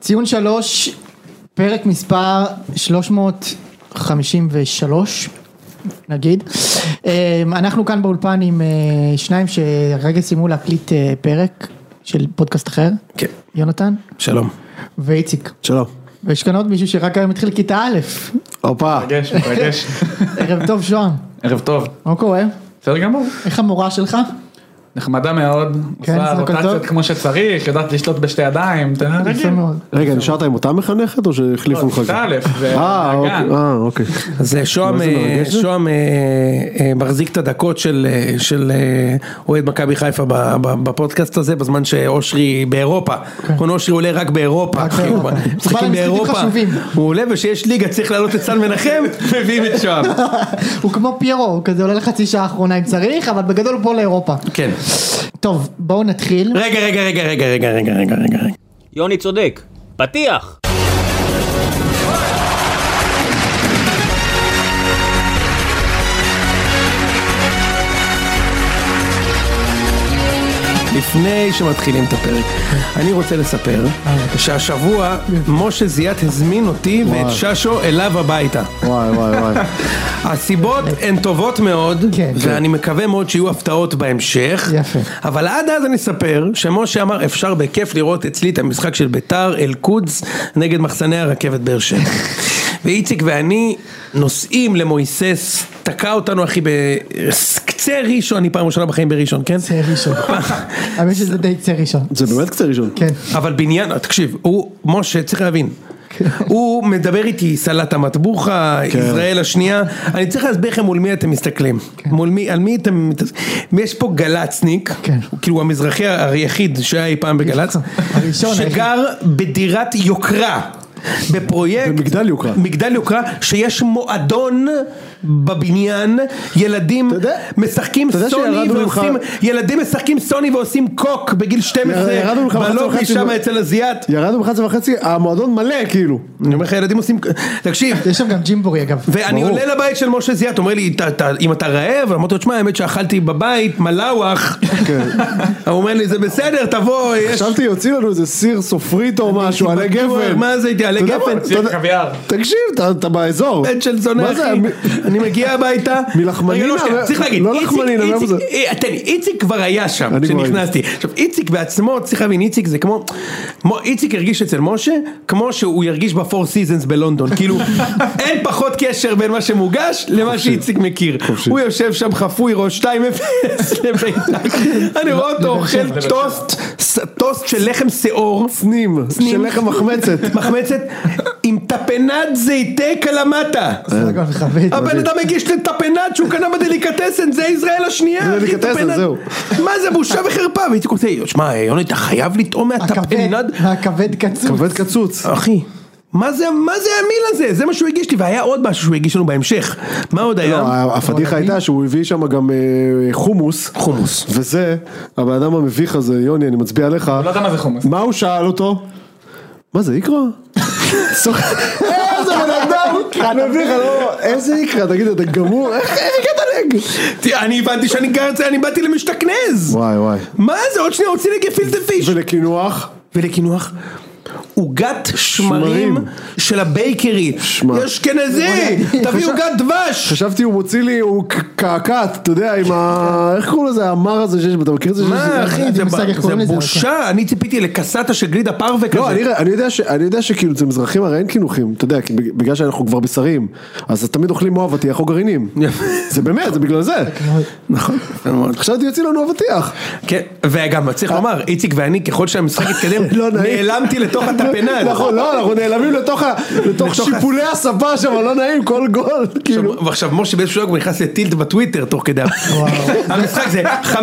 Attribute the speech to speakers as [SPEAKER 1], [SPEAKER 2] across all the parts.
[SPEAKER 1] ציון שלוש, פרק מספר 353, נגיד. אה, אנחנו כאן באולפן עם אה, שניים שהרגע סיימו להקליט אה, פרק של פודקאסט אחר,
[SPEAKER 2] כן.
[SPEAKER 1] יונתן
[SPEAKER 2] שלום.
[SPEAKER 1] ואיציק.
[SPEAKER 2] שלום.
[SPEAKER 1] ויש כאן עוד מישהו שרק היום התחיל כיתה א',
[SPEAKER 2] הופה.
[SPEAKER 3] מרגש, מרגש.
[SPEAKER 1] ערב טוב שוהם,
[SPEAKER 3] ערב טוב.
[SPEAKER 1] מה קורה?
[SPEAKER 3] בסדר גמור.
[SPEAKER 1] איך המורה שלך?
[SPEAKER 3] נחמדה מאוד.
[SPEAKER 1] כן,
[SPEAKER 3] עושה
[SPEAKER 1] זה הכל
[SPEAKER 3] רוטציות
[SPEAKER 1] טוב?
[SPEAKER 3] כמו שצריך, יודעת לשלוט בשתי ידיים. אתה רגיל. לא,
[SPEAKER 1] יפה מאוד.
[SPEAKER 4] רגע, נשארת עם אותה מחנכת או שהחליפו לך?
[SPEAKER 3] כיתה א', זה
[SPEAKER 4] אה,
[SPEAKER 3] הגן.
[SPEAKER 4] אוקיי, אה, אוקיי.
[SPEAKER 2] אז אה, שוהם,
[SPEAKER 4] מה זה
[SPEAKER 2] אה,
[SPEAKER 4] מרגש זה?
[SPEAKER 2] שוהם אה, אה, מחזיק את הדקות של אה, של, אה, אוהד מכבי חיפה ב- ב- בפודקאסט הזה, בזמן שאושרי באירופה. נכון, אושרי עולה רק באירופה.
[SPEAKER 1] כן. רק באירופה. הוא בא
[SPEAKER 2] אחי, הוא- משחקים
[SPEAKER 1] למשחקים
[SPEAKER 2] באירופה.
[SPEAKER 1] חשובים.
[SPEAKER 2] הוא עולה ושיש ליגה צריך לעלות את סן מנחם, מביאים את שוהם.
[SPEAKER 1] הוא כמו פיירו, הוא כזה עולה לחצי שעה האחרונה אם צריך, אבל בגדול הוא פה לאירופה.
[SPEAKER 2] כן.
[SPEAKER 1] טוב, בואו נתחיל.
[SPEAKER 2] רגע, רגע, רגע, רגע, רגע, רגע, רגע, רגע.
[SPEAKER 5] יוני צודק. פתיח!
[SPEAKER 2] לפני שמתחילים את הפרק, אני רוצה לספר
[SPEAKER 1] אה.
[SPEAKER 2] שהשבוע
[SPEAKER 1] כן.
[SPEAKER 2] משה זיאת הזמין אותי ואת ששו אליו הביתה.
[SPEAKER 4] וואי וואי וואי.
[SPEAKER 2] הסיבות הן טובות מאוד,
[SPEAKER 1] כן.
[SPEAKER 2] ואני מקווה מאוד שיהיו הפתעות בהמשך.
[SPEAKER 1] יפה.
[SPEAKER 2] אבל עד אז אני אספר שמשה אמר אפשר בכיף לראות אצלי את המשחק של ביתר אל-קודס נגד מחסני הרכבת באר שבע. ואיציק ואני נוסעים למויסס, תקע אותנו אחי בקצה ראשון, אני פעם ראשונה בחיים בראשון, כן?
[SPEAKER 1] קצה ראשון. האמת שזה די קצה ראשון.
[SPEAKER 4] זה באמת קצה ראשון.
[SPEAKER 1] כן.
[SPEAKER 2] אבל בניין, תקשיב, הוא, משה, צריך להבין. הוא מדבר איתי סלט המטבוחה,
[SPEAKER 4] כן.
[SPEAKER 2] ישראל השנייה, אני צריך להסביר לכם מול מי אתם מסתכלים,
[SPEAKER 4] כן.
[SPEAKER 2] מול מי, על מי אתם, מת- יש פה גלצניק,
[SPEAKER 1] כן.
[SPEAKER 2] הוא כאילו המזרחי ה- היחיד שהיה אי פעם בגל"צ,
[SPEAKER 1] הראשון,
[SPEAKER 2] שגר בדירת יוקרה, בפרויקט,
[SPEAKER 4] במגדל יוקרה.
[SPEAKER 2] מגדל יוקרה, שיש מועדון בבניין, ילדים
[SPEAKER 4] יודע-
[SPEAKER 2] משחקים
[SPEAKER 4] אתה יודע
[SPEAKER 2] סוני
[SPEAKER 4] שירדנו ממך-
[SPEAKER 2] ועושים, ילדים משחקים סוני ועושים קוק בגיל 12,
[SPEAKER 4] לא, ירדנו ממך בחצי
[SPEAKER 2] בלובי
[SPEAKER 4] וחצי
[SPEAKER 2] שם
[SPEAKER 4] ב-
[SPEAKER 2] אצל הזיאת.
[SPEAKER 4] ירדנו ב-11 וחצי, המועדון מלא כאילו.
[SPEAKER 2] אני אומר לך ילדים עושים, תקשיב,
[SPEAKER 1] יש שם גם ג'ימבורי אגב.
[SPEAKER 2] ואני
[SPEAKER 4] ברור.
[SPEAKER 2] עולה לבית של משה זיאת, אומר לי, "אתה- אתה- אם אתה רעב, אמרתי לו, תשמע, האמת שאכלתי בבית מלאווח,
[SPEAKER 4] כן.
[SPEAKER 2] הוא אומר לי, זה בסדר, תבוא, יש...
[SPEAKER 4] חשבתי יוציאו לנו איזה סיר סופרית או משהו, עלי
[SPEAKER 2] בטוח,
[SPEAKER 4] גפן.
[SPEAKER 2] מה זה הייתי, עלי
[SPEAKER 4] אתה יודע
[SPEAKER 2] גפן?
[SPEAKER 4] מה?
[SPEAKER 3] ציר
[SPEAKER 4] אתה יודע-
[SPEAKER 3] קוויאר.
[SPEAKER 4] תקשיב, אתה- אתה באזור.
[SPEAKER 2] בן של זונה
[SPEAKER 4] מה זה,
[SPEAKER 2] אחי,
[SPEAKER 4] מ-
[SPEAKER 2] אני מגיע הביתה,
[SPEAKER 4] מלחמנינה?
[SPEAKER 2] רגע, לא, שנייה, צריך להגיד,
[SPEAKER 4] לא
[SPEAKER 2] איציק-
[SPEAKER 4] לחמנינה,
[SPEAKER 2] איציק-
[SPEAKER 4] למה זה?
[SPEAKER 2] אה, תן לי, איציק כבר היה שם,
[SPEAKER 4] אני כבר
[SPEAKER 2] כשנכנסתי, עכשיו איציק בעצמו, צריך להבין, איציק זה כמו, כמו- איציק הרגיש אצל משה, כמו שהוא ירגיש בפור סיזנס בלונדון, כאילו, אין פחות קשר בין מה שמוגש למה שאיציק מכיר, הוא יושב שם חפוי ראש 2-0 לבית"ר,
[SPEAKER 4] לא,
[SPEAKER 2] אני רואה אותו אוכל טוסט, ס- טוסט של לחם שיעור,
[SPEAKER 4] צנים, של לחם מחמצת.
[SPEAKER 2] מחמצת עם טפנת זיתי קלמטה.
[SPEAKER 4] אה,
[SPEAKER 3] אה,
[SPEAKER 1] סגול וחבד.
[SPEAKER 2] הבן אדם הגיש לי טפנת שהוא קנה בדליקטסן, זה ישראל השנייה. אחי,
[SPEAKER 4] בדליקטסן,
[SPEAKER 2] טפנת.
[SPEAKER 4] זהו.
[SPEAKER 2] מה זה בושה וחרפה, והייתי כותב, שמע יוני אתה חייב לטעום
[SPEAKER 1] הכבד,
[SPEAKER 2] מהטפנת.
[SPEAKER 1] והכבד קצוץ.
[SPEAKER 4] כבד קצוץ.
[SPEAKER 2] אחי. מה זה, מה זה המיל הזה? זה מה שהוא הגיש לי, והיה עוד משהו שהוא הגיש לנו בהמשך. מה עוד
[SPEAKER 4] לא,
[SPEAKER 2] היה?
[SPEAKER 4] הפדיחה הייתה שהוא הביא שם גם אה, חומוס.
[SPEAKER 2] חומוס.
[SPEAKER 4] וזה, הבן אדם המביך הזה, יוני, אני מצביע עליך.
[SPEAKER 3] לא יודע מה זה חומוס.
[SPEAKER 4] מה הוא שאל אותו? מה זה איקרא? סוח- איזה בן אדם, מביך, לא, איזה איקרא, תגיד, אתה גמור, איך איך הגעת לג?
[SPEAKER 2] תראה, אני הבנתי שאני גר את זה, אני באתי למשתכנז.
[SPEAKER 4] וואי וואי.
[SPEAKER 2] מה זה, עוד שנייה הוציא לי גפילטה פיש.
[SPEAKER 4] ולקינוח?
[SPEAKER 2] ולקינוח. עוגת שמרים
[SPEAKER 4] שמרים.
[SPEAKER 2] של הבייקרי,
[SPEAKER 4] שמע.
[SPEAKER 2] יש אשכנזי, תביא עוגת דבש,
[SPEAKER 4] חשבתי הוא מוציא לי, הוא ק- קעקעת, אתה יודע, עם ה... איך קוראים לזה, המר הזה שיש, אתה מכיר את זה?
[SPEAKER 2] מה
[SPEAKER 4] שזה-
[SPEAKER 2] אחי,
[SPEAKER 1] אין לי
[SPEAKER 2] זה
[SPEAKER 1] מושג איך
[SPEAKER 2] ב- זה
[SPEAKER 1] קוראים לזה, אבל
[SPEAKER 2] בושה, אני ציפיתי לקסטה של גלידה פרווה
[SPEAKER 4] אוקיי. לא, אני,
[SPEAKER 2] כזה.
[SPEAKER 4] אני, יודע ש, אני יודע שכאילו אצל מזרחים הרי אין קינוחים, אתה יודע, כי בגלל שאנחנו כבר בשרים, אז תמיד אוכלים או אבטיח או גרעינים.
[SPEAKER 2] יפה.
[SPEAKER 4] זה באמת, זה בגלל זה.
[SPEAKER 2] נכון, יפה מאוד.
[SPEAKER 4] חשבתי יוציא לנו אבטיח.
[SPEAKER 2] כן, וגם צריך לומר, איציק ואני, ככל שהמשחק התקדם,
[SPEAKER 4] אה? לא נעים.
[SPEAKER 2] נעלמתי לתוך הטפנד.
[SPEAKER 4] נכון, לא, אנחנו נעלמים לתוך ה- לתוך
[SPEAKER 2] לתוך
[SPEAKER 4] שיפולי הספה שם, לא נעים, כל גול, כאילו.
[SPEAKER 2] עכשיו- ועכשיו משה באיזשהו רגע נכנס לטילט בטוויטר תוך כדי המשחק זה 5-0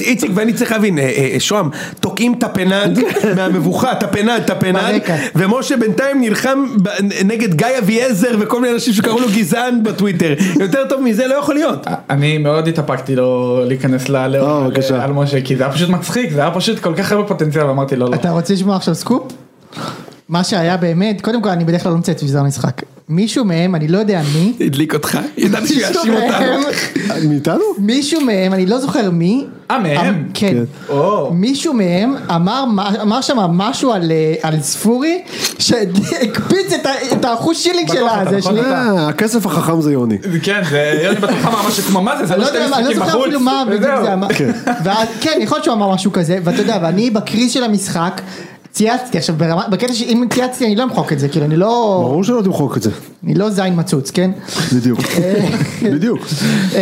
[SPEAKER 2] איציק ואני צריך להבין אה, אה, שוהם תוקעים את הפנד מהמבוכה את הפנד את הפנד
[SPEAKER 1] ברקע.
[SPEAKER 2] ומשה בינתיים נלחם ב- נגד גיא אביעזר וכל מיני אנשים שקראו לו גזען בטוויטר יותר טוב מזה לא יכול להיות
[SPEAKER 3] אני מאוד התאפקתי לא להיכנס
[SPEAKER 4] אה,
[SPEAKER 3] ללאום
[SPEAKER 4] בבקשה.
[SPEAKER 3] על משה, כי זה היה פשוט מצחיק, זה היה פשוט כל כך הרבה פוטנציאל, ואמרתי לא, לא.
[SPEAKER 1] אתה רוצה לשמוע עכשיו סקופ? מה שהיה באמת, קודם כל אני בדרך כלל לא מצייץ בזמן המשחק. מישהו מהם, אני לא יודע מי,
[SPEAKER 2] הדליק אותך, ידעתי שהוא יאשים
[SPEAKER 1] מישהו
[SPEAKER 2] אותנו.
[SPEAKER 1] מהם-
[SPEAKER 4] מאיתנו?
[SPEAKER 1] מישהו מהם, אני לא זוכר מי,
[SPEAKER 3] אה, מהם?
[SPEAKER 1] כן,
[SPEAKER 3] או.
[SPEAKER 1] מישהו מהם אמר, אמר שם משהו על, אה, על ספורי, שהקפיץ את, ה- את האחוז שילינג
[SPEAKER 3] בטוח,
[SPEAKER 1] של
[SPEAKER 3] אתה
[SPEAKER 1] הזה
[SPEAKER 3] נכון?
[SPEAKER 1] שלי.
[SPEAKER 4] אה, הכסף החכם זה יוני.
[SPEAKER 3] כן, זה יוני בטוח אמר משהו כמו מה זה, זה
[SPEAKER 1] אני
[SPEAKER 3] לא
[SPEAKER 1] לא
[SPEAKER 3] שתי
[SPEAKER 1] יודע, מה- אני לא
[SPEAKER 3] משחקים
[SPEAKER 1] זוכר
[SPEAKER 3] בחוץ.
[SPEAKER 1] אפילו מה בדיוק
[SPEAKER 3] וזהו.
[SPEAKER 1] זה אמר. ואז- כן, יכול להיות שהוא אמר משהו כזה, ואתה יודע, ואני בקריז של המשחק, צייצתי, עכשיו ברמה, בקטע שאם צייצתי אני לא אמחוק את זה, כאילו אני לא,
[SPEAKER 4] ברור שלא תמחוק את זה.
[SPEAKER 1] אני לא זין מצוץ, כן?
[SPEAKER 4] בדיוק. בדיוק.
[SPEAKER 1] אה,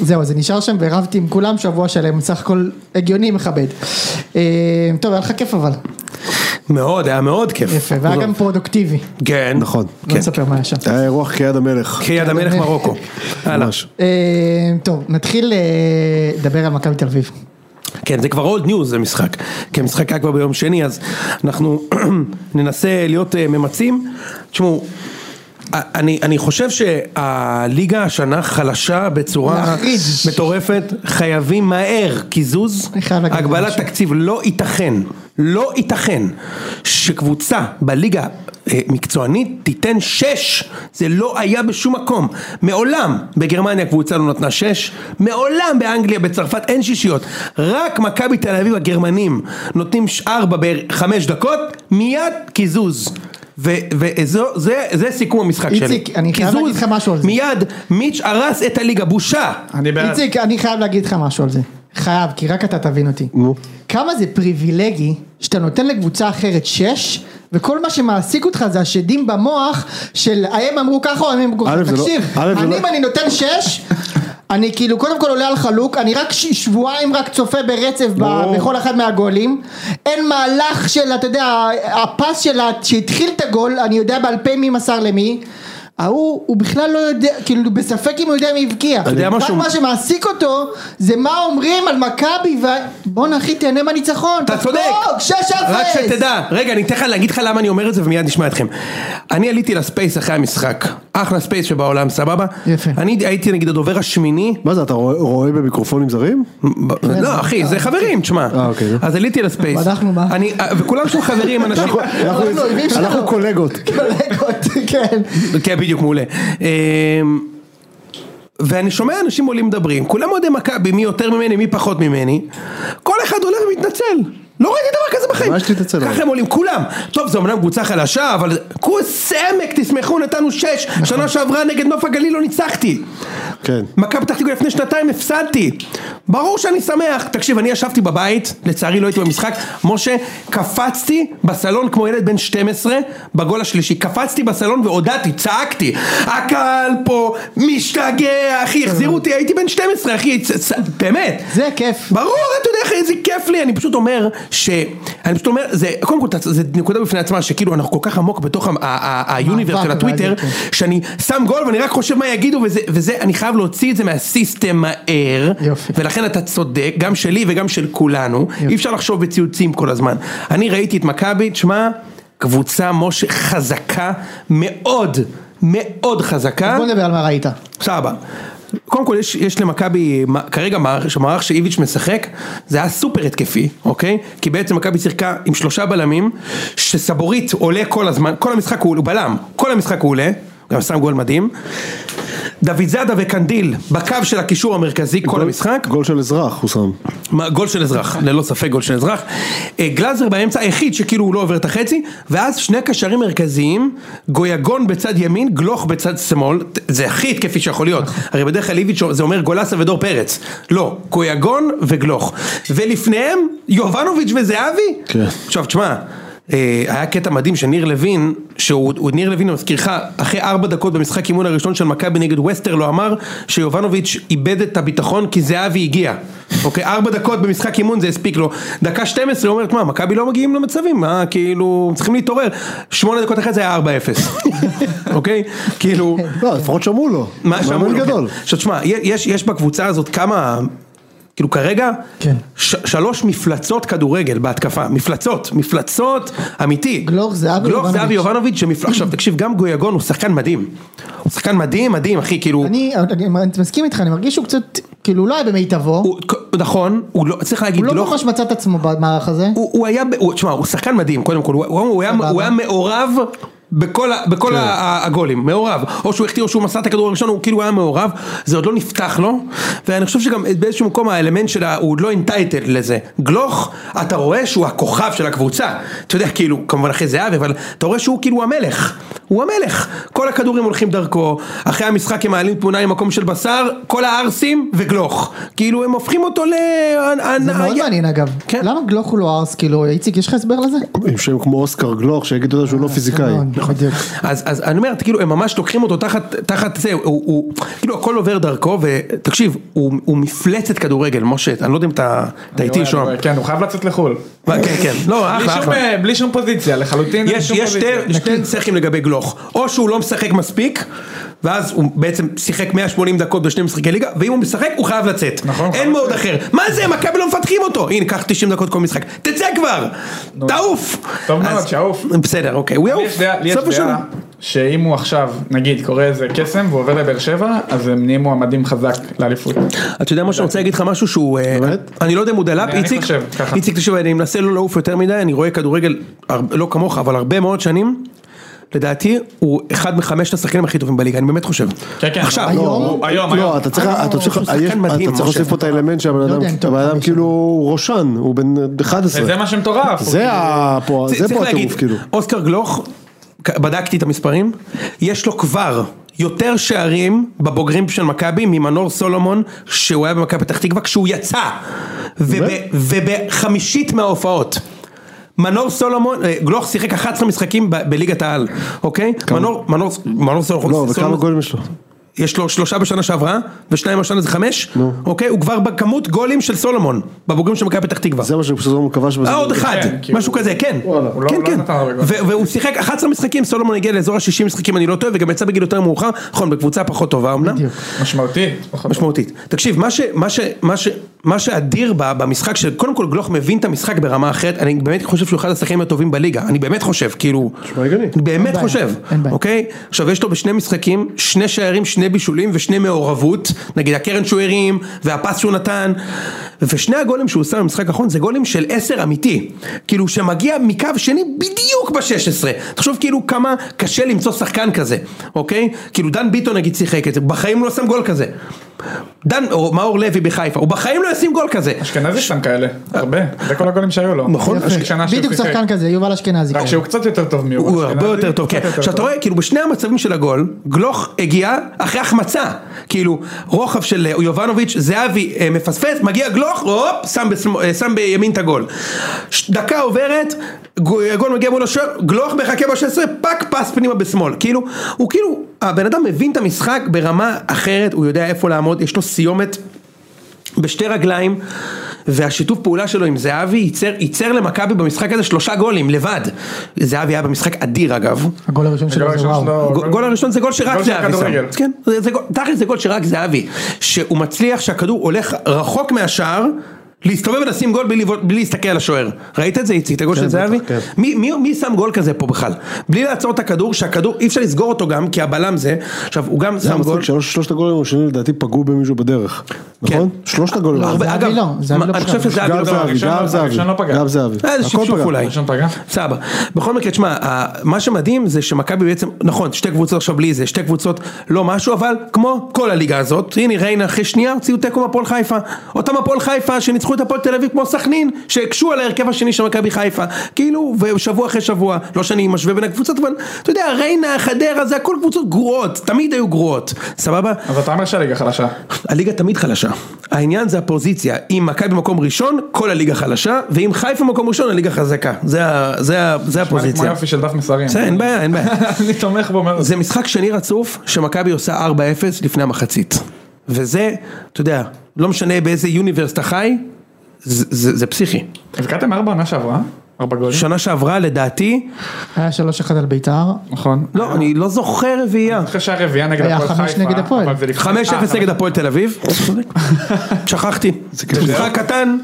[SPEAKER 1] זהו, זה נשאר שם ורבתי עם כולם שבוע שלם, סך הכל הגיוני מכבד. אה, טוב, היה לך כיף אבל,
[SPEAKER 2] מאוד, היה מאוד כיף.
[SPEAKER 1] יפה, והיה גם פרודוקטיבי,
[SPEAKER 2] כן.
[SPEAKER 4] נכון.
[SPEAKER 1] לא
[SPEAKER 2] כן.
[SPEAKER 1] נספר כן, מה היה שם.
[SPEAKER 4] היה אירוח כיד המלך.
[SPEAKER 2] כיד המלך מרוקו. הלאה.
[SPEAKER 4] ממש.
[SPEAKER 1] אה, טוב, נתחיל אה, לדבר על מכבי תל אביב.
[SPEAKER 2] כן, זה כבר אולד ניוז המשחק, כי המשחק היה כבר ביום שני, אז אנחנו ננסה להיות אה, ממצים. תשמעו, א- אני, אני חושב שהליגה השנה חלשה בצורה
[SPEAKER 1] להחריד.
[SPEAKER 2] מטורפת, חייבים מהר קיזוז,
[SPEAKER 1] אני חייב להגיד
[SPEAKER 2] הגבלת
[SPEAKER 1] משהו.
[SPEAKER 2] תקציב, לא ייתכן, לא ייתכן שקבוצה בליגה אה, מקצוענית תיתן שש, זה לא היה בשום מקום, מעולם בגרמניה קבוצה לא נתנה שש, מעולם באנגליה, בצרפת אין שישיות, רק מכבי תל אביב הגרמנים נותנים ש- ארבע בחמש דקות, מיד קיזוז. וזה סיכום המשחק שלי.
[SPEAKER 1] איציק, אני חייב
[SPEAKER 2] קיזוז,
[SPEAKER 1] להגיד לך משהו על זה.
[SPEAKER 2] מיד, מיץ' הרס את הליגה, בושה.
[SPEAKER 3] אני בעד.
[SPEAKER 1] איציק, אני חייב להגיד לך משהו על זה. חייב, כי רק אתה תבין אותי.
[SPEAKER 4] נו.
[SPEAKER 1] כמה זה פריבילגי שאתה נותן לקבוצה אחרת שש, וכל מה שמעסיק אותך זה השדים במוח של הם אמרו ככה או הם אמרו ככה.
[SPEAKER 4] א', זה לא-
[SPEAKER 1] תקשיב,
[SPEAKER 4] א', זה
[SPEAKER 1] אני
[SPEAKER 4] לא-
[SPEAKER 1] אם אני נותן שש, אני כאילו קודם כל עולה על חלוק, אני רק ש- שבועיים רק צופה ברצף ב- בכל אחד מהגולים. אין מהלך של, אתה יודע, הפס שלה שהתחיל את הגול, אני יודע בעל פה מי מסר למי. ההוא, הוא בכלל לא יודע, כאילו בספק אם הוא יודע מי הבקיע. אתה
[SPEAKER 2] יודע משהו?
[SPEAKER 1] מה שמעסיק אותו זה מה אומרים על מכבי ו... בואנה אחי תהנה מהניצחון.
[SPEAKER 2] אתה צודק,
[SPEAKER 1] שש אפס.
[SPEAKER 2] רק שתדע, רגע אני אתן לך להגיד לך למה אני אומר את זה ומיד נשמע אתכם. אני עליתי לספייס אחרי המשחק, אחלה ספייס שבעולם, סבבה?
[SPEAKER 1] יפה.
[SPEAKER 2] אני הייתי נגיד הדובר השמיני,
[SPEAKER 4] מה זה, אתה רואה- רואה במיקרופונים זרים?
[SPEAKER 2] ב- לא אחי זה חברים, תשמע,
[SPEAKER 4] אה, אוקיי.
[SPEAKER 2] אז עליתי לספייס,
[SPEAKER 1] בדקנו מה.
[SPEAKER 2] אני- אה, וכולם שם חברים, אנשים,
[SPEAKER 4] אנחנו-
[SPEAKER 1] אנחנו אויבים שלנו.
[SPEAKER 4] אנחנו קולגות.
[SPEAKER 1] קולגות, כן.
[SPEAKER 2] כן, בדיוק, מעולה. אמ, ואני שומע אנשים עולים מדברים, כולם אוהדי מכבי, מי יותר ממני, מי פחות ממני, כל אחד הולך ומתנצל. לא ראיתי דבר כזה בחיים.
[SPEAKER 4] מה יש להתנצל עליו?
[SPEAKER 2] ככה הם עולים, כולם. טוב, זו אמנם קבוצה חלשה, אבל כוס עמק, תשמחו, נתנו שש. שנה שעברה נגד נוף הגליל לא ניצחתי.
[SPEAKER 4] כן.
[SPEAKER 2] מכבי פתח תקווה לפני שנתיים הפסדתי. ברור שאני שמח. תקשיב, אני ישבתי בבית, לצערי לא הייתי במשחק, משה, קפצתי בסלון כמו ילד בן 12 בגול השלישי. קפצתי בסלון והודעתי, צעקתי, הקהל פה משתגע, אחי, החזירו אותי, הייתי בן 12, אחי, צ- צ- באמת.
[SPEAKER 1] זה כיף.
[SPEAKER 2] ברור, אתה יודע איך איזה כיף לי, אני פשוט אומר ש... אני פשוט אומר, זה, קודם כל, זה נקודה בפני עצמה, שכאילו אנחנו כל כך עמוק בתוך ה- ה- ה- היוניברס של
[SPEAKER 1] המאבק
[SPEAKER 2] הטוויטר,
[SPEAKER 1] והזה,
[SPEAKER 2] שאני שם גול ואני רק חושב מה יגידו, וזה, וזה, אני חייב להוציא את זה מהסיסטם מהר,
[SPEAKER 1] יופי.
[SPEAKER 2] ולכן אתה צודק, גם שלי וגם של כולנו, אי אפשר לחשוב בציוצים כל הזמן. אני ראיתי את מכבי, תשמע, קבוצה, משה, חזקה מאוד, מאוד חזקה.
[SPEAKER 1] בוא נדבר על מה ראית.
[SPEAKER 2] סבבה. קודם כל יש, יש למכבי מ- כרגע מערך, שהמערך שאיביץ' משחק זה היה סופר התקפי, אוקיי? כי בעצם מכבי שיחקה עם שלושה בלמים שסבורית עולה כל הזמן, כל המשחק הוא הוא בלם, כל המשחק הוא עולה, גם שם גול מדהים. דוד זאדה וקנדיל בקו של הקישור המרכזי כל
[SPEAKER 4] גול-
[SPEAKER 2] המשחק,
[SPEAKER 4] גול של אזרח, הוא שם.
[SPEAKER 2] מה, גול של אזרח, ללא ספק גול של אזרח. אה, גלאזר באמצע היחיד שכאילו הוא לא עובר את החצי, ואז שני קשרים מרכזיים, גויגון בצד ימין, גלוך בצד שמאל, ת- זה הכי התקפי שיכול להיות. הרי בדרך כלל איביץ' זה אומר גולסה ודור פרץ. לא, גויגון וגלוך. ולפניהם, יובנוביץ' וזהבי?
[SPEAKER 4] כן.
[SPEAKER 2] עכשיו תשמע, אה, היה קטע מדהים שניר לוין, שהוא הוא- ניר לוין, אני מזכירך, אחרי ארבע דקות במשחק אימון הראשון של מכבי נגד ווסטר, לא אמר שיובנוביץ' איבד את הביטחון כי זהבי הגיע. אוקיי, ארבע דקות במשחק אימון זה הספיק לו. דקה 12 הוא אומר, תשמע, מכבי לא מגיעים למצבים, מה, כאילו, צריכים להתעורר. שמונה דקות אחרי זה היה 4-0. אוקיי? כאילו...
[SPEAKER 4] לא, לפחות שמעו לו.
[SPEAKER 2] מה שאמרו
[SPEAKER 4] מאמן
[SPEAKER 2] לו,
[SPEAKER 4] גדול.
[SPEAKER 2] כן. עכשיו תשמע, יש, יש בקבוצה הזאת כמה, כאילו כרגע,
[SPEAKER 1] כן.
[SPEAKER 2] ש, שלוש מפלצות כדורגל בהתקפה, מפלצות, מפלצות, אמיתי.
[SPEAKER 1] גלוך, זהבי,
[SPEAKER 2] גלוך,
[SPEAKER 1] יובנוביץ'.
[SPEAKER 2] זהבי, יובנוביץ', שמפל... עכשיו תקשיב, גם גויגון הוא שחקן מדהים, הוא שחקן מדהים, מדהים, אחי, כאילו,
[SPEAKER 1] אני אני- אני מסכים איתך, אני מרגיש שהוא קצת, כאילו לא היה במיטבו.
[SPEAKER 2] הוא, נכון, הוא לא, צריך להגיד,
[SPEAKER 1] הוא לא
[SPEAKER 2] גלוך-
[SPEAKER 1] ממש מצא את עצמו במערך הזה.
[SPEAKER 2] הוא, הוא היה, ב- הוא, תשמע, הוא שחקן מדהים, קודם כל, הוא, הוא, הוא, היה,
[SPEAKER 1] סבבה.
[SPEAKER 2] הוא היה מעורב בכל, ה- בכל ה- ה- הגולים, מעורב. או שהוא החטיא או שהוא מסר את הכדור הראשון, הוא כאילו היה מעורב, זה עוד לא נפתח לו, ואני חושב שגם באיזשהו מקום האלמנט שלה, הוא עוד לא אינטייטד לזה. גלוך, אתה רואה שהוא הכוכב של הקבוצה. אתה יודע, כאילו, כמובן אחרי זהבי, אבל אתה רואה שהוא כאילו המלך. הוא המלך. כל הכדורים הולכים דרכו, אחרי המשחק הם מעלים תמונה עם מקום של בשר, כל הערסים וגלוך. כאילו, הם הופכים אותו ל...
[SPEAKER 1] זה מאוד מעניין אגב.
[SPEAKER 2] כן.
[SPEAKER 1] למה גלוך הוא לא ארס? כאילו, איציק, יש לך הסבר לזה?
[SPEAKER 4] עם שם כמו אוסקר גלוך, שיגידו לו שהוא לא פיזיקאי.
[SPEAKER 1] נכון, בדיוק.
[SPEAKER 2] אז, אז אני אומר, כאילו, הם ממש לוקחים אותו תחת, תחת זה, הוא, הוא, כאילו, הכל עובר דרכו, ותקשיב, הוא, הוא מפלצת כדורגל, משה, אני לא יודע אם אתה אתה איתי שם.
[SPEAKER 3] כן, הוא חייב לצאת לחו"ל.
[SPEAKER 2] כן, כן, לא,
[SPEAKER 3] בלי
[SPEAKER 2] אחלה,
[SPEAKER 3] שום,
[SPEAKER 2] אחלה.
[SPEAKER 3] אה, בלי שום פוזיציה, לחלוטין. אין
[SPEAKER 2] יש,
[SPEAKER 3] שום
[SPEAKER 2] יש
[SPEAKER 3] פוזיציה.
[SPEAKER 2] שתי, שתי נצחים לגבי גלוך, או שהוא לא משחק מספיק, ואז הוא בעצם שיחק 180 דקות בשני משחקי ליגה, ואם הוא משחק הוא חייב לצאת.
[SPEAKER 3] נכון,
[SPEAKER 2] אין
[SPEAKER 3] חייב
[SPEAKER 2] מאוד אחר. מה זה, מכבי לא מפתחים אותו. הנה, קח 90 דקות כל משחק. תצא כבר! תעוף!
[SPEAKER 3] טוב מאוד,
[SPEAKER 2] אז-
[SPEAKER 3] שיעוף.
[SPEAKER 2] בסדר, אוקיי, הוא
[SPEAKER 3] לי
[SPEAKER 2] יעוף.
[SPEAKER 3] יש דעה- לי יש
[SPEAKER 2] סוף השנה.
[SPEAKER 3] דעה שאם הוא עכשיו, נגיד, קורא איזה קסם והוא עובר לבאר שבע, אז הם נהיים מועמדים חזק לאליפות.
[SPEAKER 2] אתה יודע מה שאני רוצה להגיד לך משהו שהוא, אה,
[SPEAKER 4] באמת?
[SPEAKER 2] אני לא יודע אם הוא דלאפ,
[SPEAKER 3] אני- אני
[SPEAKER 2] איציק,
[SPEAKER 3] חושב ככה.
[SPEAKER 2] איציק תשמע, אני מנסה לא לעוף יותר מדי, אני רואה כדורגל, הר- לא כמוך, אבל הרבה מאוד שנים, לדעתי הוא אחד מחמשת השחקנים הכי טובים בליגה, אני באמת חושב.
[SPEAKER 3] כן, כן,
[SPEAKER 2] עכשיו,
[SPEAKER 3] אבל-
[SPEAKER 2] לא,
[SPEAKER 3] הוא- היום, היום.
[SPEAKER 4] לא, אתה צריך, אתה צריך,
[SPEAKER 2] אה, הוא שחקן
[SPEAKER 4] יש-
[SPEAKER 2] מדהים,
[SPEAKER 4] אתה צריך
[SPEAKER 2] משה. לא
[SPEAKER 4] להוסיף פה את האלמנט שהבן
[SPEAKER 1] יודע
[SPEAKER 4] אדם,
[SPEAKER 1] אם טוב,
[SPEAKER 4] הבן אדם
[SPEAKER 1] חמישה.
[SPEAKER 4] כאילו הוא ראשן, הוא בן 11.
[SPEAKER 3] וזה מה שמטורף. הוא
[SPEAKER 4] זה ה- פה,
[SPEAKER 2] צ-
[SPEAKER 4] זה
[SPEAKER 2] צריך
[SPEAKER 4] פה
[SPEAKER 2] להגיד,
[SPEAKER 4] הטירוף כאילו.
[SPEAKER 2] אוסקר גלוך, כ- בדקתי את המספרים, יש לו כבר יותר שערים בבוגרים של מכבי ממנור סולומון, שהוא היה במכבי פתח תקווה כשהוא יצא, וב-
[SPEAKER 4] באמת?
[SPEAKER 2] ובחמישית מההופעות. מנור סולומון, אה, גלוך שיחק 11 משחקים ב- בליגת העל, אוקיי? מנור, מנור, מנור סולומון,
[SPEAKER 4] לא, וכמה
[SPEAKER 2] סולומון-
[SPEAKER 4] גולים יש לו?
[SPEAKER 2] יש לו שלושה בשנה שעברה, ושניים השנה זה חמש, אוקיי? הוא כבר בכמות גולים של סולומון, בבוגרים של מכבי פתח תקווה.
[SPEAKER 4] זה מה שפשוט הוא כבש בזה.
[SPEAKER 2] אה, עוד אחד,
[SPEAKER 3] כן, כי
[SPEAKER 2] משהו כזה, כן,
[SPEAKER 3] הוא לא-
[SPEAKER 2] כן,
[SPEAKER 3] הוא לא
[SPEAKER 2] כן,
[SPEAKER 3] נתן הרבה גולים.
[SPEAKER 2] ו- והוא שיחק 11 משחקים, סולומון הגיע לאזור ה-60 משחקים, אני לא טועה, וגם יצא בגיל יותר מאוחר, נכון, בקבוצה פחות טובה אמנם,
[SPEAKER 1] בדיוק.
[SPEAKER 3] משמעותי. פחות.
[SPEAKER 4] נכון.
[SPEAKER 2] משמעותית. תקשיב, מה ש- מה ש- מה ש- מה שאדיר ב- במשחק, שקודם כל גלוך מבין את המשחק ברמה אחרת, אני באמת חושב שהוא אחד השחקנים הטובים בליגה, אני באמת חושב, כאילו,
[SPEAKER 4] נשמע הגיוני.
[SPEAKER 2] אני באמת
[SPEAKER 1] בעיה,
[SPEAKER 2] חושב,
[SPEAKER 1] אין בעיה.
[SPEAKER 2] אוקיי? עכשיו יש לו בשני משחקים, שני שערים, שני בישולים ושני מעורבות, נגיד הקרן שהוא הרים, והפס שהוא נתן, ושני הגולים שהוא שם במשחק האחרון זה גולים של עשר אמיתי, כאילו שמגיע מקו שני בדיוק ב-16, תחשוב כאילו כמה קשה למצוא שחקן כזה, אוקיי? כאילו דן ביטון נגיד שיחק את זה, בחיים לא שם גול כזה. דן, או מאור לוי בחיפה, הוא בחיים לא ישים גול כזה.
[SPEAKER 3] אשכנזי שם כאלה, הרבה, זה כל הגולים שהיו לו.
[SPEAKER 2] נכון,
[SPEAKER 3] יש
[SPEAKER 1] יפה.
[SPEAKER 3] שנה שהוא
[SPEAKER 1] בדיוק
[SPEAKER 3] שיחק.
[SPEAKER 1] שחקן כזה, יובל אשכנזי.
[SPEAKER 3] רק
[SPEAKER 1] כן.
[SPEAKER 3] שהוא קצת יותר טוב מיובל
[SPEAKER 2] הוא
[SPEAKER 3] אשכנזי.
[SPEAKER 2] הרבה יותר טוב, כן.
[SPEAKER 3] קצת יותר
[SPEAKER 2] עכשיו אתה
[SPEAKER 3] טוב.
[SPEAKER 2] רואה, כאילו בשני המצבים של הגול, גלוך הגיע אחרי החמצה. כאילו, רוחב של אה, יובנוביץ', זהבי אה, מפספס, מגיע גלוך, הופ, שם, בשמאל- אה, שם בימין את הגול. ש- דקה עוברת, גו- הגול מגיע מול השוער, גלוך מחכה ב-16, פאק פס פנימה בשמאל. כאילו, הוא כאילו, הבן אדם מבין את המשחק ברמה אחרת, הוא יודע איפה לעמוד, יש לו סיומת. בשתי רגליים, והשיתוף פעולה שלו עם זהבי ייצר, ייצר למכבי במשחק הזה שלושה גולים לבד. זהבי היה במשחק אדיר אגב.
[SPEAKER 1] הגול הראשון
[SPEAKER 3] הגול
[SPEAKER 1] שלו זה
[SPEAKER 3] הראשון
[SPEAKER 1] וואו.
[SPEAKER 3] שלו-
[SPEAKER 2] הגול גול הראשון זה גול שרק
[SPEAKER 3] גול של
[SPEAKER 2] זהבי שם.
[SPEAKER 3] הכדורגל.
[SPEAKER 2] כן, זה- זה גול- תכל'ס זה גול שרק זהבי. שהוא מצליח שהכדור הולך רחוק מהשער. להסתובב ולשים גול בלי, לבעוט- בלי להסתכל על השוער. ראית את זה איציק? את הגול של זהבי?
[SPEAKER 4] בטח, כן.
[SPEAKER 2] מי, מי, מי שם גול כזה פה בכלל? בלי לעצור את הכדור, שהכדור אי אפשר לסגור אותו גם, כי הבלם זה. עכשיו הוא גם
[SPEAKER 4] זה
[SPEAKER 2] שם גול.
[SPEAKER 4] המצחיק, שלוש- שלושת הגולים הראשונים לדעתי פגעו במישהו בדרך.
[SPEAKER 2] כן.
[SPEAKER 4] נכון? שלושת הגולים.
[SPEAKER 2] הרבה-
[SPEAKER 1] זהבי
[SPEAKER 2] אגב,
[SPEAKER 1] לא, זהבי
[SPEAKER 2] מה-
[SPEAKER 1] לא
[SPEAKER 2] אני
[SPEAKER 1] פגע.
[SPEAKER 2] חושב שזהבי
[SPEAKER 4] גם
[SPEAKER 2] לא פגע.
[SPEAKER 4] זהבי,
[SPEAKER 3] הראשון
[SPEAKER 4] גם
[SPEAKER 3] לא-
[SPEAKER 4] זהבי,
[SPEAKER 3] הראשון לא פגע.
[SPEAKER 4] גם זהבי.
[SPEAKER 2] אה, זה
[SPEAKER 4] אוקיי. הכל
[SPEAKER 2] שפשוף
[SPEAKER 4] פגע.
[SPEAKER 2] אולי.
[SPEAKER 3] הראשון פגע?
[SPEAKER 2] סבא. בכל מקרה, תשמע, ה- מה שמדהים זה שמכבי בעצם, נכון, שתי קבוצות עכשיו בלי זה, שתי קבוצות לא משהו, אבל כמו כל הליגה הזאת, הנה ריינה אחרי שנייה הוציאו תיקו מהפועל חיפה. אותם הפועל חיפה שניצחו את הפועל תל אביב כמו סכנין, שהקשו על ההרכב השני של מכבי חיפה. כאילו, ושבוע אחרי שבוע, לא שאני משווה בין הקבוצות, אבל אתה יודע, ריינה, חדרה, זה הכל קבוצות גרועות, תמיד היו גרועות, סבבה?
[SPEAKER 3] אז אתה אומר שהליגה חלשה.
[SPEAKER 2] הליגה תמיד חלשה. העניין זה הפוזיציה. אם מכבי מקום ראשון, כל הליגה חלשה, ואם חיפה מקום ראשון, הליגה חזקה. זה, ה, זה, ה, זה
[SPEAKER 3] אני כמו
[SPEAKER 2] הפוזיציה.
[SPEAKER 3] יופי של דף מסרים.
[SPEAKER 2] בסדר, אין בעיה, אין בעיה.
[SPEAKER 3] אני תומך בו מאוד.
[SPEAKER 2] זה משחק שני רצוף, שמכבי עושה 4-0 לפני המחצית. וזה, אתה יודע, לא משנה באיזה יוניברס אתה חי, זה, זה, זה פסיכי.
[SPEAKER 3] הבקעתם ארבע עונה שעברה? ארבע גולים?
[SPEAKER 2] שנה שעברה, לדעתי,
[SPEAKER 1] היה 3-1 על בית"ר.
[SPEAKER 3] נכון.
[SPEAKER 2] לא, אני לא זוכר רביעייה.
[SPEAKER 3] אחרי שהיה רביעייה נגד
[SPEAKER 1] היה
[SPEAKER 3] הפועל חיפה.
[SPEAKER 1] חמש נגד הפועל.
[SPEAKER 3] אבל זה לפני-
[SPEAKER 2] 5-0
[SPEAKER 3] אה,
[SPEAKER 2] נגד הפועל תל אביב, שכחתי,
[SPEAKER 3] כאילו-
[SPEAKER 2] משחק קטן,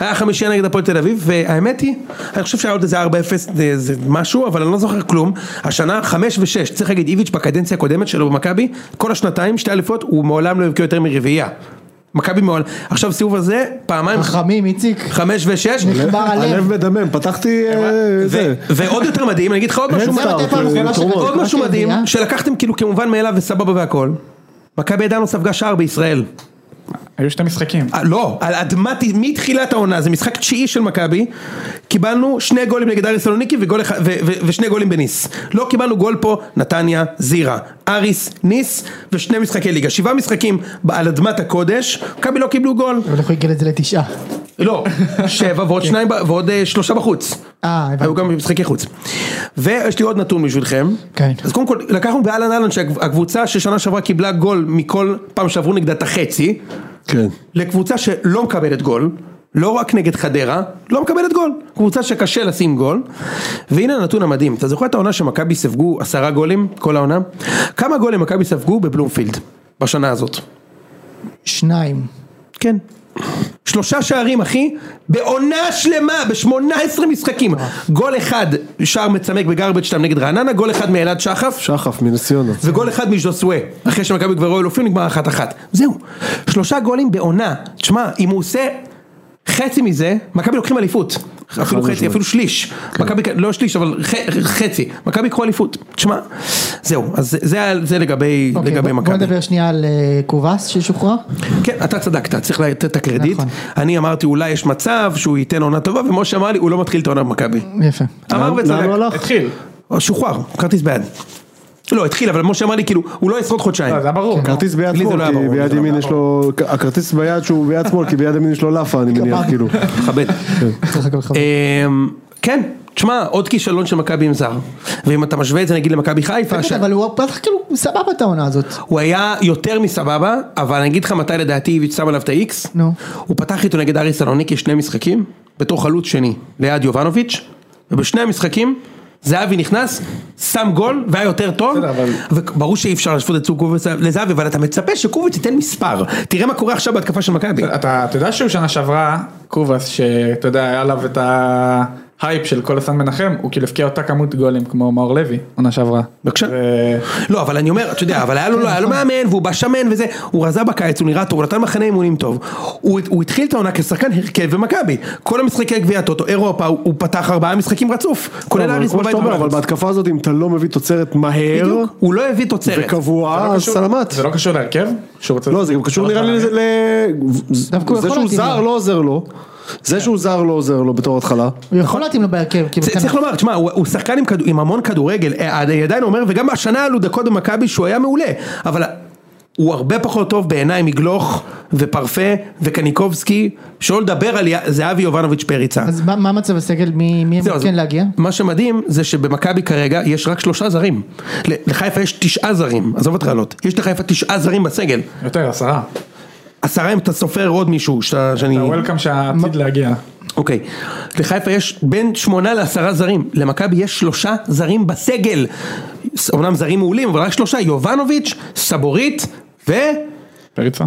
[SPEAKER 2] היה חמישייה נגד הפועל תל אביב, והאמת היא, אני חושב שהיה עוד איזה 4-0 זה- זה משהו, אבל אני לא זוכר כלום, השנה 5 ו-6, צריך להגיד איביץ' בקדנציה הקודמת שלו במכבי, כל השנתיים, שתי אליפויות, הוא מעולם לא הבקיע יותר מרביעייה. מכבי מועל. עכשיו סיבוב הזה, פעמיים,
[SPEAKER 1] חכמים, איציק.
[SPEAKER 2] חמש ושש.
[SPEAKER 3] לא
[SPEAKER 1] נחמד. בר הלב.
[SPEAKER 4] הלב מדמם, פתחתי... אה,
[SPEAKER 2] ו-
[SPEAKER 4] זה.
[SPEAKER 2] ועוד יותר מדהים, אני אגיד לך עוד משהו
[SPEAKER 1] זה
[SPEAKER 4] סטארט,
[SPEAKER 1] מתי פעם
[SPEAKER 4] אה,
[SPEAKER 1] אחרונה
[SPEAKER 4] תרומות.
[SPEAKER 1] שקרה?
[SPEAKER 2] עוד משהו
[SPEAKER 3] אוקיי,
[SPEAKER 1] רק
[SPEAKER 2] מדהים,
[SPEAKER 1] רביעייה?
[SPEAKER 2] שלקחתם כאילו כמובן מאליו וסבבה והכל. מכבי עדיין לא ספגה שער בישראל.
[SPEAKER 3] היו שתי משחקים.
[SPEAKER 2] אה, לא, על אדמת, מתחילת העונה, זה משחק תשיעי של מכבי, קיבלנו שני גולים נגד אריס סלוניקי וגול אחד- ו- ו- ושני גולים בניס. לא קיבלנו גול פה, נתניה, זירה, אריס, ניס ושני משחקי ליגה. שבעה משחקים ב- על אדמת הקודש, מכבי לא קיבלו גול.
[SPEAKER 1] אבל אנחנו נגלה את זה לתשעה.
[SPEAKER 2] לא, שבע ועוד שניים ב- ועוד אה, שלושה בחוץ.
[SPEAKER 1] אה,
[SPEAKER 2] היו
[SPEAKER 1] כן. הבנתי.
[SPEAKER 2] גם משחקי חוץ. ויש לי עוד נתון בשבילכם.
[SPEAKER 1] כן.
[SPEAKER 2] אז קודם כל, לקחנו באלן אלן שהקבוצה ששנה שעברה קיבלה גול מכל פעם שעברו נגדה את החצי,
[SPEAKER 4] כן.
[SPEAKER 2] לקבוצה שלא מקבלת גול, לא רק נגד חדרה, לא מקבלת גול. קבוצה שקשה לשים גול. והנה הנתון המדהים, אתה זוכר את העונה שמכבי ספגו עשרה גולים, כל העונה? כמה גולים מכבי ספגו בבלומפילד בשנה הזאת?
[SPEAKER 1] שניים.
[SPEAKER 2] כן. שלושה שערים אחי, בעונה שלמה, ב-18 משחקים. גול אחד, שער מצמק בגרבג' שלהם נגד רעננה, גול אחד מאלעד שחף,
[SPEAKER 4] שחף מנס ציונה.
[SPEAKER 2] וגול אחד מז'וסווה, אחרי שמכבי כבר רואה אלופים נגמר אחת אחת. זהו, שלושה גולים בעונה. תשמע, אם הוא עושה חצי מזה, מכבי לוקחים אליפות. אפילו חצי,
[SPEAKER 4] משמעית.
[SPEAKER 2] אפילו שליש. מכבי, לא שליש, אבל ח- חצי. מכבי יקחו אליפות. תשמע, זהו, אז זה- זה ה- זה לגבי
[SPEAKER 1] אוקיי,
[SPEAKER 2] לגבי
[SPEAKER 1] בוא- בוא
[SPEAKER 2] מכבי.
[SPEAKER 1] נדבר שנייה על אה, קובס ששוחרר.
[SPEAKER 2] כן, אתה צדקת, צריך לתת את הקרדיט.
[SPEAKER 1] נכון.
[SPEAKER 2] אני אמרתי אולי יש מצב שהוא ייתן עונה טובה, ומשה אמר לי הוא לא מתחיל את העונה במכבי.
[SPEAKER 1] יפה.
[SPEAKER 2] אמר
[SPEAKER 4] לאן- לאן הוא
[SPEAKER 2] וצדק.
[SPEAKER 4] הלך?
[SPEAKER 3] התחיל.
[SPEAKER 2] הוא שוחרר, כרטיס ביד. לא, התחיל, אבל משה אמר לי כאילו, הוא לא ישרוד חודשיים.
[SPEAKER 3] לא, זה היה ברור.
[SPEAKER 4] כרטיס ביד
[SPEAKER 2] לי זה לא
[SPEAKER 4] שמאל,
[SPEAKER 2] היה ברור,
[SPEAKER 4] כי
[SPEAKER 2] לי זה
[SPEAKER 4] ביד
[SPEAKER 2] לא
[SPEAKER 4] ימין יש לו... הכרטיס ביד שהוא ביד שמאל, כי ביד ימין יש לו לאפה, אני מניח,
[SPEAKER 1] כפיים.
[SPEAKER 4] כאילו.
[SPEAKER 2] מכבד.
[SPEAKER 1] צריך לקבל חבר.
[SPEAKER 2] אמ, כן, תשמע, עוד כישלון של מכבי עם זר. ואם אתה משווה את זה נגיד למכבי חיפה, ש-
[SPEAKER 1] כן, אבל הוא פתח כאילו סבבה את העונה הזאת.
[SPEAKER 2] הוא היה יותר מסבבה, אבל אני אגיד לך מתי לדעתי איביץ' שם עליו את האיקס.
[SPEAKER 1] נו.
[SPEAKER 2] הוא פתח איתו נגד אריס סלוניקי שני משחקים, בתור חלוץ שני, ליד יובנוביץ', ובשני המשחקים, זהבי נכנס, שם גול, והיה יותר טוב,
[SPEAKER 3] בסדר, אבל-
[SPEAKER 2] וברור שאי אפשר להשוות את צור קוביץ לזהבי, אבל אתה מצפה שקוביץ ייתן מספר, תראה מה קורה עכשיו בהתקפה של מכבי.
[SPEAKER 3] אתה אתה יודע שהוא שנה שעברה, קובאס, שאתה יודע, היה עליו את ההייפ של כל הסן מנחם, הוא כאילו הבקיע אותה כמות גולים כמו מאור לוי, עונה שעברה. אה,
[SPEAKER 2] בבקשה.
[SPEAKER 1] אה,
[SPEAKER 3] ו-
[SPEAKER 2] לא, אבל אני אומר, אתה יודע, אבל היה
[SPEAKER 4] כן,
[SPEAKER 2] לו, היה לו
[SPEAKER 4] נכון.
[SPEAKER 2] מאמן, והוא בא שמן וזה, הוא רזה בקיץ, הוא נראה טוב, הוא נתן מחנה אימונים טוב. הוא, הוא התחיל את העונה כשחקן הרכב במכבי. כל המשחקי גביע הטוטו, אירופה, הוא, הוא פתח ארבעה משחקים רצוף. כולל
[SPEAKER 4] אבל
[SPEAKER 2] אריס
[SPEAKER 4] כמו
[SPEAKER 2] בבית.
[SPEAKER 4] שאתה אומר, אבל
[SPEAKER 2] ובחוץ.
[SPEAKER 4] בהתקפה הזאת, אם אתה לא מביא תוצרת מהר,
[SPEAKER 2] בדיוק, הוא לא הביא תוצרת.
[SPEAKER 3] זה
[SPEAKER 2] אה,
[SPEAKER 4] וקבוע,
[SPEAKER 3] לא
[SPEAKER 4] אז
[SPEAKER 3] קשור-
[SPEAKER 4] סלמת.
[SPEAKER 3] זה לא קשור להרכב? שהוא רוצה...
[SPEAKER 4] לא, זה גם קשור נראה לי לזה, ל-
[SPEAKER 1] דווקא הוא
[SPEAKER 4] זה
[SPEAKER 1] יכול
[SPEAKER 4] שהוא
[SPEAKER 1] להתאים
[SPEAKER 4] זר
[SPEAKER 1] לו.
[SPEAKER 4] לא עוזר לו, זה שהוא זר לא עוזר לו בתור התחלה,
[SPEAKER 1] הוא יכול להתאים לו בהרכב. כאילו,
[SPEAKER 2] צ-
[SPEAKER 1] אתה-
[SPEAKER 2] נכון. צריך לומר, תשמע, הוא הוא שחקן עם כדו- עם המון כדורגל, אה, אני עדיין אומר, וגם השנה עלו דקות במכבי שהוא היה מעולה, אבל הוא הרבה פחות טוב בעיניי מגלוך ופרפה וקניקובסקי, שלא לדבר על יא- זהבי יובנוביץ' פריצה.
[SPEAKER 1] אז מה- מה מצב הסגל? מי מי
[SPEAKER 2] זהו,
[SPEAKER 1] הם
[SPEAKER 2] אז
[SPEAKER 1] כן להגיע?
[SPEAKER 2] מה שמדהים זה שבמכבי כרגע יש רק שלושה זרים. ל- לחיפה יש תשעה זרים, עזוב את רעלות. יש לחיפה תשעה זרים בסגל.
[SPEAKER 3] יותר, עשרה.
[SPEAKER 2] אה, עשרה אם אתה סופר עוד מישהו שאתה, שאני...
[SPEAKER 3] אתה וולקאם שהעתיד להגיע.
[SPEAKER 2] אוקיי. לחיפה יש בין שמונה לעשרה זרים. למכבי יש שלושה זרים בסגל. ס- אומנם זרים מעולים, אבל רק שלושה. יובנוביץ', סבורית ו...
[SPEAKER 3] פריצה?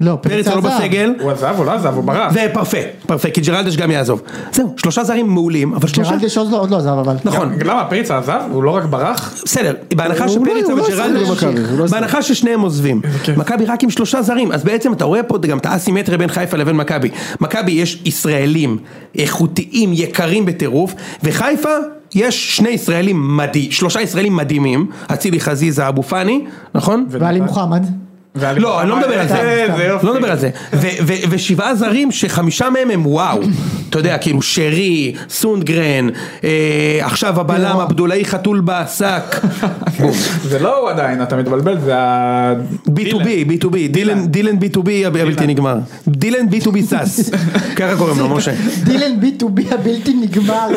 [SPEAKER 1] לא,
[SPEAKER 2] פרץ
[SPEAKER 1] פריצה
[SPEAKER 2] לא
[SPEAKER 1] עזב.
[SPEAKER 2] בסגל.
[SPEAKER 3] הוא עזב, הוא לא עזב, הוא ברח.
[SPEAKER 2] ופרפה. פרפה, כי ג'רלדש גם יעזוב. זהו, שלושה זרים מעולים, אבל שלושה...
[SPEAKER 1] ג'רלדש עוד לא- עוד לא עזב אבל.
[SPEAKER 2] נכון.
[SPEAKER 3] למה פריצה עזב? הוא לא רק ברח?
[SPEAKER 2] בסדר, בהנחה
[SPEAKER 4] הוא לא-
[SPEAKER 2] שפריצה
[SPEAKER 4] הוא לא
[SPEAKER 2] וג'רלדש,
[SPEAKER 4] ישחק במכבי, הוא לא ישחק.
[SPEAKER 2] בהנחה ששניהם עוזבים, מכבי רק עם שלושה זרים, אז בעצם אתה רואה פה גם את האסימטריה בין חיפה לבין מכבי, מכבי יש ישראלים איכותיים, יקרים בטירוף, וחיפה יש שני ישראלים מדהים, שלושה ישראלים מדהימים, אצילי חזיזה אבו פאני, נכון?
[SPEAKER 1] ואלי מוחמד.
[SPEAKER 3] ואלי-
[SPEAKER 2] לא, אני לא מדבר על זה,
[SPEAKER 3] איזה "אה, יופי.
[SPEAKER 2] לא מדבר על זה, ו- ו- ושבעה זרים שחמישה מהם הם וואו, אתה יודע, כאילו שרי, סונדגרן, אה, עכשיו הבלם, עבדולאי חתול בשק, בום.
[SPEAKER 3] זה לא הוא עדיין, אתה מתבלבל, זה ה...
[SPEAKER 2] B2B, B2B, דילן, דילן B2B הבלתי נגמר, דילן B2B סאס, ככה קוראים לו משה,
[SPEAKER 1] דילן B2B הבלתי נגמר.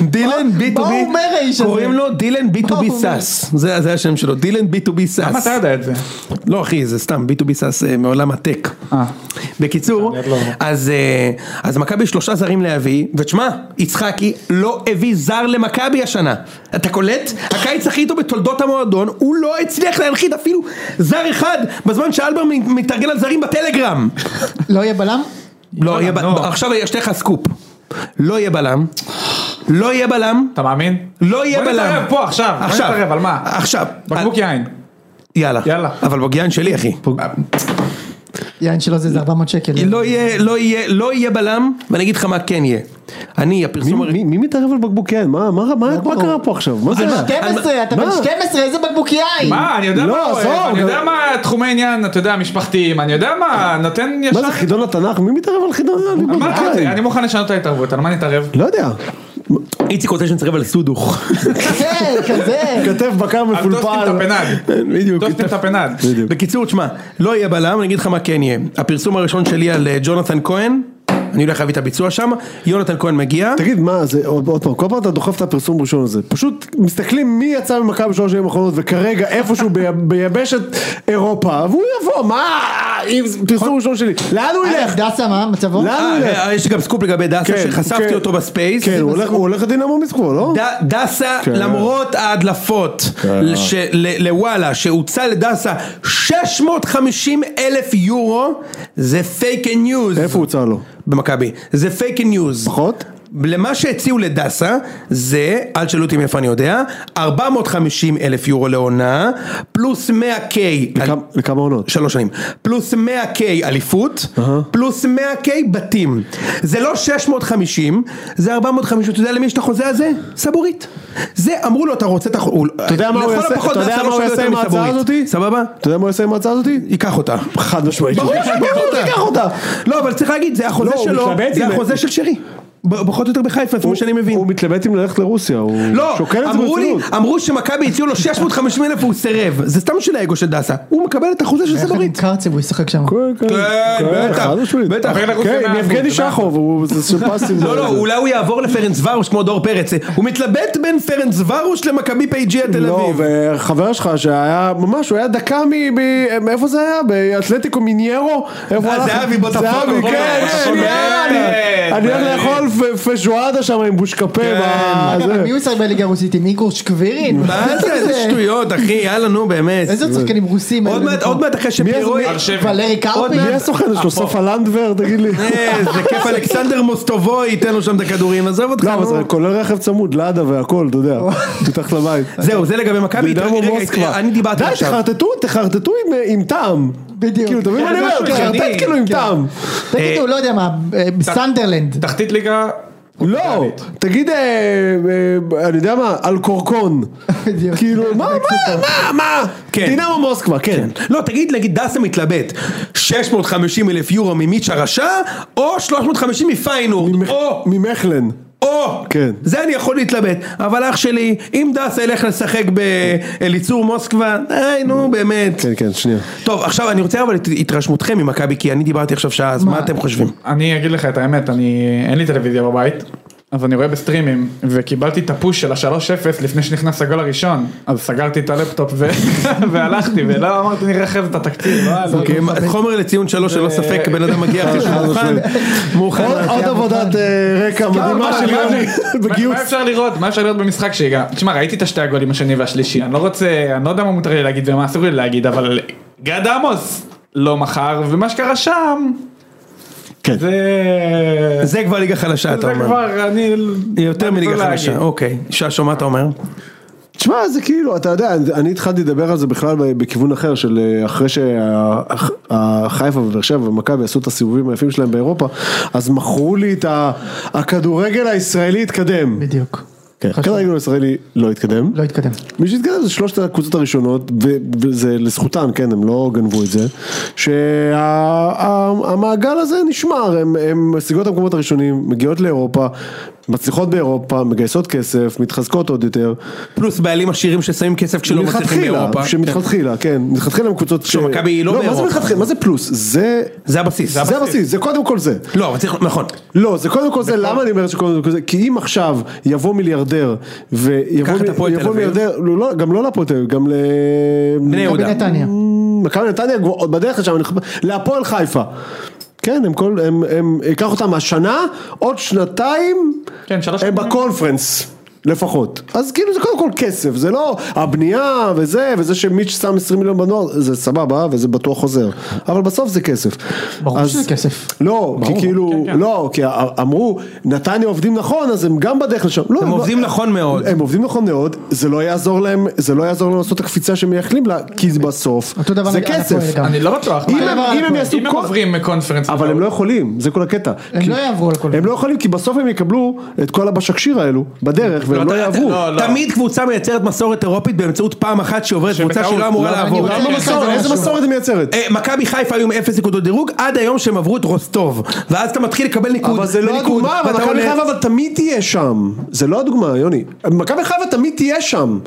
[SPEAKER 2] דילן
[SPEAKER 1] מה-
[SPEAKER 2] B2B,
[SPEAKER 1] מה הוא אומר האיש הזה?
[SPEAKER 2] קוראים לו דילן
[SPEAKER 1] מה
[SPEAKER 2] B2B
[SPEAKER 1] הוא אומר?
[SPEAKER 2] סאס, זה זה השם שלו, דילן B2B
[SPEAKER 3] למה
[SPEAKER 2] סאס,
[SPEAKER 3] אתה יודע את זה?
[SPEAKER 2] לא אחי זה סתם B2B סאס אה, מעולם הטק,
[SPEAKER 3] אה.
[SPEAKER 2] בקיצור,
[SPEAKER 3] אני עוד לא-
[SPEAKER 2] אז אה, אז מכבי שלושה זרים להביא, ותשמע, יצחקי לא הביא זר למכבי השנה, אתה קולט? הקיץ הכי טוב בתולדות המועדון, הוא לא הצליח להנחית אפילו זר אחד, בזמן שאלבר מתארגן על זרים בטלגרם.
[SPEAKER 1] לא יהיה בלם?
[SPEAKER 2] לא, יהיה ב-
[SPEAKER 3] לא.
[SPEAKER 2] עכשיו יש לך סקופ. לא יהיה בלם. לא יהיה בלם.
[SPEAKER 3] אתה מאמין?
[SPEAKER 2] לא יהיה
[SPEAKER 3] בוא
[SPEAKER 2] בלם.
[SPEAKER 3] נתערב פה עכשיו, בוא
[SPEAKER 2] עכשיו.
[SPEAKER 3] נתערב, על מה?
[SPEAKER 2] עכשיו.
[SPEAKER 3] בקבוק יין.
[SPEAKER 2] יאללה.
[SPEAKER 3] יאללה.
[SPEAKER 2] אבל בוגיאן שלי אחי.
[SPEAKER 1] יין שלו זה זה 400 שקל.
[SPEAKER 2] לא יהיה, לא יהיה, לא יהיה בלם, ואני אגיד לך מה כן יהיה. אני, הפרסום
[SPEAKER 4] מי-
[SPEAKER 2] הראשון...
[SPEAKER 4] מי- מי מתערב על בקבוקי יין? מה- מה מה- מה קרה פה עכשיו? מה זה?
[SPEAKER 1] אתה בן
[SPEAKER 4] היה?
[SPEAKER 1] 12, אתה בן
[SPEAKER 4] מה?
[SPEAKER 1] 12, איזה בקבוק יין.
[SPEAKER 3] מה, אני יודע
[SPEAKER 4] לא,
[SPEAKER 3] מה הוא
[SPEAKER 4] עזוב,
[SPEAKER 3] אוהב, אני
[SPEAKER 4] גם-
[SPEAKER 3] יודע מה תחומי עניין, אתה יודע, משפחתיים, אני יודע מה, נותן ישר...
[SPEAKER 4] מה זה חידון התנ"ך? מי מתערב על חידון על
[SPEAKER 3] אמרתי
[SPEAKER 4] בקבוקי
[SPEAKER 3] את זה,
[SPEAKER 4] יין?
[SPEAKER 3] אני מוכן לשנות את ההתערבות, על מה נתערב?
[SPEAKER 4] לא יודע.
[SPEAKER 2] איציק רוצה שנצטרף על סודוך.
[SPEAKER 1] כן, כזה.
[SPEAKER 4] כתף בקר
[SPEAKER 3] על טוסטים את
[SPEAKER 4] מפולפל.
[SPEAKER 3] הפנד.
[SPEAKER 2] בדיוק.
[SPEAKER 3] טוסטים את הפנד.
[SPEAKER 4] בדיוק.
[SPEAKER 2] בקיצור, תשמע, לא יהיה בלם, אני אגיד לך מה כן יהיה. הפרסום הראשון שלי על אה, ג'ונתן כהן, אני הולך להביא את הביצוע שם, יונתן כהן מגיע.
[SPEAKER 4] תגיד מה זה עוד עוד פעם כל פעם אתה דוחף את הפרסום הראשון הזה פשוט מסתכלים מי יצא ממכבי בשלוש שנים האחרונות וכרגע איפשהו בי- ביבשת אירופה והוא יבוא מה אם זה פרסום ראשון שלי לאן הוא ילך?
[SPEAKER 1] אה, דסה מה מצבו?
[SPEAKER 4] לאן הוא ילך?
[SPEAKER 2] נכון. אה, אה, יש לי גם סקופ לגבי דסה,
[SPEAKER 4] כן,
[SPEAKER 2] שחשפתי
[SPEAKER 4] כן.
[SPEAKER 2] אותו בספייס.
[SPEAKER 4] כן הוא הולך- הוא הולך לדינמו מסקרו לא?
[SPEAKER 2] ד- דסה,
[SPEAKER 4] כן.
[SPEAKER 2] למרות ההדלפות לש- ל- לוואלה, שהוצע לדסה 650 אלף יורו, זה פייק ניוז.
[SPEAKER 4] איפה הוצע לו?
[SPEAKER 2] במכבי. זה פייק ניוז.
[SPEAKER 4] פחות?
[SPEAKER 2] למה שהציעו לדסה זה, אל תשאלו אותי מאיפה אני יודע, 450 אלף יורו לעונה, פלוס 100 K,
[SPEAKER 4] לכמה- לכמה עונות?
[SPEAKER 2] שלוש שנים, פלוס 100 K אליפות, פלוס 100 K בתים. זה לא 650, זה 450, אתה יודע למי יש את החוזה הזה? סבורית. זה אמרו לו אתה רוצה את החוזה,
[SPEAKER 4] אתה יודע מה הוא יעשה- אתה יודע מה הוא יעשה עם ההצעה הזאתי?
[SPEAKER 2] סבבה?
[SPEAKER 4] אתה יודע מה הוא יעשה עם ההצעה הזאתי?
[SPEAKER 2] ייקח אותה.
[SPEAKER 4] חד משמעית.
[SPEAKER 2] ברור שהוא ייקח אותה. לא, אבל צריך להגיד, זה החוזה
[SPEAKER 4] לא, הוא
[SPEAKER 2] שלו,
[SPEAKER 4] מתלבט
[SPEAKER 2] זה
[SPEAKER 4] עם-
[SPEAKER 2] החוזה של שרי. ב- פחות או יותר בחיפה, לפי מה שאני מבין.
[SPEAKER 4] הוא מתלבט אם ללכת לרוסיה, הוא
[SPEAKER 2] לא,
[SPEAKER 4] שוקל את זה
[SPEAKER 2] אמרו לי,
[SPEAKER 4] ברצינות.
[SPEAKER 2] אמרו שמכבי הציעו לו 650 אלף והוא סירב, זה סתם של האגו של דסה, הוא מקבל את החוזה של
[SPEAKER 1] יחד עם
[SPEAKER 2] סבורית.
[SPEAKER 1] קרצב הוא ישחק שם.
[SPEAKER 4] כן, כן,
[SPEAKER 2] כן, בטח,
[SPEAKER 4] חד משמעית.
[SPEAKER 2] בטח.
[SPEAKER 3] אחרי לרוסיה
[SPEAKER 4] כן, עם
[SPEAKER 3] מאה
[SPEAKER 4] יבגני
[SPEAKER 3] אחוז,
[SPEAKER 4] שחוב, הוא זה שפסים.
[SPEAKER 2] לא, לא, אולי הוא יעבור לפרנס ורוש כמו דור פרץ, הוא מתלבט בין פרנס ורוש למכבי פייג'יה תל
[SPEAKER 4] לא,
[SPEAKER 2] אביב.
[SPEAKER 4] וחבר שלך שהיה ממש, הוא היה דקה מ... ב- מאיפה זה היה? באתלטיקו מיניירו? איפה הוא
[SPEAKER 2] אה,
[SPEAKER 4] הלך?
[SPEAKER 2] זהבי, בוטפוגו,
[SPEAKER 4] זהבי,
[SPEAKER 2] בוטפוגו,
[SPEAKER 4] כן,
[SPEAKER 2] בוטפוגו,
[SPEAKER 4] כן,
[SPEAKER 3] בטח.
[SPEAKER 4] אני- אני הולך לאכול פ- פז'ואדה שם עם בושקפה.
[SPEAKER 2] כן.
[SPEAKER 4] ב-
[SPEAKER 1] אגב,
[SPEAKER 4] זה.
[SPEAKER 1] מי הוא ישחק בליגה הרוסית עם איגור שקווירין?
[SPEAKER 2] מה זה, איזה שטויות אחי, יאללה נו באמת.
[SPEAKER 1] איזה עוד שחקנים רוסים?
[SPEAKER 2] עוד
[SPEAKER 1] האלה?
[SPEAKER 2] מעט, עוד מעט אחרי שפירו...
[SPEAKER 1] מי-
[SPEAKER 3] ארשבן.
[SPEAKER 1] ולרי קרפי?
[SPEAKER 4] מי
[SPEAKER 2] אה,
[SPEAKER 4] הסוכן שלו? סופה לנדבר? תגיד לי.
[SPEAKER 2] איזה אה, כיף אלכסנדר מוסטובוי ייתן לו שם את הכדורים, עזוב אותך
[SPEAKER 4] לא, אבל זה
[SPEAKER 2] נו.
[SPEAKER 4] כולל רכב צמוד, לאדה והכל, אתה יודע, מתחת לבית.
[SPEAKER 2] זהו, זה לגבי מכבי,
[SPEAKER 4] דינמו
[SPEAKER 2] אה, רגע,
[SPEAKER 4] מוסקבה.
[SPEAKER 2] אני דיברתי
[SPEAKER 4] די,
[SPEAKER 2] עכשיו.
[SPEAKER 4] תחרטטו, תחרטטו עם- עם טעם.
[SPEAKER 1] בדיוק.
[SPEAKER 4] כאילו, אתה מבין מה
[SPEAKER 2] כן,
[SPEAKER 4] אני אומר?
[SPEAKER 3] משהו
[SPEAKER 4] תחרטט
[SPEAKER 3] הגיוני.
[SPEAKER 4] כאילו עם
[SPEAKER 1] כן.
[SPEAKER 4] טעם.
[SPEAKER 1] תגידו, לא יודע מה, אה, סנדרלנד.
[SPEAKER 3] תחתית ליגה...
[SPEAKER 4] לא, תגיד, אה, אה, אני יודע מה, על קורקון.
[SPEAKER 1] בדיוק.
[SPEAKER 4] כאילו, מה, מה, מה, מה?
[SPEAKER 2] כן.
[SPEAKER 4] דינמו מוסקבה, כן.
[SPEAKER 2] לא, תגיד, נגיד, דסה מתלבט, 650 אלף יורו ממיץ' הרשע, או 350 מפיינורד,
[SPEAKER 4] ממך-
[SPEAKER 2] או,
[SPEAKER 4] ממכלן.
[SPEAKER 2] או,
[SPEAKER 4] כן.
[SPEAKER 2] זה אני יכול להתלבט, אבל אח שלי, אם דסה ילך לשחק באליצור מוסקבה, די, נו, באמת.
[SPEAKER 4] כן, כן, שנייה.
[SPEAKER 2] טוב, עכשיו אני רוצה אבל את התרשמותכם ממכבי, כי אני דיברתי עכשיו שעה, אז מה אתם חושבים?
[SPEAKER 3] אני אגיד לך את האמת, אני... אין לי טלוויזיה בבית. אז אני רואה בסטרימים, וקיבלתי את הפוש של ה-3-0 לפני שנכנס הגול הראשון, אז סגרתי את הלפטופ ו... והלכתי, ולא אמרתי נרחב את התקציב, לא היה לי-
[SPEAKER 2] אוקיי, חומר לציון שלוש, ללא ספק, בן אדם מגיע אחרי שהוא מוכן. מוכן.
[SPEAKER 4] עוד- עוד עבודת אה, רקע מדהימה
[SPEAKER 3] מה-
[SPEAKER 4] של
[SPEAKER 3] לא, מה-
[SPEAKER 4] יוני
[SPEAKER 3] מה-
[SPEAKER 4] בגיוס.
[SPEAKER 3] מה אפשר לראות? מה אפשר לראות במשחק שהגע? תשמע, ראיתי את השתי הגולים השני והשלישי, אני לא רוצה, אני לא יודע מה מותר לי להגיד ומה אסור לי להגיד, אבל גד עמוס לא מכר, ומה שקרה שם,
[SPEAKER 4] כן.
[SPEAKER 3] זה...
[SPEAKER 2] זה כבר ליגה חלשה, אתה
[SPEAKER 3] זה
[SPEAKER 2] אומר.
[SPEAKER 3] כבר, אני...
[SPEAKER 2] יותר
[SPEAKER 3] אני
[SPEAKER 2] מליגה
[SPEAKER 3] לא
[SPEAKER 2] חלשה,
[SPEAKER 3] להגיד.
[SPEAKER 2] אוקיי. ששו, מה אתה אומר?
[SPEAKER 4] תשמע, זה כאילו, אתה יודע, אני התחלתי לדבר על זה בכלל ב- בכיוון אחר, של אה, אחרי שהחיפה ובאר שבע ומכבי עשו את הסיבובים היפים שלהם באירופה, אז מכרו לי את ה- הכדורגל הישראלי התקדם.
[SPEAKER 1] בדיוק.
[SPEAKER 4] כן, הכדורגל הישראלי לא התקדם.
[SPEAKER 1] לא התקדם.
[SPEAKER 4] מי שהתקדם זה שלושת הקבוצות הראשונות, ו- וזה לזכותן, כן, הם לא גנבו את זה, שהמעגל הזה נשמר, הם- הם משיגות את המקומות הראשונים, מגיעות לאירופה, מצליחות באירופה, מגייסות כסף, מתחזקות עוד יותר.
[SPEAKER 2] פלוס בעלים עשירים ששמים כסף כשלא מצליחים
[SPEAKER 4] מלכתחילה,
[SPEAKER 2] באירופה.
[SPEAKER 4] שמלכתחילה, כן, מלכתחילה הם קבוצות ש...
[SPEAKER 2] מכבי היא לא
[SPEAKER 4] מה זה
[SPEAKER 2] באירופה.
[SPEAKER 4] מלכתחילה, מה זה פלוס? זה...
[SPEAKER 2] זה הבסיס.
[SPEAKER 4] זה הבסיס, זה קודם כל זה.
[SPEAKER 2] לא, אבל צריך, נכון.
[SPEAKER 4] לא, זה קודם כל זה, למה אני אומר שקודם כל זה? כי אם עכשיו יבוא מיליארדר, ויבוא
[SPEAKER 2] קח את הפועל
[SPEAKER 4] מ-
[SPEAKER 2] תל
[SPEAKER 4] יבוא
[SPEAKER 2] אביב.
[SPEAKER 4] מיליארדר, לא, לא, גם לא להפועל תל אביב, גם ל...
[SPEAKER 2] בני יהודה.
[SPEAKER 1] בנתניה.
[SPEAKER 4] מכבי נתניה כבר עוד בדרך לשם, אני חושב- להפועל חיפה. כן, הם כל, הם, הם, ייקח אותם השנה, עוד שנתיים,
[SPEAKER 3] כן, שלוש
[SPEAKER 4] הם
[SPEAKER 3] שנים.
[SPEAKER 4] בקונפרנס. לפחות. אז כאילו זה קודם כל כסף, זה לא הבנייה וזה, וזה שמיץ' שם 20 מיליון בנוער, זה סבבה, וזה בטוח חוזר. אבל בסוף זה כסף.
[SPEAKER 1] ברור
[SPEAKER 4] אז-
[SPEAKER 1] שזה כסף.
[SPEAKER 4] לא, כי כאילו, לא, כי אמרו, נתניה עובדים נכון, אז הם גם בדרך לשם. לא,
[SPEAKER 2] הם
[SPEAKER 4] לא-
[SPEAKER 2] עובדים נכון מאוד.
[SPEAKER 4] הם עובדים נכון מאוד, זה לא יעזור להם, זה לא יעזור להם לעשות את הקפיצה שהם מייחלים לה, כי זה בסוף,
[SPEAKER 1] אה, אותו דבר
[SPEAKER 4] זה
[SPEAKER 1] נגד הפועל
[SPEAKER 4] כסף.
[SPEAKER 1] גם.
[SPEAKER 3] אני לא בטוח.
[SPEAKER 4] אם
[SPEAKER 1] מה
[SPEAKER 4] הם-
[SPEAKER 1] הדבר
[SPEAKER 4] אם הם
[SPEAKER 1] הזה?
[SPEAKER 4] יעשו
[SPEAKER 3] אם הם
[SPEAKER 4] כל...
[SPEAKER 3] עוברים מקונפרנס.
[SPEAKER 4] אבל הם לא יכולים, זה כל הקטע.
[SPEAKER 1] הם
[SPEAKER 4] כי-
[SPEAKER 1] לא יעברו על כל
[SPEAKER 4] הם לא יכולים, כי בסוף הם יקבלו את כל הבשקשיר האלו בדרך, והם לא
[SPEAKER 2] אתה-
[SPEAKER 4] יעברו.
[SPEAKER 3] לא, לא.
[SPEAKER 2] תמיד קבוצה מייצרת מסורת אירופית באמצעות פעם אחת שעוברת קבוצה
[SPEAKER 3] שבטעות.
[SPEAKER 2] שלא אמורה
[SPEAKER 3] לא, אני
[SPEAKER 2] לעבור.
[SPEAKER 1] רוצה-
[SPEAKER 4] למה מסורת? איזה
[SPEAKER 1] משהו.
[SPEAKER 4] מסורת היא מייצרת?
[SPEAKER 2] אה, מכבי חיפה היו עם אפס נקודות דירוג עד היום שהם עברו את רוסטוב ואז אתה מתחיל לקבל ניקוד
[SPEAKER 4] אבל זה לא
[SPEAKER 2] וניקוד,
[SPEAKER 4] הדוגמה, אבל
[SPEAKER 2] ואתה
[SPEAKER 4] מכבי
[SPEAKER 2] עולה-
[SPEAKER 4] חיפה אבל תמיד תהיה שם. זה לא הדוגמה, יוני. מכבי חיפה תמיד תהיה שם.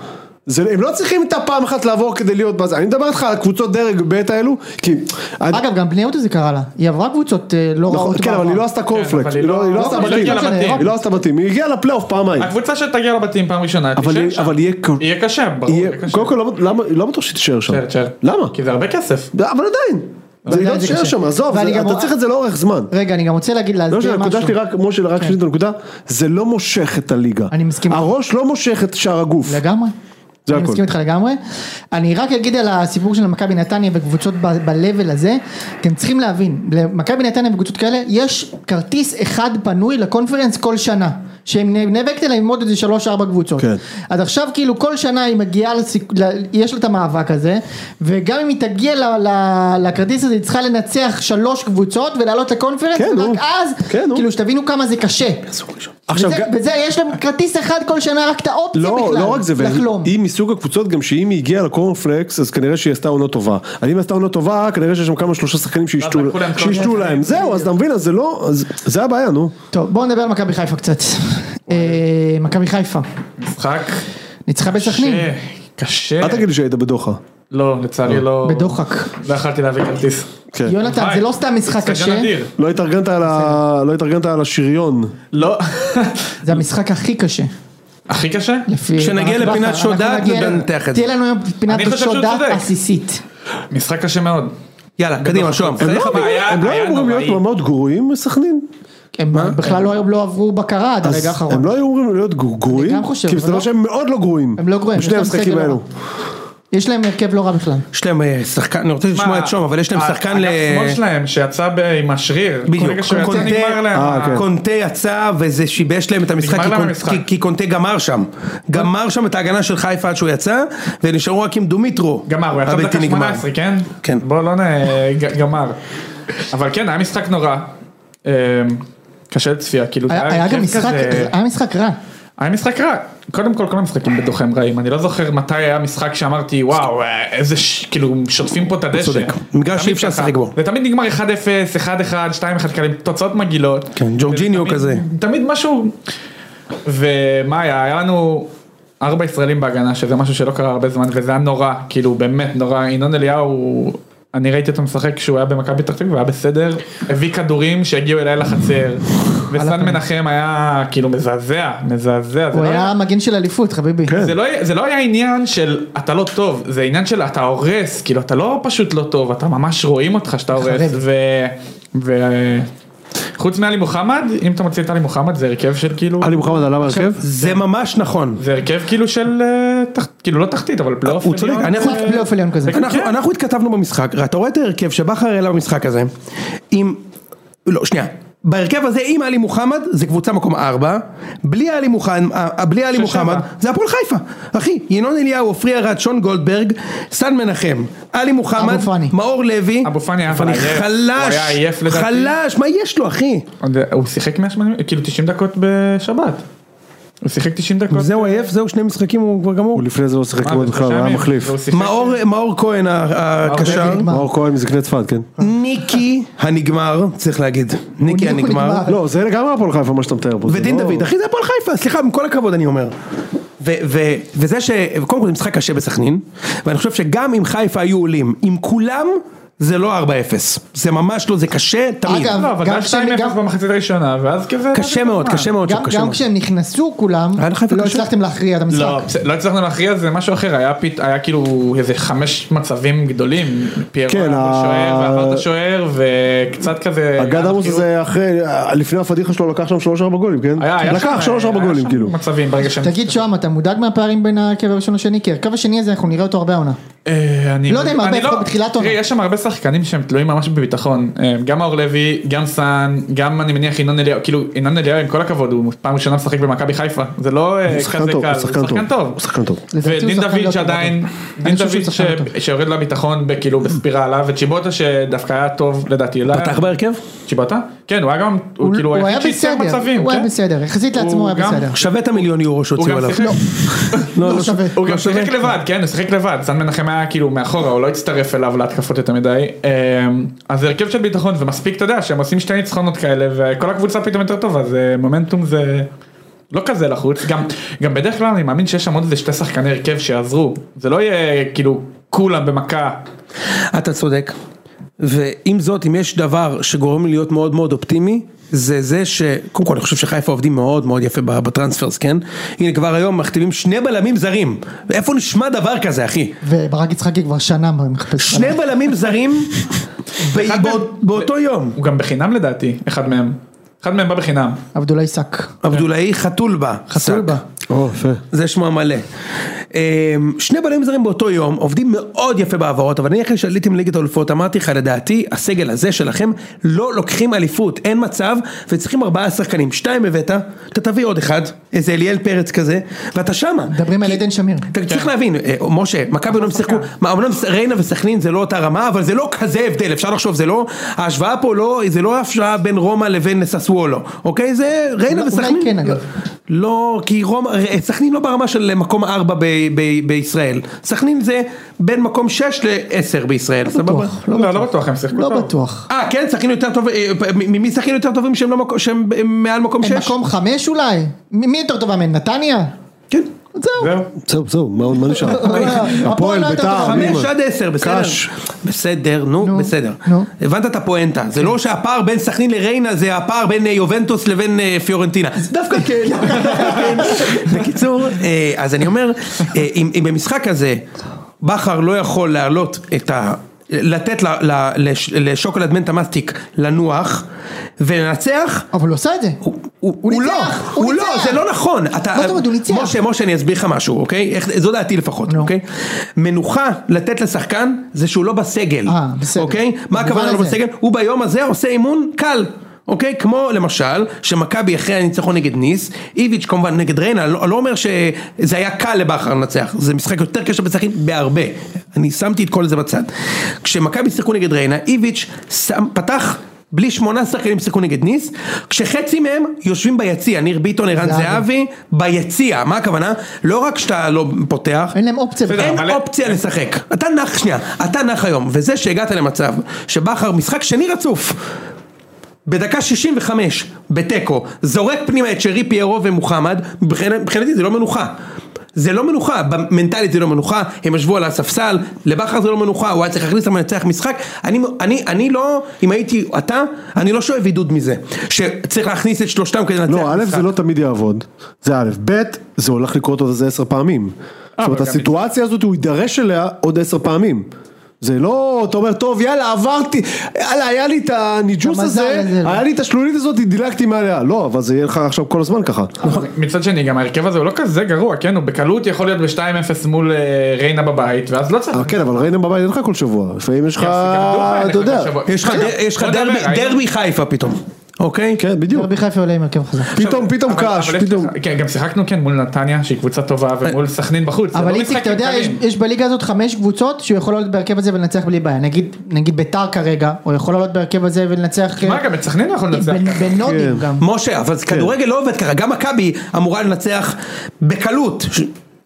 [SPEAKER 4] זה, הם לא צריכים את הפעם אחת לעבור כדי להיות בזה. אני מדבר איתך על קבוצות דרג ב' האלו, כי...
[SPEAKER 1] אגב, גם בני יהודה זה קרה לה. היא עברה קבוצות אה, לא
[SPEAKER 4] לא- נכון,
[SPEAKER 1] רעות.
[SPEAKER 4] כן, אבל
[SPEAKER 1] בעבר.
[SPEAKER 4] היא לא עשתה קורפלקס,
[SPEAKER 3] אבל
[SPEAKER 4] היא
[SPEAKER 3] היא
[SPEAKER 4] לא
[SPEAKER 3] לא-
[SPEAKER 4] היא לא
[SPEAKER 3] לא,
[SPEAKER 4] עשתה
[SPEAKER 1] אבל היא
[SPEAKER 4] בתים,
[SPEAKER 1] לא הגיעה
[SPEAKER 4] היא
[SPEAKER 1] לבתים.
[SPEAKER 4] לא עשתה בתים, היא הגיעה לפלייאוף פעמיים.
[SPEAKER 3] הקבוצה שתגיע לבתים פעם ראשונה,
[SPEAKER 4] לא. אבל
[SPEAKER 3] תישאר
[SPEAKER 4] היא-
[SPEAKER 3] שם.
[SPEAKER 4] אבל יהיה... כל-
[SPEAKER 3] יהיה קשה, ברור,
[SPEAKER 4] יהיה-
[SPEAKER 3] יהיה קשה.
[SPEAKER 4] קודם כל, לא- למה- לא בטוח שהיא תישאר שם.
[SPEAKER 3] תשאר, תשאר.
[SPEAKER 4] למה?
[SPEAKER 3] כי זה הרבה כסף.
[SPEAKER 4] אבל עדיין. זה היא
[SPEAKER 1] עדיין
[SPEAKER 4] לא
[SPEAKER 1] זה
[SPEAKER 4] תישאר
[SPEAKER 1] קשה.
[SPEAKER 4] שם, עזוב,
[SPEAKER 1] ואני
[SPEAKER 4] זה-
[SPEAKER 1] גם
[SPEAKER 4] אתה
[SPEAKER 1] רואה-
[SPEAKER 4] צריך את זה לאורך זמן.
[SPEAKER 1] רגע, אני גם רוצה להגיד,
[SPEAKER 4] לא משנה,
[SPEAKER 1] להסביר
[SPEAKER 4] הנקודה
[SPEAKER 1] משהו. כן.
[SPEAKER 4] שלי רק, משה, רק שנייה את הנקודה, זה לא מושך את הליגה.
[SPEAKER 1] אני מסכים.
[SPEAKER 4] הראש לא מושך את שאר הגוף.
[SPEAKER 1] לגמרי.
[SPEAKER 4] זה
[SPEAKER 1] אני
[SPEAKER 4] הכל.
[SPEAKER 1] מסכים איתך לגמרי. אני רק אגיד על הסיפור של מכבי נתניה וקבוצות ב- ב-level הזה, אתם צריכים להבין, למכבי נתניה וקבוצות כאלה, יש כרטיס אחד פנוי לקונפרנס כל שנה. שהם נ- נאבקת עליהם עם עוד איזה שלוש ארבע קבוצות.
[SPEAKER 4] כן.
[SPEAKER 1] אז עכשיו כאילו כל שנה היא מגיעה, לסיק... ל- יש לה את המאבק הזה, וגם אם היא תגיע ל... ל... לכרטיס הזה היא צריכה לנצח שלוש קבוצות ולעלות לקונפרנס,
[SPEAKER 4] כן, נו.
[SPEAKER 1] ורק אז,
[SPEAKER 4] כן, נו.
[SPEAKER 1] כאילו שתבינו כמה זה קשה.
[SPEAKER 4] עכשיו,
[SPEAKER 1] וזה,
[SPEAKER 4] גם-
[SPEAKER 1] וזה יש להם כרטיס אחד כל שנה רק את האופציה
[SPEAKER 4] לא,
[SPEAKER 1] בכלל,
[SPEAKER 4] לא רק זה, והיא-
[SPEAKER 1] לחלום.
[SPEAKER 4] היא מסוג הקבוצות גם שאם היא הגיעה לקורנפלקס אז כנראה שהיא עשתה עונה טובה. אז אם היא עשתה עונה טובה כנראה שיש שם כמה שלושה שחקנים שישתו
[SPEAKER 3] לקחו להם
[SPEAKER 4] שישתו
[SPEAKER 3] כל
[SPEAKER 4] להם. זהו, אז אתה מבין, אז זה לא, אז זה הבעיה, נו.
[SPEAKER 1] טוב, בואו נדבר על מכבי חיפה קצת. אה, מכבי חיפה,
[SPEAKER 3] משחק
[SPEAKER 1] ניצחה בסכנין,
[SPEAKER 3] קשה, קשה.
[SPEAKER 4] אל תגיד לי שהיית בדוחה.
[SPEAKER 3] לא, לצערי לא.
[SPEAKER 1] בדוחק.
[SPEAKER 3] לא יכלתי להביא כרטיס.
[SPEAKER 4] כן.
[SPEAKER 1] יונתן, זה לא סתם משחק
[SPEAKER 3] אצטדיון
[SPEAKER 1] קשה,
[SPEAKER 3] אדיר.
[SPEAKER 4] לא התארגנת על ה- לא התארגנת על השריון.
[SPEAKER 3] לא.
[SPEAKER 1] זה המשחק הכי קשה.
[SPEAKER 3] הכי קשה?
[SPEAKER 1] לפי-
[SPEAKER 2] כשנגיע
[SPEAKER 1] ברק בכר.
[SPEAKER 2] לפינת שוד
[SPEAKER 1] אנחנו
[SPEAKER 2] דעת,
[SPEAKER 1] נגיע-
[SPEAKER 2] ננתח את זה.
[SPEAKER 1] תהיה לנו היום פינת
[SPEAKER 3] אני חושב
[SPEAKER 1] שוד
[SPEAKER 3] שהוא
[SPEAKER 1] דעת
[SPEAKER 3] צודק.
[SPEAKER 1] עסיסית.
[SPEAKER 3] משחק קשה מאוד.
[SPEAKER 2] יאללה קדימה שוהם.
[SPEAKER 4] הם לא
[SPEAKER 2] חייך,
[SPEAKER 4] אמורים-
[SPEAKER 3] היה-
[SPEAKER 4] הם לא
[SPEAKER 3] היה
[SPEAKER 4] אמורים
[SPEAKER 3] נוראי.
[SPEAKER 4] להיות מאוד גרועים מסכנין.
[SPEAKER 1] הם בכלל לא היום לא עברו בקרה עד
[SPEAKER 4] אז
[SPEAKER 1] הרגע האחרון.
[SPEAKER 4] הם לא היו אמורים להיות גרו- גרועים,
[SPEAKER 1] גם חושב,
[SPEAKER 4] כי
[SPEAKER 1] אבל
[SPEAKER 4] מסתבר
[SPEAKER 1] לא.
[SPEAKER 4] שהם מאוד לא גרועים.
[SPEAKER 1] הם לא גרועים, יש
[SPEAKER 4] בשני
[SPEAKER 1] להם
[SPEAKER 4] המשחקים
[SPEAKER 1] סגל לא
[SPEAKER 4] האלו.
[SPEAKER 1] רע. יש להם הרכב לא רע בכלל.
[SPEAKER 2] יש להם אה, שחקן אני רוצה לשמוע
[SPEAKER 3] מה, אה,
[SPEAKER 2] את שוהם אבל יש להם שחקן אה, ל...
[SPEAKER 3] אגב שמאל שלהם שיצא ב- עם השריר.
[SPEAKER 2] בדיוק,
[SPEAKER 3] ברגע שהוא יצא
[SPEAKER 2] קונטה-
[SPEAKER 3] נגמר להם.
[SPEAKER 4] אה,
[SPEAKER 3] ה-
[SPEAKER 4] כן.
[SPEAKER 2] קונטה יצא וזה שיבש להם את המשחק,
[SPEAKER 3] נגמר
[SPEAKER 2] כי
[SPEAKER 3] להם
[SPEAKER 2] קונ-
[SPEAKER 3] המשחק.
[SPEAKER 2] כי- כי קונטה גמר שם, גמר שם את ההגנה של חיפה עד שהוא יצא, ונשארו רק עם דומיטרו,
[SPEAKER 3] גמר, הוא יצא
[SPEAKER 2] הבלתי
[SPEAKER 3] בדקה
[SPEAKER 2] נגמר.
[SPEAKER 3] 18, כן?
[SPEAKER 2] כן.
[SPEAKER 3] בוא לא נ... ג- גמר. אבל כן, היה משחק נורא. אמ, קשה לצפייה, כאילו. זה
[SPEAKER 1] היה היה גם
[SPEAKER 3] הרכב
[SPEAKER 1] משחק,
[SPEAKER 3] כזה-
[SPEAKER 1] היה משחק רע.
[SPEAKER 3] היה משחק רע. קודם כל, כל המשחקים בדוחה הם רעים. אני לא זוכר מתי היה משחק שאמרתי, וואו, איזה ש... כאילו, שוטפים פה את הדשא.
[SPEAKER 2] צודק. מגרש שאי
[SPEAKER 3] תמיד
[SPEAKER 2] אפשר
[SPEAKER 3] כן. ככה.
[SPEAKER 2] לשחק בו.
[SPEAKER 3] זה תמיד נגמר 1-0, 1-1, 2-1 כאלה, כאילו, עם תוצאות מגעילות.
[SPEAKER 2] כן, ג'ורג'יניו
[SPEAKER 3] ותמיד-
[SPEAKER 2] כזה.
[SPEAKER 3] תמיד משהו... ומה היה? היה לנו ארבע ישראלים בהגנה, שזה משהו שלא קרה הרבה זמן, וזה היה נורא, כאילו, באמת נורא. ינון אליהו... אני ראיתי אותו משחק כשהוא היה במכבי פתח תקווה, והיה בסדר, הביא כדורים שהגיעו אליי לחצר, וסן מנחם היה כאילו מזעזע, מזעזע, זה
[SPEAKER 1] הוא
[SPEAKER 3] לא
[SPEAKER 1] היה מגן של אליפות, חביבי.
[SPEAKER 3] זה לא, היה- זה לא היה עניין של אתה לא טוב, זה עניין של אתה הורס, כאילו אתה לא פשוט לא טוב, אתה ממש רואים אותך שאתה הורס,
[SPEAKER 1] חרד.
[SPEAKER 3] ו... ו... חוץ מעלי מוחמד, אם אתה מוציא את עלי מוחמד זה הרכב של כאילו,
[SPEAKER 4] עלי מוחמד עלה בהרכב?
[SPEAKER 2] זה ממש נכון.
[SPEAKER 3] זה הרכב כאילו של, אה, תח... כאילו לא תחתית אבל פלייאוף,
[SPEAKER 2] הוא צודק,
[SPEAKER 3] עליון.
[SPEAKER 2] אני יכול...
[SPEAKER 1] פלייאוף עליון כזה.
[SPEAKER 2] אנחנו, אנחנו התכתבנו במשחק, אתה רואה את ההרכב שבכר העלה במשחק הזה, עם... לא, שנייה. בהרכב הזה עם עלי מוחמד זה קבוצה מקום ארבע, בלי עלי מוחמד, אה, בלי עלי
[SPEAKER 3] שש,
[SPEAKER 2] מוחמד
[SPEAKER 3] שבע.
[SPEAKER 2] זה הפועל חיפה, אחי, ינון אליהו, עופרי ארד, שון גולדברג, סן מנחם, עלי מוחמד,
[SPEAKER 1] אבו פאני.
[SPEAKER 2] מאור לוי,
[SPEAKER 3] אבו פאני היה אבל עייף. הוא
[SPEAKER 2] חלש,
[SPEAKER 3] היה עייף לדעתי.
[SPEAKER 2] חלש, מה יש לו אחי?
[SPEAKER 3] עוד- אה, הוא שיחק 180, כאילו 90 דקות בשבת, הוא שיחק 90 דקות,
[SPEAKER 2] זהו אה, עייף, זהו שני משחקים הוא כבר גמור,
[SPEAKER 4] הוא לפני זה לא שיחק
[SPEAKER 3] מה,
[SPEAKER 4] מאוד
[SPEAKER 3] זה לא-
[SPEAKER 4] בכלל, הוא
[SPEAKER 3] שלושה
[SPEAKER 4] היה
[SPEAKER 3] ימים.
[SPEAKER 4] מחליף.
[SPEAKER 3] והוא שיחק-
[SPEAKER 2] מאור- מאור כהן הקשר,
[SPEAKER 1] נגמר.
[SPEAKER 4] מאור כהן מזקני צפת, כן.
[SPEAKER 2] ניקי הנגמר, צריך להגיד, ניקי
[SPEAKER 1] הוא
[SPEAKER 2] הנגמר,
[SPEAKER 1] נגמר.
[SPEAKER 4] לא, זה לגמרי הפועל חיפה מה שאתה מתאר פה. זה
[SPEAKER 2] ודין
[SPEAKER 4] לא-
[SPEAKER 2] דוד, אחי זה הפועל חיפה, סליחה, עם כל הכבוד אני אומר. ו- ו- וזה ש... קודם כל זה משחק קשה בסכנין, ואני חושב שגם אם חיפה היו עולים, עם כולם, זה לא 4-0. זה ממש לא, זה קשה תמיד.
[SPEAKER 1] אגב,
[SPEAKER 3] לא, אבל
[SPEAKER 1] גם
[SPEAKER 3] גם
[SPEAKER 1] כשהם-
[SPEAKER 3] 2-0
[SPEAKER 1] גם-
[SPEAKER 3] במחצית הראשונה, ואז כזה...
[SPEAKER 2] קשה מאוד, קשה מאוד שם,
[SPEAKER 1] גם,
[SPEAKER 2] קשה
[SPEAKER 1] גם
[SPEAKER 2] מאוד.
[SPEAKER 1] כשהם נכנסו כולם,
[SPEAKER 2] היה לך יפה
[SPEAKER 1] לא
[SPEAKER 2] קשה?
[SPEAKER 1] הצלחתם להכריע את המשחק.
[SPEAKER 3] לא, בסדר, לא הצלחנו להכריע זה משהו אחר, היה פית- היה כאילו איזה חמש מצבים גדולים, פיירו
[SPEAKER 4] כן,
[SPEAKER 3] היה
[SPEAKER 4] ה-
[SPEAKER 3] בשוער ועבר את השוער וקצת כזה,
[SPEAKER 4] הגד
[SPEAKER 3] היה
[SPEAKER 4] עמוס
[SPEAKER 3] כאילו-
[SPEAKER 4] הזה אחרי, לפני הפדיחה שלו לקח שם 3-4 גולים, כן?
[SPEAKER 3] היה- היה שם-
[SPEAKER 4] לקח 3-4
[SPEAKER 3] היה
[SPEAKER 4] גולים,
[SPEAKER 3] שם
[SPEAKER 4] כאילו.
[SPEAKER 3] מצבים ברגע שהם,
[SPEAKER 1] תגיד שוהם, אתה מודאג מהפערים בין ההרכב הראשון לשני? כי ההרכב השני הזה אנחנו נראה אותו הרבה העונה.
[SPEAKER 3] אה, אני
[SPEAKER 1] לא יודע אם הרבה
[SPEAKER 3] אני
[SPEAKER 1] לפחות בתחילת עונה.
[SPEAKER 3] תראי, יש שם הרבה שחקנים שהם תלויים ממש בביטחון, אה, גם מאור לוי, גם סאן, גם אני מניח ינון אליהו, כאילו ינון אליהו עם כל הכבוד הוא פעם ראשונה משחק במכבי חיפה, זה לא אה,
[SPEAKER 4] הוא שחקן
[SPEAKER 3] כזה
[SPEAKER 4] טוב,
[SPEAKER 3] קל,
[SPEAKER 4] הוא
[SPEAKER 3] הוא
[SPEAKER 4] שחקן
[SPEAKER 3] שחקן
[SPEAKER 4] טוב.
[SPEAKER 3] טוב,
[SPEAKER 4] הוא שחקן טוב.
[SPEAKER 1] לדעתי הוא
[SPEAKER 3] ודין
[SPEAKER 1] שחקן לא
[SPEAKER 3] דוד
[SPEAKER 1] טוב
[SPEAKER 3] שעדיין,
[SPEAKER 1] בליגה.
[SPEAKER 3] דין
[SPEAKER 1] אני חושב שהוא
[SPEAKER 3] דוד ש-
[SPEAKER 1] שחקן לא טוב.
[SPEAKER 3] שיורד לביטחון בכאילו בספירלה, וצ'יבוטה שדווקא היה טוב לדעתי. לא היה-
[SPEAKER 2] פתח בהרכב?
[SPEAKER 3] צ'יבוטה? כן, הוא היה גם, הוא כאילו,
[SPEAKER 1] הוא היה
[SPEAKER 3] היחיד שייצר
[SPEAKER 1] בסדר,
[SPEAKER 3] מצבים,
[SPEAKER 1] הוא היה
[SPEAKER 3] כן?
[SPEAKER 1] בסדר, יחסית לעצמו הוא
[SPEAKER 3] הוא
[SPEAKER 1] היה
[SPEAKER 3] גם-
[SPEAKER 1] בסדר.
[SPEAKER 2] שווה את המיליון יורו
[SPEAKER 3] הוא
[SPEAKER 2] שהוציאו
[SPEAKER 3] גם
[SPEAKER 2] עליו.
[SPEAKER 3] שיחק-
[SPEAKER 2] לא,
[SPEAKER 1] לא שווה.
[SPEAKER 2] לא שווה.
[SPEAKER 3] הוא גם שיחק
[SPEAKER 2] שווה.
[SPEAKER 3] לבד, כן, הוא שיחק לבד, סן מנחם היה כאילו מאחורה, הוא לא הצטרף אליו להתקפות יותר מדי. אמ, אז זה הרכב של ביטחון, ומספיק, אתה יודע, שהם עושים שתי ניצחונות כאלה, וכל הקבוצה פתאום יותר טובה, אז אה, מומנטום זה... לא כזה לחוץ, גם, גם בדרך כלל אני מאמין שיש שם עוד איזה שתי שחקני הרכב שיעזרו, זה לא יהיה כאילו כולם במכה
[SPEAKER 2] אתה צודק. ועם זאת, אם יש דבר שגורם לי להיות מאוד מאוד אופטימי, זה זה ש... קודם כל, אני חושב שחיפה עובדים מאוד מאוד יפה ב- בטרנספרס, כן? הנה, כבר היום מכתיבים שני בלמים זרים. איפה נשמע דבר כזה, אחי?
[SPEAKER 1] וברק יצחקי כבר שנה מחפש.
[SPEAKER 2] שני בלמים זרים ב-
[SPEAKER 3] אחד
[SPEAKER 2] בא-
[SPEAKER 3] מהם-
[SPEAKER 2] באותו יום.
[SPEAKER 3] הוא גם בחינם לדעתי, אחד מהם. אחד מהם בא בחינם.
[SPEAKER 1] עבדולאי שק.
[SPEAKER 2] עבדולאי חתולבה.
[SPEAKER 1] חסולבה.
[SPEAKER 4] או, יפה.
[SPEAKER 2] זה שמו המלא. אמ, שני בלמים זרים באותו יום, עובדים מאוד יפה בהעברות, אבל אני אחרי שעליתי מליגת האלופות, אמרתי לך, לדעתי, הסגל הזה שלכם, לא לוקחים אליפות, אין מצב, וצריכים ארבעה שחקנים. שתיים הבאת, אתה תביא עוד אחד, איזה אליאל פרץ כזה, ואתה שמה.
[SPEAKER 1] מדברים על
[SPEAKER 2] כי-
[SPEAKER 1] עדן שמיר.
[SPEAKER 2] אתה צריך להבין, אה, משה, מכבי אומנם שיחקו,
[SPEAKER 1] כן.
[SPEAKER 2] מה, אומנם ריינה וסכנין זה לא אותה רמה, אבל זה לא כזה הבדל, אפשר לחשוב, זה לא, ההשוואה פה לא, זה לא ההשוואה בין רומא לבין ססוולו, אוקיי? זה ריינה
[SPEAKER 1] אולי- אולי
[SPEAKER 2] וסכנין.
[SPEAKER 1] כן, אגב.
[SPEAKER 2] לא, כי רומא, אה, סכנין לא ברמה של מקום ארבע ב- ב- בישראל. סכנין זה בין מקום שש לעשר בישראל, סבבה?
[SPEAKER 1] בטוח,
[SPEAKER 3] לא, לא בטוח, הם שיחקו
[SPEAKER 1] לא
[SPEAKER 3] טוב.
[SPEAKER 1] בטוח.
[SPEAKER 2] אה, כן, סכנין יותר טוב, אה, ממי סכנין יותר טובים שהם לא מקום, שהם אה, מעל מקום
[SPEAKER 1] הם
[SPEAKER 2] שש?
[SPEAKER 1] מקום חמש אולי? מ- מי יותר טובה מהם? נתניה?
[SPEAKER 2] כן.
[SPEAKER 1] זהו.
[SPEAKER 3] זהו.
[SPEAKER 4] זהו, זהו, מה מה נשאר?
[SPEAKER 1] הפועל
[SPEAKER 4] הפועל,
[SPEAKER 1] לא יותר טובה.
[SPEAKER 4] ביתר, מי
[SPEAKER 2] חמש
[SPEAKER 4] מה?
[SPEAKER 2] עד עשר, בסדר.
[SPEAKER 4] קאש.
[SPEAKER 2] בסדר, נו, בסדר.
[SPEAKER 1] נו.
[SPEAKER 2] הבנת את הפואנטה, זה לא שהפער בין סכנין לריינה זה הפער בין אה, יובנטוס לבין אה, פיורנטינה. דווקא כן. בקיצור, אה, אז אני אומר, אה, אם אם במשחק הזה בכר לא יכול להעלות את ה... לתת ל- ל- לש- לשוקולד מנטה מסטיק לנוח ולנצח,
[SPEAKER 1] אבל הוא עשה את זה.
[SPEAKER 2] הוא- הוא
[SPEAKER 1] הוא
[SPEAKER 2] הוא לא,
[SPEAKER 1] ניצח, הוא
[SPEAKER 2] הוא לא,
[SPEAKER 1] ניצח.
[SPEAKER 2] זה לא נכון. אתה-
[SPEAKER 1] מה זאת אומרת, הוא ניצח?
[SPEAKER 2] משה, משה, אני אסביר לך משהו, אוקיי? איך- זו דעתי לפחות,
[SPEAKER 1] נו.
[SPEAKER 2] אוקיי? מנוחה לתת לשחקן זה שהוא לא בסגל,
[SPEAKER 1] אה, בסדר.
[SPEAKER 2] אוקיי? מה
[SPEAKER 1] במובן
[SPEAKER 2] הכוונה לא
[SPEAKER 1] הזה.
[SPEAKER 2] בסגל? הוא ביום הזה עושה אימון קל. אוקיי? כמו למשל, שמכבי אחרי הניצחון נגד ניס, איביץ' כמובן נגד ריינה, אני לא אני לא אומר שזה היה קל לבכר לנצח, זה משחק יותר קשה בשחקים בהרבה. אני שמתי את כל זה בצד. כשמכבי שיחקו נגד ריינה, איביץ' שם, פתח בלי שמונה שחקנים שיחקו נגד ניס, כשחצי מהם יושבים ביציע, ניר ביטון, ערן
[SPEAKER 1] זהבי.
[SPEAKER 2] זהבי, ביציע, מה הכוונה? לא רק שאתה לא פותח,
[SPEAKER 1] אין להם אופציה.
[SPEAKER 3] בסדר.
[SPEAKER 2] אין
[SPEAKER 3] אבל-
[SPEAKER 2] אופציה לשחק. אתה נח שנייה, אתה נח היום, וזה שהגעת למצב שבכר משחק שני רצוף. בדקה 65, בתיקו, זורק פנימה את שרי פיירו ומוחמד, מבחינת- מבחינתי זה לא מנוחה. זה לא מנוחה, מנטלית זה לא מנוחה, הם ישבו על הספסל, לבכר זה לא מנוחה, הוא היה צריך להכניס אותם לנצח משחק, אני, אני, אני לא, אם הייתי אתה, אני לא שואב עידוד מזה, שצריך להכניס את שלושתם כדי לנצח
[SPEAKER 4] לא, א'
[SPEAKER 2] משחק.
[SPEAKER 4] זה לא תמיד יעבוד, זה א', ב', זה הולך לקרות עוד איזה עשר פעמים. זאת אומרת,
[SPEAKER 3] אה, אבל גם
[SPEAKER 4] הסיטואציה הזאת, הוא יידרש אליה עוד עשר פעמים. זה לא, אתה אומר, טוב, יאללה, עברתי, יאללה, היה לי את הניג'וס
[SPEAKER 1] המזל
[SPEAKER 4] הזה,
[SPEAKER 1] הזה, לא.
[SPEAKER 4] היה לי את השלולית הזאת, דילגתי מעליה. לא, אבל זה יהיה לך עכשיו כל הזמן ככה.
[SPEAKER 3] מצד שני, גם ההרכב הזה הוא לא כזה גרוע, כן? הוא בקלות יכול להיות ב-2-0 מול אה, ריינה בבית, ואז לא צריך...
[SPEAKER 4] אה, כן, אבל ריינה בבית אין לך כל שבוע, לפעמים יש לך,
[SPEAKER 3] גם דוחה אין
[SPEAKER 4] אתה
[SPEAKER 3] לך
[SPEAKER 4] יודע.
[SPEAKER 3] כל שבוע.
[SPEAKER 2] יש לך דר- יש לך
[SPEAKER 3] לא
[SPEAKER 2] דרבי-
[SPEAKER 3] דבר, ראינו.
[SPEAKER 2] דרבי חיפה פתאום, אוקיי?
[SPEAKER 4] כן, בדיוק.
[SPEAKER 1] מכבי חיפה עולה עם הרכב חזק.
[SPEAKER 4] פתאום, פתאום
[SPEAKER 3] אבל-
[SPEAKER 4] קאש,
[SPEAKER 3] אבל יש
[SPEAKER 4] פתאום.
[SPEAKER 3] לך- כן, גם שיחקנו כן מול נתניה, שהיא קבוצה טובה, ומול סכנין בחוץ. זה
[SPEAKER 1] אבל
[SPEAKER 3] לא
[SPEAKER 1] איציק, אתה
[SPEAKER 3] משחקים
[SPEAKER 1] יודע, יש-
[SPEAKER 3] קלים.
[SPEAKER 1] יש בליגה הזאת חמש קבוצות שהוא יכול לעלות בהרכב הזה ולנצח בלי בעיה. נגיד- נגיד ביתר כרגע, הוא יכול לעלות בהרכב הזה ולנצח...
[SPEAKER 3] מה, גם את סכנין אנחנו ננצח.
[SPEAKER 1] בנ-
[SPEAKER 3] ככה.
[SPEAKER 1] בנודים
[SPEAKER 4] כן.
[SPEAKER 1] גם.
[SPEAKER 2] משה, אבל כדורגל לא עובד ככה, גם מכבי אמורה לנצח בקלות. ש-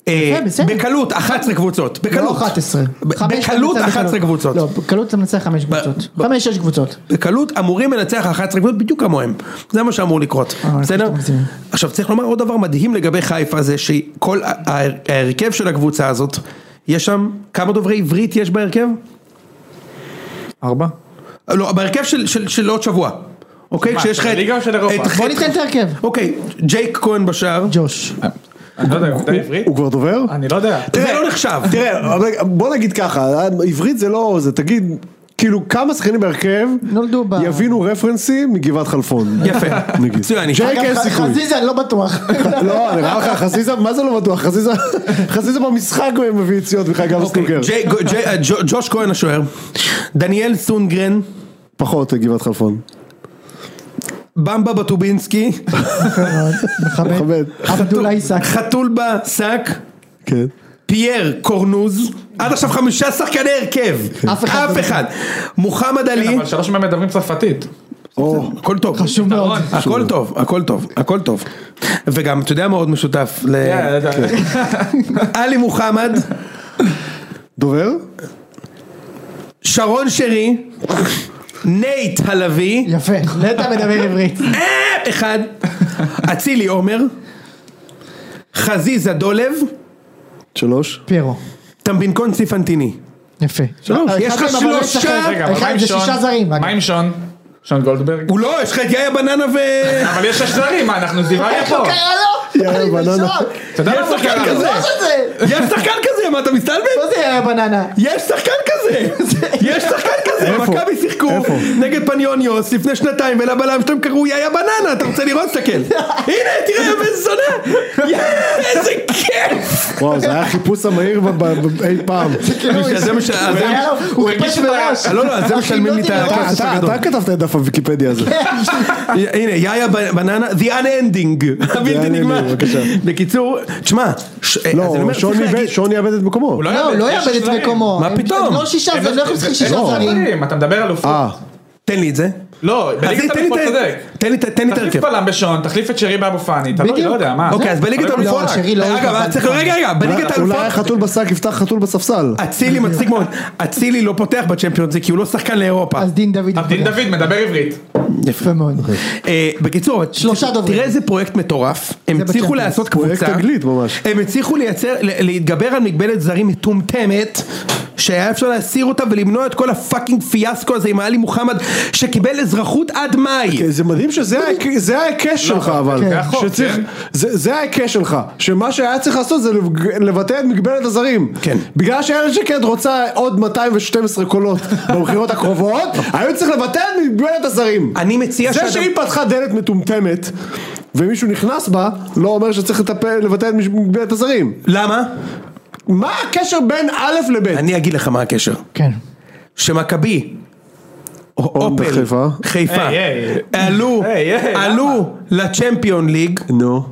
[SPEAKER 2] אה,
[SPEAKER 1] בסדר.
[SPEAKER 2] בקלות 11 קבוצות,
[SPEAKER 1] לא
[SPEAKER 2] בקלות,
[SPEAKER 1] 11.
[SPEAKER 2] ב-
[SPEAKER 1] חמש אתה
[SPEAKER 2] בקלות
[SPEAKER 1] מנצח
[SPEAKER 2] 11
[SPEAKER 1] בקלות.
[SPEAKER 2] קבוצות,
[SPEAKER 1] לא, בקלות אתה מנצח חמש
[SPEAKER 2] ב-
[SPEAKER 1] קבוצות.
[SPEAKER 2] ב-
[SPEAKER 1] חמש, שש קבוצות.
[SPEAKER 2] בקלות אמורים לנצח 11 קבוצות בדיוק כמוהם, זה מה שאמור לקרות,
[SPEAKER 1] אה,
[SPEAKER 2] בסדר?
[SPEAKER 1] פתאום זה-
[SPEAKER 2] עכשיו צריך לומר עוד דבר מדהים לגבי חיפה זה שכל ה- ה- ההרכב של הקבוצה הזאת, יש שם, כמה דוברי עברית יש בהרכב?
[SPEAKER 3] ארבע?
[SPEAKER 2] לא, בהרכב של- של של עוד שבוע. אוקיי?
[SPEAKER 3] מה,
[SPEAKER 2] כשיש לך
[SPEAKER 3] של
[SPEAKER 2] את...
[SPEAKER 3] הליגה או של אירופה?
[SPEAKER 2] את-
[SPEAKER 1] בוא ניתן את ההרכב.
[SPEAKER 2] אוקיי, ג'ייק כהן בשער.
[SPEAKER 1] ג'וש.
[SPEAKER 3] אני לא יודע, אתה עברית?
[SPEAKER 4] הוא כבר דובר?
[SPEAKER 3] אני לא יודע.
[SPEAKER 2] זה לא נחשב.
[SPEAKER 4] תראה, אבל בוא נגיד ככה, עברית זה לא, זה תגיד, כאילו כמה שחקנים בהרכב
[SPEAKER 1] נולדו ב-
[SPEAKER 4] יבינו רפרנסים מגבעת חלפון.
[SPEAKER 2] יפה.
[SPEAKER 4] נגיד.
[SPEAKER 2] מצוין.
[SPEAKER 4] ג'ק
[SPEAKER 1] אגב,
[SPEAKER 4] אין
[SPEAKER 1] ח-
[SPEAKER 4] סיכוי.
[SPEAKER 1] חזיזה, אני לא בטוח.
[SPEAKER 4] לא, נראה לך חזיזה, מה זה לא בטוח? חזיזה, חזיזה במשחק הוא מביא יציאות בכלל גם
[SPEAKER 2] אוקיי,
[SPEAKER 4] סנוקר.
[SPEAKER 2] ג'יי- גו- ג'יי- אה, ג'ו- ג'וש כהן השוער. דניאל סונגרן.
[SPEAKER 4] פחות גבעת חלפון.
[SPEAKER 2] במבה בטובינסקי.
[SPEAKER 1] מכבד.
[SPEAKER 4] מכבד.
[SPEAKER 1] עבדולאי סאק.
[SPEAKER 2] חתולבה שק.
[SPEAKER 4] כן.
[SPEAKER 2] פייר קורנוז. עד עכשיו חמישה שחקני הרכב.
[SPEAKER 1] אף אחד
[SPEAKER 2] אף
[SPEAKER 1] לא-
[SPEAKER 2] אחד. מוחמד עלי.
[SPEAKER 3] כן, אבל שלוש מהם מדברים
[SPEAKER 1] כן.
[SPEAKER 3] צרפתית.
[SPEAKER 4] או,
[SPEAKER 2] הכל טוב.
[SPEAKER 1] חשוב מאוד.
[SPEAKER 3] נכון.
[SPEAKER 2] הכל טוב, הכל טוב, הכל טוב. וגם, אתה יודע מה עוד משותף? ל-
[SPEAKER 3] כן,
[SPEAKER 2] עלי מוחמד,
[SPEAKER 4] דובר?
[SPEAKER 2] שרון שרי, נייט הלוי,
[SPEAKER 1] יפה. נטע מדבר עברית.
[SPEAKER 2] אה, אחד, אצילי עומר, חזיזה דולב,
[SPEAKER 4] שלוש?
[SPEAKER 1] פיירו.
[SPEAKER 2] טמבינקון ציפנטיני.
[SPEAKER 1] יפה. אה,
[SPEAKER 2] יש לך
[SPEAKER 1] אחד מהם אמור לשחק.
[SPEAKER 2] שלושה,
[SPEAKER 3] רגע, אבל
[SPEAKER 1] אחד
[SPEAKER 3] מה עם
[SPEAKER 1] זה
[SPEAKER 3] שון?
[SPEAKER 1] שישה זרים, אגב.
[SPEAKER 3] מה עם שון? שון גולדברג?
[SPEAKER 2] הוא לא, יש לך את יאיה בננה ו...
[SPEAKER 3] אבל יש שש זרים, מה, אנחנו זיווניה
[SPEAKER 1] איך לא
[SPEAKER 3] פה?
[SPEAKER 1] קרה לו?
[SPEAKER 4] יאללה,
[SPEAKER 1] אני
[SPEAKER 4] בננה.
[SPEAKER 1] בשוק.
[SPEAKER 3] אתה יודע מה
[SPEAKER 2] שחקן
[SPEAKER 3] קרה?
[SPEAKER 2] כזה.
[SPEAKER 1] לא שזה.
[SPEAKER 2] יש שחקן כזה, מה אתה מסתלבט?
[SPEAKER 1] מה זה היה בננה?
[SPEAKER 2] יש שחקן כזה! יש שחקן כזה!
[SPEAKER 4] איפה?
[SPEAKER 2] מכבי שיחקו
[SPEAKER 4] איפה?
[SPEAKER 2] נגד פניוניוס לפני שנתיים ולבלם שלהם קראו יאיה בננה, אתה רוצה לראות? תסתכל. הנה, תראה, איזה זונה! יא, איזה כיף!
[SPEAKER 4] וואו, זה היה החיפוש המהיר ב- ב- ב- אי פעם.
[SPEAKER 1] כאילו,
[SPEAKER 2] זה- זה מה ש-
[SPEAKER 1] הוא
[SPEAKER 2] זה-
[SPEAKER 1] היה לו- הוא הרגיש בראש.
[SPEAKER 2] לא, לא, זה משלמים לי את
[SPEAKER 1] הכי לא
[SPEAKER 2] הכסף
[SPEAKER 4] אתה
[SPEAKER 2] הגדול.
[SPEAKER 4] אתה כתבת את דף הוויקיפדיה הזה.
[SPEAKER 2] הנה, יאיה ב- בננה, The Unending, הבלתי
[SPEAKER 4] unending,
[SPEAKER 2] נגמר.
[SPEAKER 4] בבקשה.
[SPEAKER 2] בקיצור, תשמע, ש- אז אני אומר,
[SPEAKER 4] לא, שון
[SPEAKER 2] צריך
[SPEAKER 4] איבד-
[SPEAKER 2] להגיד-
[SPEAKER 4] שון יאבד את מקומו.
[SPEAKER 3] הוא
[SPEAKER 1] לא, הוא לא יאבד את מקומו.
[SPEAKER 2] מה
[SPEAKER 1] הם-
[SPEAKER 2] פתאום? אה.
[SPEAKER 1] הם לא שישה, זה לא יכול לשחק שישה זרים.
[SPEAKER 3] אתה מדבר על אופן.
[SPEAKER 4] אה,
[SPEAKER 2] תן לי את זה.
[SPEAKER 3] לא,
[SPEAKER 2] אז
[SPEAKER 3] בליגת
[SPEAKER 2] תן לי את
[SPEAKER 3] המקום
[SPEAKER 2] ה-
[SPEAKER 3] צודק.
[SPEAKER 2] תן לי את ה- תן לי את
[SPEAKER 3] תחליף
[SPEAKER 2] ההרכב.
[SPEAKER 3] בלם בשון, תחליף את שרי באבו פאני, אתה לא
[SPEAKER 1] בדיוק.
[SPEAKER 3] לא יודע, מה?
[SPEAKER 2] אוקיי, אז בליגת
[SPEAKER 3] אבל
[SPEAKER 2] האלופות,
[SPEAKER 1] לא, שרי לא
[SPEAKER 2] אגב,
[SPEAKER 1] הולך
[SPEAKER 2] צריך,
[SPEAKER 1] לבנק.
[SPEAKER 2] רגע, רגע, בליגת
[SPEAKER 4] אולי- אולי
[SPEAKER 2] האלופות,
[SPEAKER 4] החתול בשק יפתח חתול בספסל.
[SPEAKER 2] אצילי מצחיק מאוד, אצילי לא פותח בצ'מפיונס ליג כי הוא לא שחקן לאירופה.
[SPEAKER 1] אז דין דוד.
[SPEAKER 3] דין
[SPEAKER 1] יפתח.
[SPEAKER 3] דוד מדבר עברית.
[SPEAKER 1] יפה מאוד.
[SPEAKER 2] אה, בקיצור,
[SPEAKER 1] שלושה
[SPEAKER 2] ת-
[SPEAKER 1] דוברים.
[SPEAKER 2] תראה איזה פרויקט מטורף, הם הצליחו
[SPEAKER 1] בצ'מפיונס.
[SPEAKER 2] לעשות
[SPEAKER 4] פרויקט
[SPEAKER 2] קבוצה,
[SPEAKER 4] תגלית ממש.
[SPEAKER 2] הם הצליחו לייצר, ל- להתגבר על מגבלת זרים מטומטמת, שהיה אפשר להסיר אותה ולמנוע את כל הפאקינג פיאסקו הזה עם עלי מוחמד, שקיבל אזרחות עד מאי.
[SPEAKER 4] כן, זה מדהים שזה ה- זה
[SPEAKER 2] לא,
[SPEAKER 4] ההיקש שלך אבל,
[SPEAKER 3] זה
[SPEAKER 2] נכון,
[SPEAKER 3] החוק,
[SPEAKER 4] שצריך,
[SPEAKER 3] כן.
[SPEAKER 4] זה זה ההיקש שלך, שמה שהיה צריך לעשות זה לב- לבטא את מגבלת הזרים,
[SPEAKER 2] כן.
[SPEAKER 4] בגלל שאיילת שקד רוצה עוד 212 קולות בבחירות הקרובות, היו צריך לבטא את מגבלת הזרים,
[SPEAKER 2] אני מציע
[SPEAKER 4] זה שהיא פתחה דלת מטומטמת ומישהו נכנס בה, לא אומר שצריך לטפל- לבטא את מגבלת הזרים,
[SPEAKER 2] למה?
[SPEAKER 4] מה הקשר בין א' לב'?
[SPEAKER 2] אני אגיד לך מה הקשר.
[SPEAKER 1] כן.
[SPEAKER 2] שמכבי, או-
[SPEAKER 4] און
[SPEAKER 2] אופל,
[SPEAKER 4] בחיפה.
[SPEAKER 2] חיפה,
[SPEAKER 3] היי, היי.
[SPEAKER 2] עלו,
[SPEAKER 3] היי, היי,
[SPEAKER 2] עלו לצ'מפיון ליג,
[SPEAKER 4] נו,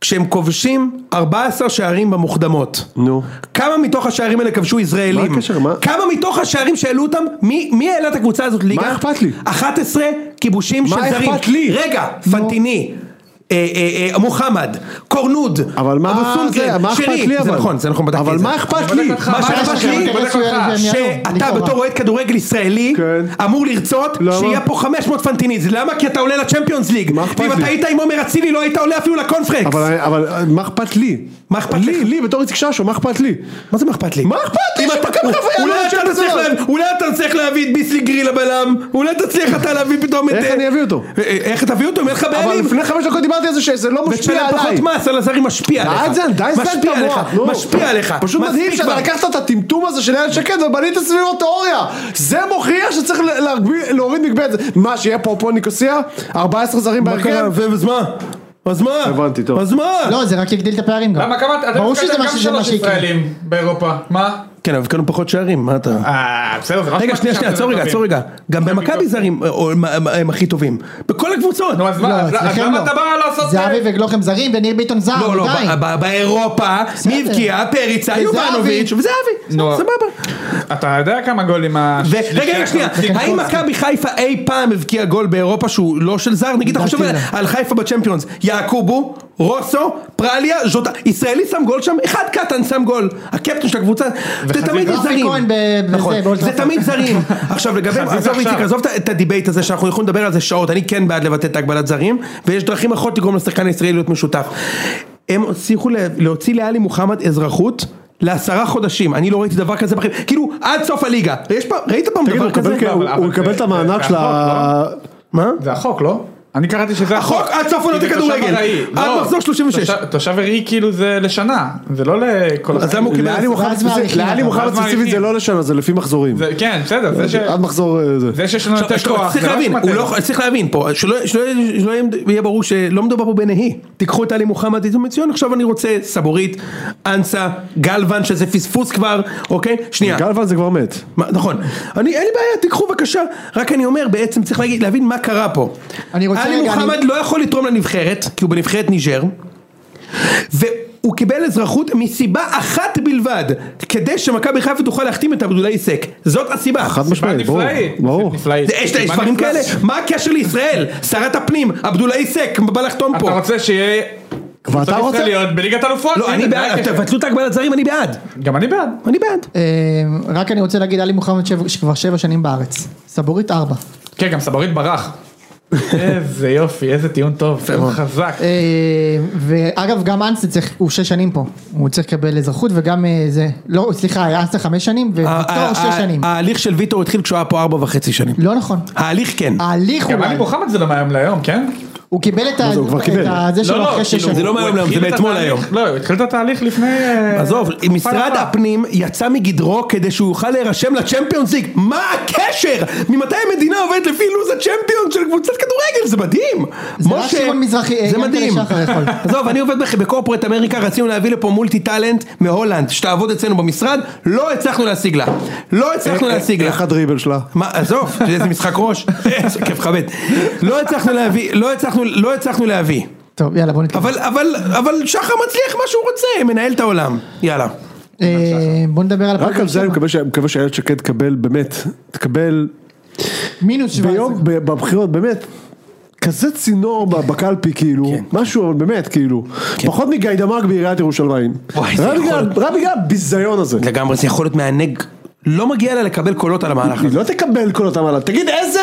[SPEAKER 2] כשהם כובשים 14 שערים במוקדמות.
[SPEAKER 4] נו,
[SPEAKER 2] כמה מתוך השערים האלה כבשו ישראלים?
[SPEAKER 4] מה הקשר? מה?
[SPEAKER 2] כמה מתוך השערים שהעלו אותם, מי, מי העלה את הקבוצה הזאת ליגה?
[SPEAKER 4] אכפת לי?
[SPEAKER 2] 11 כיבושים של
[SPEAKER 4] מה
[SPEAKER 2] זרים.
[SPEAKER 4] אכפת לי?
[SPEAKER 2] רגע, פנטיני. אה, אה, אה, מוחמד, קורנוד,
[SPEAKER 4] אבל מה
[SPEAKER 2] אה,
[SPEAKER 4] בסונגרן,
[SPEAKER 2] סונגרן,
[SPEAKER 4] מה אכפת
[SPEAKER 2] שרי.
[SPEAKER 4] לי אבל?
[SPEAKER 2] זה נכון, זה נכון, בדקתי
[SPEAKER 4] אבל
[SPEAKER 2] את זה.
[SPEAKER 4] מה אכפת לי?
[SPEAKER 2] מה שאכפת לי,
[SPEAKER 1] בודק אותך.
[SPEAKER 2] שאתה
[SPEAKER 1] לכאורה.
[SPEAKER 2] בתור אוהד כדורגל ישראלי,
[SPEAKER 4] כן.
[SPEAKER 2] אמור לרצות
[SPEAKER 4] למה?
[SPEAKER 2] שיהיה פה 500 פנטיניז, למה? כי אתה עולה לצ'מפיונס ליג,
[SPEAKER 4] מה אכפת
[SPEAKER 2] ואם
[SPEAKER 4] לי?
[SPEAKER 2] אתה היית עם עומר אצילי לא היית עולה אפילו לקונפרקס,
[SPEAKER 4] אבל, אבל מה אכפת לי?
[SPEAKER 2] מה אכפת
[SPEAKER 4] לי?
[SPEAKER 2] לך?
[SPEAKER 4] לי, בתור איציק ששו, מה אכפת לי?
[SPEAKER 2] מה זה מה אכפת לי?
[SPEAKER 4] מה אכפת לי?
[SPEAKER 2] אם אתה-
[SPEAKER 4] שמכבי חיפה יעלו
[SPEAKER 2] אולי אתה
[SPEAKER 4] לצ'מפיונס
[SPEAKER 2] תצליח
[SPEAKER 4] ליג?
[SPEAKER 2] לה- אולי אתה תצליח להביא את ביסלי גריל הבלם, אולי תצליח אתה להביא פתאום את...
[SPEAKER 4] איך
[SPEAKER 2] אה,
[SPEAKER 4] אני אביא אותו?
[SPEAKER 2] אה, אה, איך תביא אותו? אם אין לך
[SPEAKER 4] אבל
[SPEAKER 2] בעלים?
[SPEAKER 4] לפני חמש דקות דיברתי על זה שזה לא משפיע
[SPEAKER 2] ותשלם פחות
[SPEAKER 4] עליי.
[SPEAKER 2] מס על הזרים משפיע
[SPEAKER 4] די
[SPEAKER 2] עליך.
[SPEAKER 4] זה, די זה,
[SPEAKER 2] משפיע
[SPEAKER 4] אתה
[SPEAKER 2] עליך,
[SPEAKER 4] מוח, נו.
[SPEAKER 2] משפיע עליך.
[SPEAKER 4] פשוט מדהים
[SPEAKER 2] מספיק
[SPEAKER 4] שאתה
[SPEAKER 2] כבר.
[SPEAKER 4] לקחת את הטמטום הזה של איילת שקד ובנית סביבו תיאוריה. זה מוכיח שצריך ל- להגביל- להוריד מגבלת. מה, שיהיה פה פה ניקוסיה? 14 זרים
[SPEAKER 2] מה קרה?
[SPEAKER 4] בהרכב?
[SPEAKER 2] ו- אז מה? אז מה?
[SPEAKER 4] הבנתי, טוב.
[SPEAKER 2] אז מה?
[SPEAKER 1] לא, זה רק יגדיל את הפערים גם.
[SPEAKER 3] למה כמה, אתם
[SPEAKER 1] ברור שזה
[SPEAKER 3] הבאתם
[SPEAKER 1] מה
[SPEAKER 3] גם
[SPEAKER 1] שזה מה
[SPEAKER 3] שלוש
[SPEAKER 1] שיקרה.
[SPEAKER 3] ישראלים באירופה, מה?
[SPEAKER 2] כן, אבל הבקענו פחות שערים, מה אתה...
[SPEAKER 3] אה, בסדר, זה לא, רק
[SPEAKER 2] רגע,
[SPEAKER 3] מה
[SPEAKER 2] שנייה, שנייה,
[SPEAKER 3] שאתם
[SPEAKER 2] עצור רגע,
[SPEAKER 3] טובים.
[SPEAKER 2] עצור רגע. גם
[SPEAKER 3] זה
[SPEAKER 2] במכבי
[SPEAKER 3] בדיוק.
[SPEAKER 2] זרים אה, או, הם- הם הם הכי טובים. בכל הקבוצות.
[SPEAKER 3] נו, אז
[SPEAKER 1] לא,
[SPEAKER 3] מה, אז אז
[SPEAKER 1] אצלכם
[SPEAKER 3] למה
[SPEAKER 1] לא.
[SPEAKER 3] אתה בא לעשות...
[SPEAKER 1] זהבי וגלוחם זרים וניר ביטון זר,
[SPEAKER 2] אה? לא, לא,
[SPEAKER 1] די.
[SPEAKER 2] ב- ב- באירופה, מי
[SPEAKER 1] בסדר.
[SPEAKER 2] הבקיע? פריצה,
[SPEAKER 1] וזהבי.
[SPEAKER 2] יובנוביץ' וזהבי.
[SPEAKER 3] נו.
[SPEAKER 2] סבבה.
[SPEAKER 3] אתה יודע כמה גולים ה...
[SPEAKER 2] ו- רגע, רגע, שנייה.
[SPEAKER 1] כן
[SPEAKER 2] האם מכבי חיפה אי פעם הבקיע גול באירופה שהוא לא של זר? נגיד, אתה
[SPEAKER 1] לדעתי
[SPEAKER 2] חושב על-
[SPEAKER 1] לא.
[SPEAKER 2] על חיפה בצ'מפיונס. יעקובו, רוסו, פרליה, ז'וטה. ישראלי שם גול שם, אחד קטן שם גול. הקפטן של הקבוצה. זה תמיד
[SPEAKER 1] רפי
[SPEAKER 2] זרים.
[SPEAKER 1] כהן ב- בזה,
[SPEAKER 2] נכון.
[SPEAKER 1] באולט
[SPEAKER 2] זה
[SPEAKER 1] טראפורד.
[SPEAKER 2] תמיד זרים. עכשיו לגבי,
[SPEAKER 3] חזיזה
[SPEAKER 2] עזוב איציק,
[SPEAKER 3] עכשיו.
[SPEAKER 2] עזוב את- את הדיבייט הזה שאנחנו יכולים לדבר על זה שעות. אני כן בעד לבטא את הגבלת זרים, ויש דרכים אחרות לגרום לשחקן הישראלי להיות משותף. הם הצליחו לה- להוציא לאלי מוחמד אזרחות. לעשרה חודשים, אני לא ראיתי דבר כזה בחיים, כאילו עד סוף הליגה, יש פעם, ראית פעם
[SPEAKER 4] תגיד, הוא
[SPEAKER 2] דבר כזה?
[SPEAKER 4] יקבל- הוא- הוא יקבל את המענק של ה...
[SPEAKER 2] מה?
[SPEAKER 3] זה החוק, לא? אני קראתי שזה
[SPEAKER 2] החוק, עד סוף עונת
[SPEAKER 3] כי זה תושב
[SPEAKER 2] הכדורגל.
[SPEAKER 3] ארעי.
[SPEAKER 2] עד
[SPEAKER 3] לא,
[SPEAKER 2] מחזור 36.
[SPEAKER 3] תושב- תושב ארעי כאילו זה לשנה, זה לא לכל...
[SPEAKER 2] אז למה הוא קיבל?
[SPEAKER 4] לאלי מוחמד
[SPEAKER 1] ואז
[SPEAKER 4] ספציפית-
[SPEAKER 1] מעריכים
[SPEAKER 4] לאלי
[SPEAKER 1] אותו.
[SPEAKER 4] מוחמד
[SPEAKER 3] ואז
[SPEAKER 4] ספציפית זה
[SPEAKER 3] מעריכים.
[SPEAKER 4] לא לשנה, זה לפי מחזורים.
[SPEAKER 3] זה- כן, בסדר, זה ש...
[SPEAKER 4] עד מחזור אה, זה.
[SPEAKER 3] זה שיש לנו יותר
[SPEAKER 2] עכשיו,
[SPEAKER 3] כוח,
[SPEAKER 2] צריך
[SPEAKER 3] זה לא
[SPEAKER 2] להבין,
[SPEAKER 3] אשמתנו.
[SPEAKER 2] הוא לא, צריך להבין פה, שלא, שלא, שלא יהיה ברור שלא מדובר פה בנהי, תיקחו את טלי מוחמד איתו מצוין, עכשיו אני רוצה סבורית, אנסה, גלוון שזה פספוס כבר, אוקיי? שנייה,
[SPEAKER 4] גלוון זה כבר מת.
[SPEAKER 2] מה, נכון, אני, אין לי בעיה, תיקחו בבקשה, רק אני אומר, בעצם צריך להגיד, להבין מה קרה פה.
[SPEAKER 1] אני רוצה
[SPEAKER 2] עלי
[SPEAKER 1] רגע,
[SPEAKER 2] מוחמד
[SPEAKER 1] אני-
[SPEAKER 2] לא יכול לתרום לנבחרת, כי הוא בנבחרת ניג'ר, והוא קיבל אזרחות מסיבה אחת בלבד, כדי שמכבי חיפה תוכל להחתים את עבדולאי סק, זאת הסיבה.
[SPEAKER 4] חד משמעית, ברור.
[SPEAKER 3] נפלאית,
[SPEAKER 4] ברור.
[SPEAKER 3] נפלאית.
[SPEAKER 2] זה- יש יש
[SPEAKER 3] מה
[SPEAKER 2] דברים
[SPEAKER 3] נפלא?
[SPEAKER 2] כאלה? מה הקשר לישראל? שרת הפנים, עבדולאי סק, בא לחתום פה.
[SPEAKER 3] אתה רוצה שיהיה... קבוצות
[SPEAKER 4] אתה רוצה?
[SPEAKER 3] ישראליות בליגת אלופות?
[SPEAKER 2] לא,
[SPEAKER 3] הנה,
[SPEAKER 2] אני
[SPEAKER 3] זה
[SPEAKER 2] בעד,
[SPEAKER 3] הקשר.
[SPEAKER 2] תבטלו את הגבלת זרים, אני בעד.
[SPEAKER 3] גם אני בעד.
[SPEAKER 2] אני בעד.
[SPEAKER 1] אה, רק אני רוצה להגיד, עלי מוחמד שבע- שכבר שבע שנים בארץ. סבורית ארבע.
[SPEAKER 3] כן, גם סבורית ברח. איזה יופי, איזה טיעון טוב, חזק.
[SPEAKER 1] אה, ואגב, גם אנסה צריך, הוא שש שנים פה. הוא צריך לקבל אזרחות וגם אה, זה, לא, סליחה, אנסה חמש שנים
[SPEAKER 2] ה-
[SPEAKER 1] וויטור שש
[SPEAKER 2] ה-
[SPEAKER 1] שנים.
[SPEAKER 2] ההליך של ויטור התחיל כשהוא היה פה ארבע וחצי שנים.
[SPEAKER 1] לא נכון.
[SPEAKER 2] ההליך כן.
[SPEAKER 1] ההליך
[SPEAKER 3] גם
[SPEAKER 1] אולי.
[SPEAKER 3] עלי מוחמד זה לא מהיום להיום, כן?
[SPEAKER 1] הוא קיבל את ה-
[SPEAKER 4] הוא כבר
[SPEAKER 1] את
[SPEAKER 4] קיבל?
[SPEAKER 1] ה- זה שלו אחרי שש
[SPEAKER 3] כאילו,
[SPEAKER 1] שנים.
[SPEAKER 2] זה לא
[SPEAKER 3] הוא
[SPEAKER 2] מהיום להיום,
[SPEAKER 3] התחיל
[SPEAKER 2] זה
[SPEAKER 3] את
[SPEAKER 2] מאתמול
[SPEAKER 3] התהליך-
[SPEAKER 2] להיום.
[SPEAKER 3] לא, הוא התחיל את התהליך לפני... אה,
[SPEAKER 2] עזוב,
[SPEAKER 3] תקופה
[SPEAKER 2] משרד
[SPEAKER 3] יפה.
[SPEAKER 2] הפנים יצא מגדרו כדי שהוא יוכל להירשם לצ'מפיונס ליג. מה הקשר? ממתי המדינה עובדת לפי לו"ז הצ'מפיונס של קבוצת כדורגל? זה מדהים.
[SPEAKER 1] זה רק
[SPEAKER 2] משה,
[SPEAKER 1] שמעון מזרחי, אה,
[SPEAKER 2] זה
[SPEAKER 1] יענקל'ה
[SPEAKER 2] מדהים.
[SPEAKER 1] שחר יכול.
[SPEAKER 2] עזוב, אני עובד בח- בקורפרט אמריקה, רצינו להביא לפה מולטי טאלנט מהולנד, שתעבוד אצלנו במשרד, לא הצלחנו להשיג לה. לא
[SPEAKER 1] אה,
[SPEAKER 2] הצלחנו להשיג לה.
[SPEAKER 4] איך הדריבל שלה?
[SPEAKER 2] מה, עזוב, אתה יודע, איזה משחק ראש, איזה כיף לכבד. לא הצלחנו להביא, לא הצלחנו, לא הצלחנו להביא.
[SPEAKER 1] טוב, יאללה, בוא נתקדם.
[SPEAKER 2] אבל, אבל, אבל שחר מצליח מה שהוא רוצה, מנהל את העולם. יאללה.
[SPEAKER 1] אה, בוא נדבר על...
[SPEAKER 4] רק
[SPEAKER 1] הפועל
[SPEAKER 4] על זה אני
[SPEAKER 1] באר שבע.
[SPEAKER 4] מקווה ש- מקווה שאיילת שקד תקבל באמת, תקבל
[SPEAKER 1] מינוס 17.
[SPEAKER 4] ביום, ב- בבחירות, באמת. כזה צינור ב- בקלפי כאילו,
[SPEAKER 2] כן.
[SPEAKER 4] משהו אבל באמת כאילו, פחות מגיידמק בעיריית ירושלים.
[SPEAKER 2] וואי, זה
[SPEAKER 4] רק
[SPEAKER 2] יכול.
[SPEAKER 4] בגלל- רק בגלל הביזיון הזה.
[SPEAKER 2] לגמרי, זה יכול להיות מענג. לא מגיע לה לקבל קולות על המהלך
[SPEAKER 4] היא
[SPEAKER 2] הזה.
[SPEAKER 4] לא תקבל כל אותם עליו, תגיד איזה,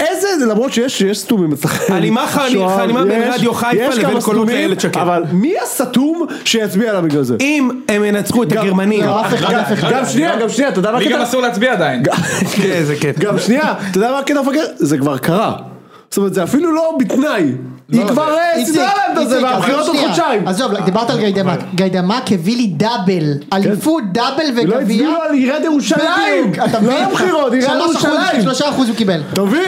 [SPEAKER 4] איזה, למרות שיש שיש סתומים אצלכם.
[SPEAKER 2] הלימה חני-
[SPEAKER 4] שוהם,
[SPEAKER 2] חנימה בין
[SPEAKER 4] יש-
[SPEAKER 2] רדיו חיפה
[SPEAKER 4] יש
[SPEAKER 2] לבין
[SPEAKER 4] כמה
[SPEAKER 2] קולות
[SPEAKER 4] סתומים,
[SPEAKER 2] לאיילת שקד.
[SPEAKER 4] אבל מי הסתום שיצביע לה בגלל זה?
[SPEAKER 2] אם הם ינצחו את הגרמנים.
[SPEAKER 1] לא, אף אחד, אף אחד.
[SPEAKER 4] גם שנייה, גם שנייה, אתה יודע מה
[SPEAKER 2] לא
[SPEAKER 3] לי גם
[SPEAKER 4] הקטע?
[SPEAKER 3] אסור להצביע עדיין.
[SPEAKER 2] איזה כן, כיף.
[SPEAKER 4] גם שנייה, אתה יודע מה הקטע המפגר? זה כבר קרה. זאת אומרת, זה אפילו לא בתנאי. היא כבר אה,
[SPEAKER 1] איציק,
[SPEAKER 4] סידרה להם את זה,
[SPEAKER 1] איציק,
[SPEAKER 4] והבחירות עוד
[SPEAKER 1] שנייה.
[SPEAKER 4] חודשיים.
[SPEAKER 1] עזוב, דיברת על גיידמק. גיידמק הביא לי דאבל. אליפות, דאבל
[SPEAKER 4] כן. לא
[SPEAKER 1] וגביע.
[SPEAKER 4] הצביעו על עיריית ירושלים.
[SPEAKER 1] בדיוק, אתה
[SPEAKER 4] לא
[SPEAKER 1] מבין?
[SPEAKER 4] היה בחירות, עיריית
[SPEAKER 1] שלוש אחוז,
[SPEAKER 4] ירושלים. לא
[SPEAKER 1] שלושה אחוז הוא קיבל.
[SPEAKER 4] אתה מבין?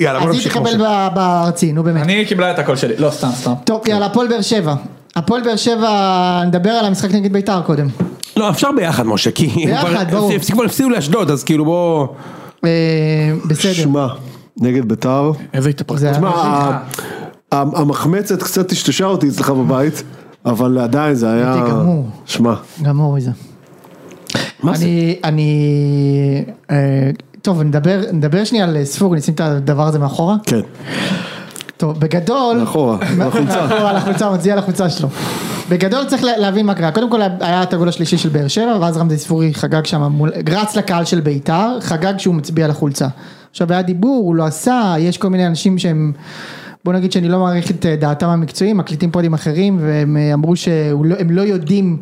[SPEAKER 2] יאללה, בוא
[SPEAKER 1] אז היא
[SPEAKER 2] נמשיך. משה.
[SPEAKER 1] תקבל ב- בארצי, נו באמת.
[SPEAKER 3] אני קיבלה את הקול שלי. לא, סתם, סתם.
[SPEAKER 1] טוב, יאללה, הפועל באר שבע. הפועל באר שבע, נדבר על המשחק נגד ביתר קודם.
[SPEAKER 2] לא, אפשר ביחד, משה, כי... הם
[SPEAKER 1] ביחד,
[SPEAKER 2] כבר-
[SPEAKER 1] ברור.
[SPEAKER 2] הפסיק- כבר הפסידו לאשדוד, אז כאילו בוא...
[SPEAKER 1] אה, בסדר.
[SPEAKER 4] שמע, נגד ביתר.
[SPEAKER 3] איזה התאפקות.
[SPEAKER 1] זה היה-
[SPEAKER 4] תשמע, ה- ה- המחמצת קצת טשטשה אותי אצלך בבית, אבל עדיין זה היה...
[SPEAKER 1] אותי גמור.
[SPEAKER 4] שמע,
[SPEAKER 1] גם אורי זה.
[SPEAKER 4] מה זה?
[SPEAKER 1] אני, אני, אה, טוב נדבר, נדבר שנייה על ספורי, נשים את הדבר הזה מאחורה.
[SPEAKER 4] כן,
[SPEAKER 1] טוב, בגדול,
[SPEAKER 4] מאחורה, לחולצה.
[SPEAKER 1] מאחורה, לחולצה, מצדיע לחולצה שלו. בגדול צריך לה- להבין מה קרה, קודם כל היה את הגול השלישי של באר שבע, ואז רמזי ספורי חגג שם, מול, רץ לקהל של ביתר, חגג שהוא מצביע לחולצה. עכשיו היה דיבור, הוא לא עשה, יש כל מיני אנשים שהם, בוא נגיד שאני לא מעריך את אה, דעתם המקצועיים, מקליטים פודים אחרים, והם אה, אמרו שהם לא, הם לא יודעים,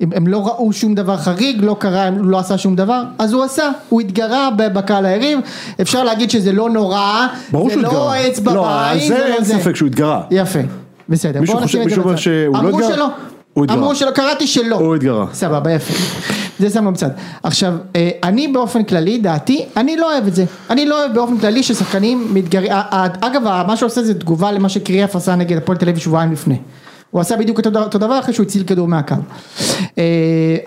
[SPEAKER 1] הם, הם לא ראו שום דבר חריג, לא קרה, הוא לא עשה שום דבר, אז הוא עשה, הוא התגרה ב- בקהל הערים, אפשר להגיד שזה לא נורא,
[SPEAKER 4] ברור
[SPEAKER 1] זה
[SPEAKER 4] שהוא התגרה.
[SPEAKER 1] לא אצבע
[SPEAKER 4] לא,
[SPEAKER 1] בעין,
[SPEAKER 4] על זה
[SPEAKER 1] לא
[SPEAKER 4] אין ספק שהוא התגרה.
[SPEAKER 1] יפה, בסדר.
[SPEAKER 4] מישהו
[SPEAKER 1] בואו נשים
[SPEAKER 4] חושב-
[SPEAKER 1] את זה
[SPEAKER 4] מישהו אומר
[SPEAKER 1] בצד.
[SPEAKER 4] שהוא לא
[SPEAKER 1] אמרו
[SPEAKER 4] התגרה?
[SPEAKER 1] שלא.
[SPEAKER 4] הוא התגרה.
[SPEAKER 1] אמרו שלא, קראתי שלא.
[SPEAKER 4] הוא התגרה.
[SPEAKER 1] סבבה, יפה. זה שמנו בצד. עכשיו, אה, אני באופן כללי, דעתי, אני לא אוהב את זה. אני לא אוהב באופן כללי ששחקנים מתגרים... ה- ה- אגב, ה- מה שעושה זה תגובה למה שקריאף עשה נגד הפועל תל אביב שבועיים לפני. הוא עשה בדיוק אותו דבר- אותו דבר אחרי שהוא הציל כדור מהקו. אה,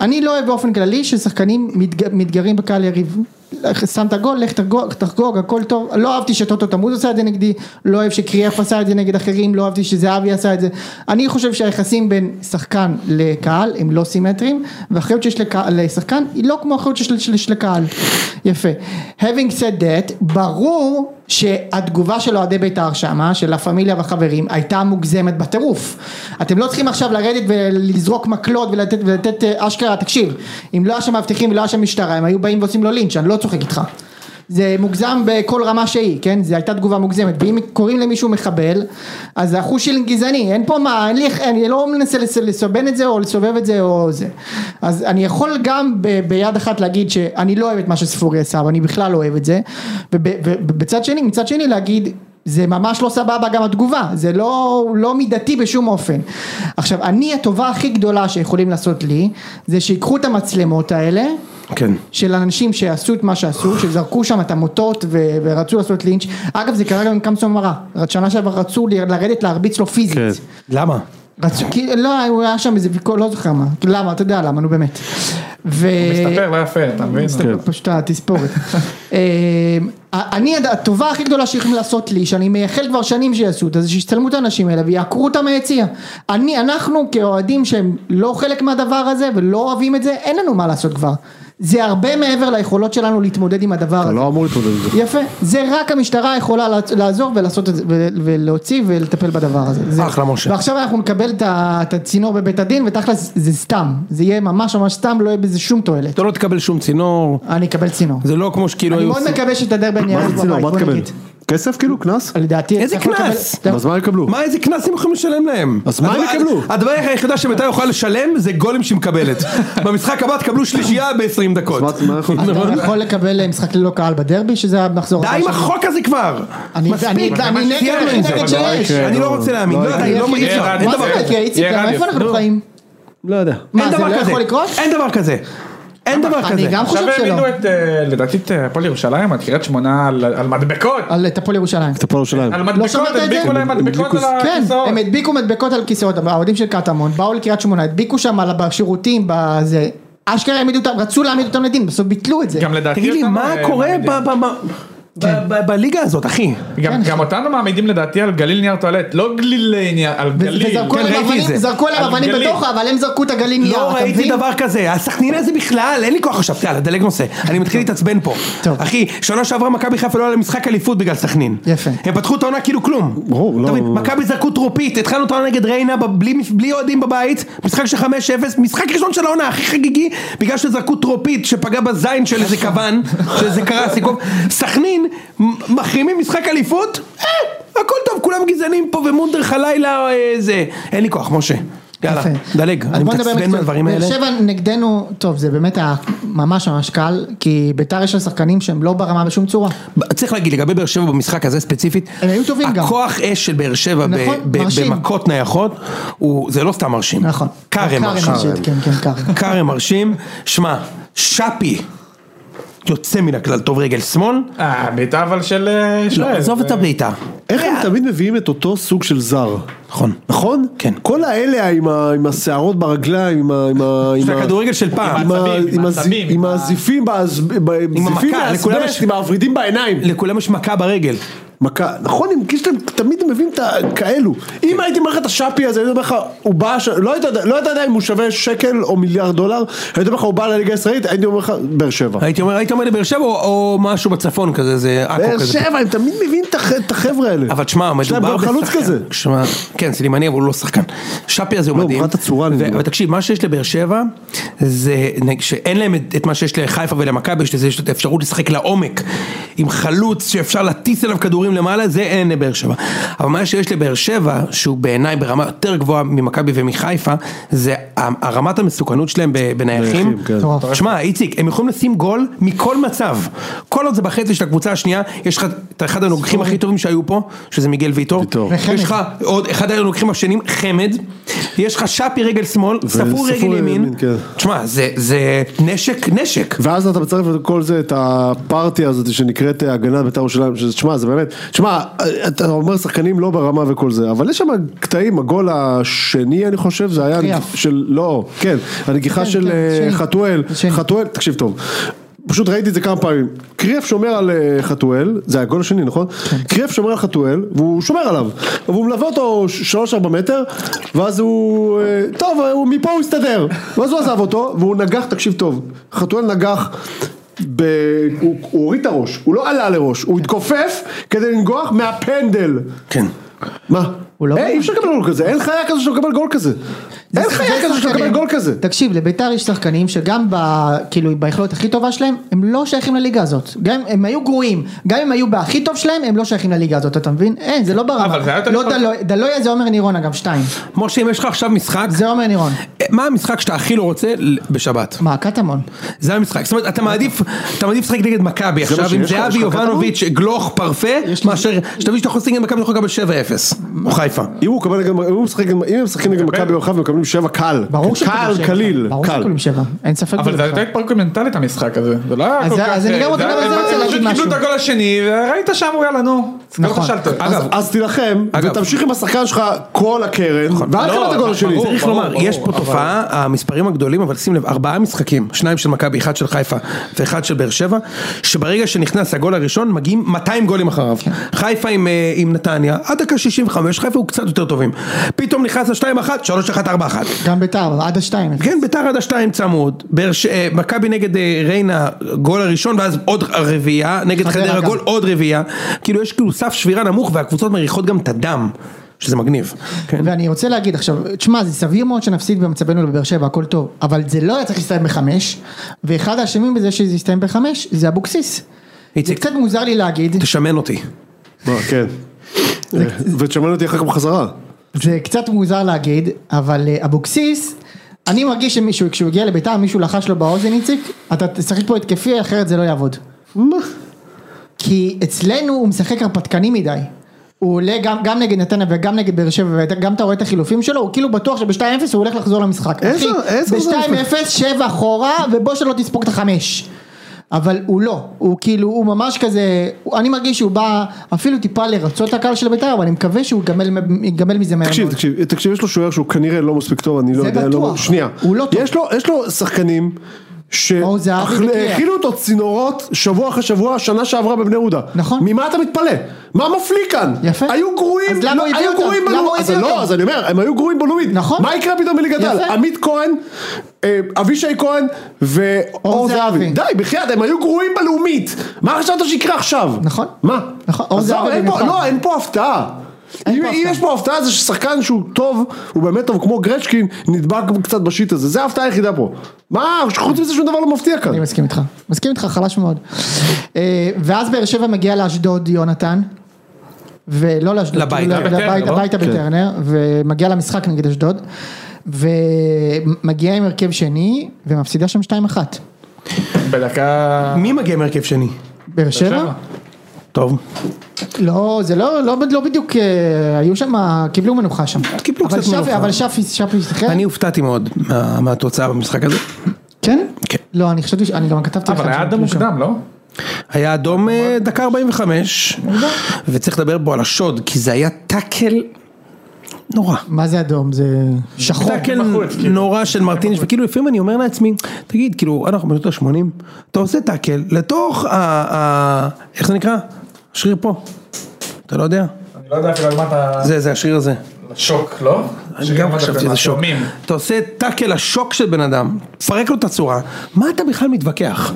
[SPEAKER 1] אני לא אוהב באופן כללי ששחקנים מתג- מתגרים בקהל יריב. לך- שמת גול, לך תחגוג, תחגוג, הכל טוב. לא אהבתי שטוטו תמוז עשה את זה נגדי, לא אוהב שקריאף עשה את זה נגד אחרים, לא אהבתי שזהבי עשה את זה. אני חושב שהיחסים בין שחקן לקהל הם לא סימטריים, והאחריות שיש לקה- לשחקן היא לא כמו האחריות שיש- שיש לקהל. יפה. Having said that, ברור שהתגובה של אוהדי בית"ר שמה, של לה פמיליה והחברים, הייתה מוגזמת בטירוף. אתם לא צריכים עכשיו לרדת ולזרוק מקלות ולתת, ולתת אה, אשכרה, תקשיב, אם לא היה שם מאבטחים ולא היה שם משטרה, הם היו באים ועושים לו לינץ', אני לא צוחק איתך. זה מוגזם בכל רמה שהיא, כן? זו הייתה תגובה מוגזמת. ואם קוראים למישהו מחבל, אז זה אחוז של גזעני. אין פה מה, אין לי, אני לא מנסה לס- לסבן את זה או לסובב את זה או זה. אז אני יכול גם ב, ביד אחת להגיד שאני לא אוהב את מה שספורי עשה, ואני בכלל לא אוהב את זה. ובצד שני, מצד שני להגיד... זה ממש לא סבבה גם התגובה, זה לא, לא מידתי בשום אופן. עכשיו, אני הטובה הכי גדולה שיכולים לעשות לי, זה שיקחו את המצלמות האלה,
[SPEAKER 2] כן.
[SPEAKER 1] של אנשים שעשו את מה שעשו, שזרקו שם את המוטות ו- ורצו לעשות לינץ', אגב זה קרה גם עם קמסון מרה, שנה שעבר רצו ל- לרדת להרביץ לו פיזית.
[SPEAKER 4] כן.
[SPEAKER 2] למה?
[SPEAKER 1] רצו, כי, לא, הוא היה שם איזה ויכוח, לא זוכר מה, למה, אתה יודע למה, נו באמת. ו...
[SPEAKER 3] מסתפר לא
[SPEAKER 1] אה,
[SPEAKER 3] יפה, אתה
[SPEAKER 2] כן.
[SPEAKER 3] מבין?
[SPEAKER 1] מסתבר פשוט התספורת. אמ, אני, הד- הטובה הכי גדולה שיכולים לעשות לי, שאני מייחל כבר שנים שיעשו אותה, זה שיצלמו את האנשים האלה ויעקרו אותם מהיציע. אני, אנחנו כאוהדים שהם לא חלק מהדבר הזה ולא אוהבים את זה, אין לנו מה לעשות כבר. זה הרבה מעבר ליכולות שלנו להתמודד עם הדבר
[SPEAKER 4] אתה
[SPEAKER 1] הזה.
[SPEAKER 4] לא אמור להתמודד עם זה.
[SPEAKER 1] יפה, זה רק המשטרה יכולה לעצ- לעזור ולעשות את זה, ו- ולהוציא ולטפל בדבר הזה. זה-
[SPEAKER 2] אחלה, משה.
[SPEAKER 1] ועכשיו אנחנו נקבל את ה- את הצינור בבית הדין, ותכלס זה סתם, זה יהיה ממש ממש סתם, לא יהיה בזה שום תועלת.
[SPEAKER 2] אתה לא תקבל שום צינור,
[SPEAKER 1] אני אקבל צינור.
[SPEAKER 2] זה לא כמו שכאילו
[SPEAKER 1] אני
[SPEAKER 2] היו
[SPEAKER 1] מאוד
[SPEAKER 2] עושים.
[SPEAKER 1] מקווה שתדר בן
[SPEAKER 4] מה
[SPEAKER 1] ירד
[SPEAKER 4] זה צינור?
[SPEAKER 1] בבית,
[SPEAKER 4] מה
[SPEAKER 1] בוא
[SPEAKER 4] תקבל?
[SPEAKER 1] נגיד.
[SPEAKER 4] כסף כאילו? קנס?
[SPEAKER 1] לדעתי
[SPEAKER 2] איזה
[SPEAKER 1] אתה יכול לקבל-
[SPEAKER 2] קנס?
[SPEAKER 1] אתה-
[SPEAKER 4] אז מה יקבלו?
[SPEAKER 2] מה איזה קנסים יכולים לשלם להם?
[SPEAKER 4] אז מה הם
[SPEAKER 2] הדבר-
[SPEAKER 4] יקבלו?
[SPEAKER 2] הדבר היחידה שבית"ר יכולה לשלם זה גולים שהיא מקבלת. במשחק הבא תקבלו שלישייה ב-20 דקות.
[SPEAKER 4] אז מה- מה אנחנו-
[SPEAKER 1] אתה יכול לקבל אה, משחק ללא קהל בדרבי שזה המחזור
[SPEAKER 2] די
[SPEAKER 1] הבא
[SPEAKER 2] עם
[SPEAKER 1] שלנו.
[SPEAKER 2] החוק הזה כבר!
[SPEAKER 1] אני-
[SPEAKER 2] מספיק!
[SPEAKER 1] אני- אני נגד,
[SPEAKER 2] סיימנו
[SPEAKER 1] אני
[SPEAKER 2] עם זה.
[SPEAKER 1] נגד
[SPEAKER 2] לא
[SPEAKER 1] שיש.
[SPEAKER 2] אני לא רוצה להאמין, לא יודע, לא אי אפשר, אין
[SPEAKER 1] מה
[SPEAKER 2] דבר
[SPEAKER 1] זה
[SPEAKER 2] כזה.
[SPEAKER 1] יקרה איציק?
[SPEAKER 3] יהיה
[SPEAKER 1] גם
[SPEAKER 3] רדיו.
[SPEAKER 1] איפה אנחנו
[SPEAKER 3] נו.
[SPEAKER 1] חיים?
[SPEAKER 4] לא יודע.
[SPEAKER 1] מה
[SPEAKER 2] אין
[SPEAKER 1] זה
[SPEAKER 2] דבר
[SPEAKER 1] לא
[SPEAKER 2] כזה.
[SPEAKER 1] יכול לקרות?
[SPEAKER 2] אין דבר כזה. אין דבר
[SPEAKER 1] אני
[SPEAKER 2] כזה.
[SPEAKER 1] גם חושב
[SPEAKER 3] עכשיו
[SPEAKER 1] שלא.
[SPEAKER 3] העמידו את, אה, לדעתי, את אה, הפועל ירושלים, את קריית שמונה, על על מדבקות.
[SPEAKER 1] על את הפועל ירושלים.
[SPEAKER 4] את הפועל ירושלים.
[SPEAKER 3] על
[SPEAKER 1] אה, לא
[SPEAKER 3] מדבקות,
[SPEAKER 1] שמעת את זה?
[SPEAKER 3] הדביקו להם מדבקות
[SPEAKER 4] הדביקו-
[SPEAKER 3] על
[SPEAKER 1] כן,
[SPEAKER 3] הכיסאות.
[SPEAKER 1] הם הדביקו מדבקות על כיסאות, האוהדים של קטמון, באו לקריית שמונה, הדביקו שם על בשירותים, בזה, אשכרה העמידו אותם, רצו להעמיד אותם לדין, בסוף ביטלו את זה.
[SPEAKER 3] גם לדעתי
[SPEAKER 2] תגיד לי,
[SPEAKER 3] אותנו,
[SPEAKER 2] מה
[SPEAKER 3] אה,
[SPEAKER 2] קורה
[SPEAKER 3] מעמידים.
[SPEAKER 2] ב- ב- ב-
[SPEAKER 1] כן.
[SPEAKER 2] ב- ב- בליגה הזאת, אחי?
[SPEAKER 3] גם- גם אותנו מעמידים לדעתי על גליל נייר טואלט, לא גליל אה, נייר, על
[SPEAKER 1] ו-
[SPEAKER 3] גליל.
[SPEAKER 1] וזרקו
[SPEAKER 2] כן,
[SPEAKER 1] עליהם
[SPEAKER 2] ראיתי את
[SPEAKER 1] אבנים-
[SPEAKER 2] זה.
[SPEAKER 1] זרקו עליהם
[SPEAKER 3] על
[SPEAKER 1] אבנים
[SPEAKER 3] גליל.
[SPEAKER 1] בתוך, אבל הם זרקו את הגלים נייר,
[SPEAKER 2] לא
[SPEAKER 1] אתה
[SPEAKER 2] ראיתי
[SPEAKER 1] מבין?
[SPEAKER 2] דבר כזה, הסכנין הזה בכלל, אין לי כוח עכשיו, יאללה, דלג נושא. אני מתחיל להתעצבן פה.
[SPEAKER 1] טוב.
[SPEAKER 2] אחי, שנה שעברה מכבי חיפה לא היה למשחק אליפות בגלל סכנין.
[SPEAKER 1] יפה.
[SPEAKER 2] הם פתחו את העונה כאילו כלום.
[SPEAKER 4] ברור, לא-
[SPEAKER 2] אתה מבין, מכבי זרקו טרופית, התחלנו את העונה נגד ריינה ב- בלי- בלי אוהדים בבית, משחק של 5-0, משחק ראשון של העונה הכי חגיגי, בגלל שזרקו טרופית שפגע בזין של איזה כוון, שזה קרה סיכום. סכנין, מ- מחרימים משחק אליפות, אה, הכל טוב, כולם גזענים פה ומונדר חלילה אה, זה. אין לי כוח, משה. יאללה,
[SPEAKER 1] יפה.
[SPEAKER 2] דלג,
[SPEAKER 1] אז
[SPEAKER 2] אני
[SPEAKER 1] בוא נדבר
[SPEAKER 2] מתעצבן
[SPEAKER 1] מקצועית.
[SPEAKER 2] מהדברים האלה.
[SPEAKER 1] באר שבע נגדנו, טוב זה באמת היה ממש ממש קל, כי ביתר יש לה שחקנים שהם לא ברמה בשום צורה.
[SPEAKER 2] צריך להגיד לגבי באר שבע במשחק הזה ספציפית,
[SPEAKER 1] הם היו טובים גם.
[SPEAKER 2] הכוח אש של באר שבע ב-
[SPEAKER 1] נכון,
[SPEAKER 2] ב-
[SPEAKER 1] מרשים.
[SPEAKER 2] במכות נייחות, הוא- זה לא סתם מרשים.
[SPEAKER 1] נכון.
[SPEAKER 2] קארם מרשים.
[SPEAKER 1] כן, כן, קארם.
[SPEAKER 2] קארם מרשים, שמע, שפי יוצא מן הכלל, טוב רגל שמאל,
[SPEAKER 3] אה, בעיטה אבל של... אה,
[SPEAKER 2] לא,
[SPEAKER 3] שוער.
[SPEAKER 2] עזוב את הבעיטה.
[SPEAKER 4] איך הם תמיד מביאים את אותו סוג של זר?
[SPEAKER 2] נכון.
[SPEAKER 4] נכון?
[SPEAKER 2] כן.
[SPEAKER 4] כל האלה עם ה- עם השערות ברגליים, עם ה- עם ה... עם
[SPEAKER 2] של
[SPEAKER 4] ה-
[SPEAKER 2] הכדורגל של פעם.
[SPEAKER 4] עם ה-
[SPEAKER 3] העצבים,
[SPEAKER 4] עם
[SPEAKER 3] עם
[SPEAKER 4] הז-
[SPEAKER 3] העצבים,
[SPEAKER 4] עם
[SPEAKER 3] עם ה-
[SPEAKER 4] הזיפים, באז- ב- זיפים
[SPEAKER 2] המכה, לכולם
[SPEAKER 4] באסבסט,
[SPEAKER 2] יש-
[SPEAKER 4] עם הוורידים בעיניים.
[SPEAKER 2] לכולם יש מכה ברגל.
[SPEAKER 4] מכה, נכון, הם כאילו שאתם תמיד מביאים את ה- כאלו. אם הייתי אומר לך את השאפי הזה, הייתי אומר לך, הוא בא, ש- לא היית יודע- לא היית יודע אם הוא שווה שקל או מיליארד דולר, הייתי אומר לך, הוא בא לליגה הישראלית, הייתי אומר לך, באר שבע.
[SPEAKER 2] הייתי אומר, היית אומר לבאר שבע או- או משהו בצפון כזה, זה עכו
[SPEAKER 4] באר
[SPEAKER 2] כזה.
[SPEAKER 4] שבע, הם תמיד מביאים את הח- את החבר'ה האלה.
[SPEAKER 2] אבל תשמע,
[SPEAKER 4] יש להם
[SPEAKER 2] מדובר
[SPEAKER 4] גם חלוץ כזה.
[SPEAKER 2] שמע, כן, סלימני, אבל הוא לא שחקן. שפי הזה הוא
[SPEAKER 4] לא,
[SPEAKER 2] מדהים.
[SPEAKER 4] מבחינת הצורה אני
[SPEAKER 2] ו-
[SPEAKER 4] מדבר.
[SPEAKER 2] אבל תקשיב, מה שיש לבאר שבע, זה נג- שאין להם את, את מה שיש לחיפה ולמכבי, שזה יש את האפשרות לשחק לעומק, עם חלוץ שאפשר להטיס אליו כדורים למעלה, זה אין לבאר שבע. אבל מה שיש לבאר שבע, שהוא בעיניי ברמה יותר גבוהה ממכבי ומחיפה, זה ה- הרמת המסוכנות שלהם ב- בנייחים.
[SPEAKER 4] נייחים, כן.
[SPEAKER 1] מטורף.
[SPEAKER 2] שמע, איציק, הם יכולים לשים גול מכל מצב. כל עוד זה בחצי של הקבוצה השנייה, יש לך את אחד הנוגחים הכי טובים שהיו פה, שזה מיגל ויטור.
[SPEAKER 4] ויטור.
[SPEAKER 1] וחמד.
[SPEAKER 2] יש לך עוד אחד הנוגחים השניים, חמד. יש לך שפי רגל שמאל, ספור
[SPEAKER 4] וספורי
[SPEAKER 2] רגל ימין.
[SPEAKER 4] ימין, כן.
[SPEAKER 2] תשמע, זה- זה נשק, נשק.
[SPEAKER 4] ואז אתה מצרף לכל זה את הפארטיה הזאת שנקראת הגנת בית"ר ירושלים, שזה, תשמע, זה באמת, תשמע, אה, אתה אומר שחקנים לא ברמה וכל זה, אבל יש שם קטעים, הגול השני אני חושב, זה היה,
[SPEAKER 1] קריאף.
[SPEAKER 4] הנגיח- של, לא, כן, הנגיחה
[SPEAKER 1] כן,
[SPEAKER 4] של
[SPEAKER 1] כן,
[SPEAKER 4] אה,
[SPEAKER 1] שני.
[SPEAKER 4] חתואל,
[SPEAKER 1] שני.
[SPEAKER 4] חתואל, תקשיב טוב. פשוט ראיתי את זה כמה פעמים, קריאף שומר על אה, חתואל, זה הגול השני נכון?
[SPEAKER 1] כן.
[SPEAKER 4] קריאף שומר על חתואל והוא שומר עליו, והוא מלווה אותו 3-4 מטר, ואז הוא, אה, טוב הוא- מפה הוא הסתדר, ואז הוא עזב אותו והוא נגח, תקשיב טוב, חתואל נגח, ב... הוא, הוא הוריד את הראש, הוא לא עלה לראש, הוא התכופף כדי לנגוח מהפנדל.
[SPEAKER 2] כן.
[SPEAKER 4] מה?
[SPEAKER 1] הוא לא...
[SPEAKER 4] אה, אי אפשר לקבל גול כזה, אין חיה כזו שמקבל גול כזה.
[SPEAKER 1] זה-
[SPEAKER 4] אין
[SPEAKER 1] זה
[SPEAKER 4] חיה כזו שמקבל
[SPEAKER 1] שחקנים-
[SPEAKER 4] גול כזה.
[SPEAKER 1] תקשיב, לביתר יש שחקנים שגם ב... כאילו, ביכולת הכי טובה שלהם, הם לא שייכים לליגה הזאת. גם אם הם היו גרועים, גם אם היו בהכי טוב שלהם, הם לא שייכים לליגה הזאת, אתה מבין? אין, זה לא ברמה.
[SPEAKER 3] אבל זה היה יותר
[SPEAKER 1] לא
[SPEAKER 3] משחק-
[SPEAKER 1] דלויה- דלויה זה עומר נירון אגב, שתיים.
[SPEAKER 2] משה, אם יש לך עכשיו משחק,
[SPEAKER 1] זה עומר נירון.
[SPEAKER 2] מה המשחק שאתה הכי לא רוצה ל- בשבת?
[SPEAKER 1] מה, קטמון.
[SPEAKER 2] זה המשחק, זאת אומרת אתה מעדיף, אתה מעדיף לשחק נגד מכבי
[SPEAKER 4] מה
[SPEAKER 2] עכשיו עם
[SPEAKER 4] שיש לך?
[SPEAKER 2] זהבי
[SPEAKER 4] יש לך
[SPEAKER 2] יובנוביץ', גלוך, פרפה, מאשר שתבין שאתה יכול לשחק נגד מכבי אתה יכול לקבל 7-0, או חיפה.
[SPEAKER 4] אם הוא מקבל גם, אם הוא משחק, גם- אם הם משחקים נגד מכבי ירוחם ומקבלים שבע קל,
[SPEAKER 1] ברור
[SPEAKER 4] קל,
[SPEAKER 1] שקולים שבע.
[SPEAKER 4] קליל,
[SPEAKER 1] ברור
[SPEAKER 4] קל.
[SPEAKER 1] שקולים שבע, אין ספק.
[SPEAKER 3] אבל זה
[SPEAKER 1] בזה.
[SPEAKER 3] הייתה התפרקות מנטלית המשחק הזה, זה לא היה
[SPEAKER 1] אז
[SPEAKER 3] כל
[SPEAKER 1] זה-
[SPEAKER 3] כך...
[SPEAKER 1] אז אני גם רוצה-
[SPEAKER 3] זה-
[SPEAKER 1] גם על זה
[SPEAKER 3] הם
[SPEAKER 1] רוצה
[SPEAKER 3] פשוט
[SPEAKER 1] להגיד משהו.
[SPEAKER 3] קיבלו את הגול השני, וראית שם, יאללה נו.
[SPEAKER 1] נכון.
[SPEAKER 3] נכון.
[SPEAKER 4] אז- אז תילחם,
[SPEAKER 2] אגב.
[SPEAKER 4] ותמשיך עם השחקן שלך כל הקרן, ואל תקבל את הגול השני.
[SPEAKER 3] נכון. לא, ברור,
[SPEAKER 2] צריך לומר,
[SPEAKER 3] ברור,
[SPEAKER 2] יש פה
[SPEAKER 3] אבל-
[SPEAKER 2] תופעה, המספרים הגדולים, אבל שים לב, ארבעה משחקים, שניים של מכבי, אחד של חיפה ואחד של באר שבע, שברגע שנכנס הגול הראשון, מגיעים 200 גולים אחריו. חיפה עם, אה, עם נתניה, עד דקה 65, חיפה הוא קצת יותר טובים. פתאום נכנס ל-2-1, 3-1, 4-1.
[SPEAKER 1] גם ביתר, עד השתיים.
[SPEAKER 2] כן, ביתר עד השתיים צמוד, באר ש- אה, מכבי נגד אה, ריינה, גול הראשון ואז עוד רביעייה, נגד
[SPEAKER 1] חדרה
[SPEAKER 2] חדרה
[SPEAKER 1] גם.
[SPEAKER 2] גול עוד רביעייה, כאילו יש כאילו סף שבירה נמוך והקבוצות מריחות גם את הדם, שזה מגניב. כן.
[SPEAKER 1] ואני רוצה להגיד עכשיו, תשמע, זה סביר מאוד שנפסיד במצבנו לבאר שבע, הכל טוב, אבל זה לא היה צריך להסתיים בחמש, ואחד האשמים בזה שזה הסתיים בחמש, זה אבוקסיס. זה
[SPEAKER 2] איציק.
[SPEAKER 1] קצת מוזר לי להגיד,
[SPEAKER 2] תשמן אותי.
[SPEAKER 4] מה, כן. ותשמענו אותי אחר כך בחזרה.
[SPEAKER 1] זה קצת מוזר להגיד, אבל אה, אבוקסיס, אני מרגיש שמישהו, כשהוא הגיע לביתר, מישהו לחש לו באוזן, איציק, אתה תשחק פה התקפי, אחרת זה לא יעבוד.
[SPEAKER 4] מה?
[SPEAKER 1] כי אצלנו הוא משחק הרפתקני מדי. הוא עולה גם, גם נגד נתניה וגם נגד באר שבע וגם אתה רואה את החילופים שלו הוא כאילו בטוח שב-2-0 הוא הולך לחזור למשחק.
[SPEAKER 4] איזה- איזה חזור
[SPEAKER 1] ב-2-0 שבע אחורה ובוא שלא תספוג את החמש. אבל הוא לא, הוא כאילו, הוא ממש כזה, הוא- אני מרגיש שהוא בא אפילו טיפה לרצות את הקהל של בית"ר, אבל אני מקווה שהוא ייגמל- ייגמל מזה מהר
[SPEAKER 4] תקשיב,
[SPEAKER 1] מאוד.
[SPEAKER 4] תקשיב, תקשיב, יש לו שוער שהוא כנראה לא מספיק טוב, אני לא
[SPEAKER 1] זה
[SPEAKER 4] יודע, לא-
[SPEAKER 1] בטוח.
[SPEAKER 4] שנייה,
[SPEAKER 1] הוא לא טוב.
[SPEAKER 4] יש לו- יש לו שחקנים
[SPEAKER 1] או זהבי וקריאה.
[SPEAKER 4] שהכילו אותו צינורות שבוע אחרי שבוע, שנה שעברה בבני יהודה.
[SPEAKER 1] נכון.
[SPEAKER 4] ממה אתה מתפלא? מה מפליא כאן?
[SPEAKER 1] יפה.
[SPEAKER 4] היו גרועים,
[SPEAKER 1] אז למה
[SPEAKER 4] לא,
[SPEAKER 1] הוא הביא
[SPEAKER 4] היו
[SPEAKER 1] אותם?
[SPEAKER 4] גרועים
[SPEAKER 1] למה
[SPEAKER 4] בלאומית.
[SPEAKER 1] הוא
[SPEAKER 4] אז
[SPEAKER 1] הביא
[SPEAKER 4] לא,
[SPEAKER 1] אותם?
[SPEAKER 4] אז אני אומר, הם היו גרועים בלאומית.
[SPEAKER 1] נכון.
[SPEAKER 4] מה יקרה פתאום בליגת העל?
[SPEAKER 1] יפה.
[SPEAKER 4] עמית כהן, אה, אבישי כהן ואור
[SPEAKER 1] אור
[SPEAKER 4] זהבי.
[SPEAKER 1] זהבי.
[SPEAKER 4] די, בחייאת, הם היו גרועים בלאומית. מה חשבת שיקרה עכשיו?
[SPEAKER 1] נכון.
[SPEAKER 4] מה?
[SPEAKER 1] נכון, אור
[SPEAKER 4] אז
[SPEAKER 1] זהבי
[SPEAKER 4] אין פה-
[SPEAKER 1] במיוחד.
[SPEAKER 4] לא, אין פה הפתעה.
[SPEAKER 1] אין
[SPEAKER 4] אם
[SPEAKER 1] פה
[SPEAKER 4] אם
[SPEAKER 1] הפתעה.
[SPEAKER 4] יש פה הפתעה זה ששחקן שהוא טוב, הוא באמת טוב כמו גרצ'קין, נדבק קצת בשיט הזה, זה ההפתעה היחידה פה. מה, חוץ מזה שום דבר לא מפתיע כאן.
[SPEAKER 1] אני מסכים איתך, מסכים איתך, חלש מאוד. אה, ואז באר שבע מגיע לאשדוד יונתן, ולא לאשדוד,
[SPEAKER 2] לבית,
[SPEAKER 1] כאילו,
[SPEAKER 2] בטרנר,
[SPEAKER 1] לבית-
[SPEAKER 3] לא?
[SPEAKER 1] הביתה בטרנר, ומגיע למשחק נגד אשדוד, ומגיע עם הרכב שני, ומפסידה שם 2-1.
[SPEAKER 3] בדקה...
[SPEAKER 2] מי מגיע מהרכב שני?
[SPEAKER 1] באר שבע?
[SPEAKER 3] שבע.
[SPEAKER 2] טוב.
[SPEAKER 1] לא, זה לא, לא, לא בדיוק, אה, היו שם, קיבלו מנוחה שם.
[SPEAKER 2] קיבלו
[SPEAKER 1] אבל
[SPEAKER 2] קצת
[SPEAKER 1] שפי-
[SPEAKER 2] מנוחה.
[SPEAKER 1] אבל שפי, שפי, שיחק?
[SPEAKER 3] אה?
[SPEAKER 2] אני הופתעתי מאוד מה- מהתוצאה במשחק הזה.
[SPEAKER 1] כן?
[SPEAKER 2] כן.
[SPEAKER 1] לא, אני חשבתי, ש- אני גם כתבתי
[SPEAKER 3] אבל
[SPEAKER 1] לכם
[SPEAKER 3] היה
[SPEAKER 1] שהם
[SPEAKER 3] אדם
[SPEAKER 1] קיבלו שם.
[SPEAKER 3] מוקדם, לא?
[SPEAKER 2] היה אדום אה, דקה 45,
[SPEAKER 3] אוקיי.
[SPEAKER 2] וצריך לדבר פה על השוד, כי זה היה טאקל נורא.
[SPEAKER 1] מה זה אדום? זה שחור.
[SPEAKER 2] טאקל
[SPEAKER 3] בחוץ, כאילו.
[SPEAKER 2] נורא של מרטיניש, וכאילו לפעמים אני אומר לעצמי, תגיד, כאילו, אנחנו בשנות ה-80, אתה עושה טאקל לתוך ה... ה- איך זה נקרא? השריר פה. אתה לא יודע?
[SPEAKER 3] אני לא יודע אפילו על מה אתה...
[SPEAKER 2] זה, זה השריר הזה.
[SPEAKER 3] שוק, לא?
[SPEAKER 2] אני גם חשבתי שזה שוק.
[SPEAKER 3] מהתאומים.
[SPEAKER 2] אתה עושה טאקל השוק של בן אדם, תפרק לו את הצורה, מה אתה בכלל מתווכח?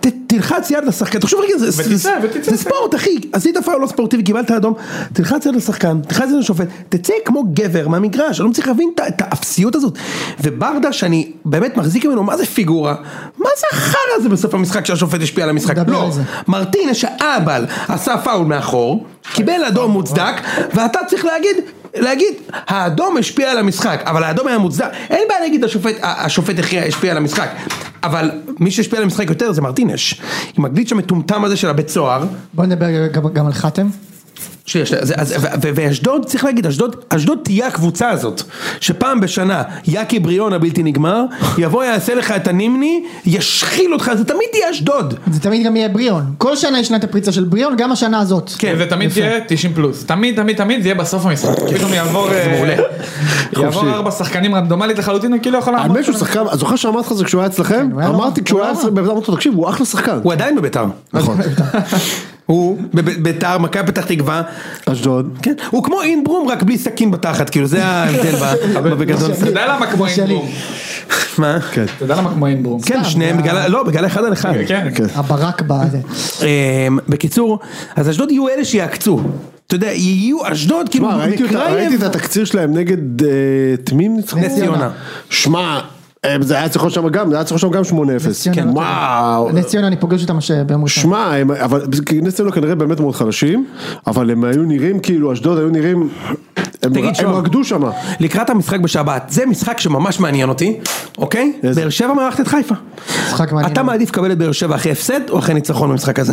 [SPEAKER 2] ת, תלחץ יד לשחקן, תחשוב רגע, זה,
[SPEAKER 3] ותצא,
[SPEAKER 2] זה,
[SPEAKER 3] ותצא.
[SPEAKER 2] זה ספורט אחי, עשית פאול לא ספורטיבי, קיבלת אדום, תלחץ יד לשחקן, תלחץ יד לשופט, תצא כמו גבר מהמגרש, אני לא מצליח להבין את ה- את האפסיות הזאת. וברדה שאני באמת מחזיק ממנו, מה זה פיגורה? מה זה החרא הזה בסוף המשחק שהשופט השפיע על המשחק?
[SPEAKER 1] נדבר
[SPEAKER 2] לא,
[SPEAKER 1] על זה.
[SPEAKER 2] מרטינש האבל עשה פאול מאחור, קיבל אדום מוצדק, ואתה צריך להגיד, להגיד, האדום השפיע על המשחק, אבל האדום היה מוצדק, אין בעיה להגיד השופט, ה- השופט הכריע, השפיע על המשחק, אבל מי שהשפיע על המשחק יותר זה מרטינש, עם הגליץ' המטומטם הזה של הבית סוהר,
[SPEAKER 1] בוא נדבר גם- גם על חתם.
[SPEAKER 2] שיש, אז, אז, ו- ו- ואשדוד, צריך להגיד, אשדוד, אשדוד תהיה הקבוצה הזאת, שפעם בשנה, יאקי בריאון הבלתי נגמר, יבוא יעשה לך את הנימני, ישחיל אותך, זה תמיד תהיה אשדוד.
[SPEAKER 1] זה תמיד גם יהיה בריאון. כל שנה יש שנת הפריצה של בריאון, גם השנה הזאת.
[SPEAKER 2] כן,
[SPEAKER 3] זה תמיד יהיה 90 פלוס, תמיד תמיד תמיד זה יהיה בסוף המשחק, פתאום יעבור אה,
[SPEAKER 2] מעולה.
[SPEAKER 3] יעבור
[SPEAKER 4] חופשי.
[SPEAKER 3] ארבע שחקנים רנדומלית לחלוטין, הוא כאילו יכול לעמוד,
[SPEAKER 4] האמת שהוא שחקן, זוכר שאמרתי לך את זה כשהוא היה אצלכם?
[SPEAKER 1] כן, הוא היה נורא,
[SPEAKER 4] אמרתי כשהוא
[SPEAKER 1] הוא
[SPEAKER 4] היה
[SPEAKER 1] היה
[SPEAKER 4] אצלכם, בן אדם אמרתי לו, תקשיב, הוא אחלה שחקן.
[SPEAKER 2] הוא עדיין בביתר.
[SPEAKER 4] נכון.
[SPEAKER 2] הוא בב- ביתר, מכבי פתח תקווה,
[SPEAKER 4] אשדוד.
[SPEAKER 2] כן, הוא כמו אינברום רק בלי סכין בתחת, כאילו זה ההבדל ב- בגדול.
[SPEAKER 3] אתה יודע למה כמו
[SPEAKER 1] שלי.
[SPEAKER 3] אינברום,
[SPEAKER 2] מה?
[SPEAKER 4] כן.
[SPEAKER 3] אתה יודע למה כמו אינברום,
[SPEAKER 2] כן, שניהם בגלל, ה- לא, בגלל האחד על אחד.
[SPEAKER 3] כן,
[SPEAKER 4] כן.
[SPEAKER 1] הברק בזה.
[SPEAKER 2] אמ, בקיצור, אז אשדוד יהיו אלה שיעקצו. אתה יודע, יהיו אשדוד, כאילו,
[SPEAKER 4] שמע, ראיתי אותה- ראיתי את התקציר שלהם נגד אה, את מי הם ניצחו?
[SPEAKER 2] נס ציונה.
[SPEAKER 4] שמע, אה, זה היה צריך להיות שם גם, זה היה צריך להיות שם גם 8-0.
[SPEAKER 1] ציונה, לא טובה.
[SPEAKER 4] וואו.
[SPEAKER 1] נס ציונה, אני פוגש אותם הש- ביום ראשון.
[SPEAKER 4] שמע, הם- אבל כי נס ציונה כנראה באמת מאוד חלשים, אבל הם היו נראים כאילו, אשדוד היו נראים, הם
[SPEAKER 2] תגיד,
[SPEAKER 4] הם
[SPEAKER 2] שוב.
[SPEAKER 4] רקדו שם.
[SPEAKER 2] לקראת המשחק בשבת, זה משחק שממש מעניין אותי, אוקיי?
[SPEAKER 4] איזה?
[SPEAKER 2] באר שבע מארחת את חיפה.
[SPEAKER 1] משחק מעניין.
[SPEAKER 2] אתה מעדיף לקבל את באר שבע אחרי הפסד או אחרי ניצחון במשחק הזה?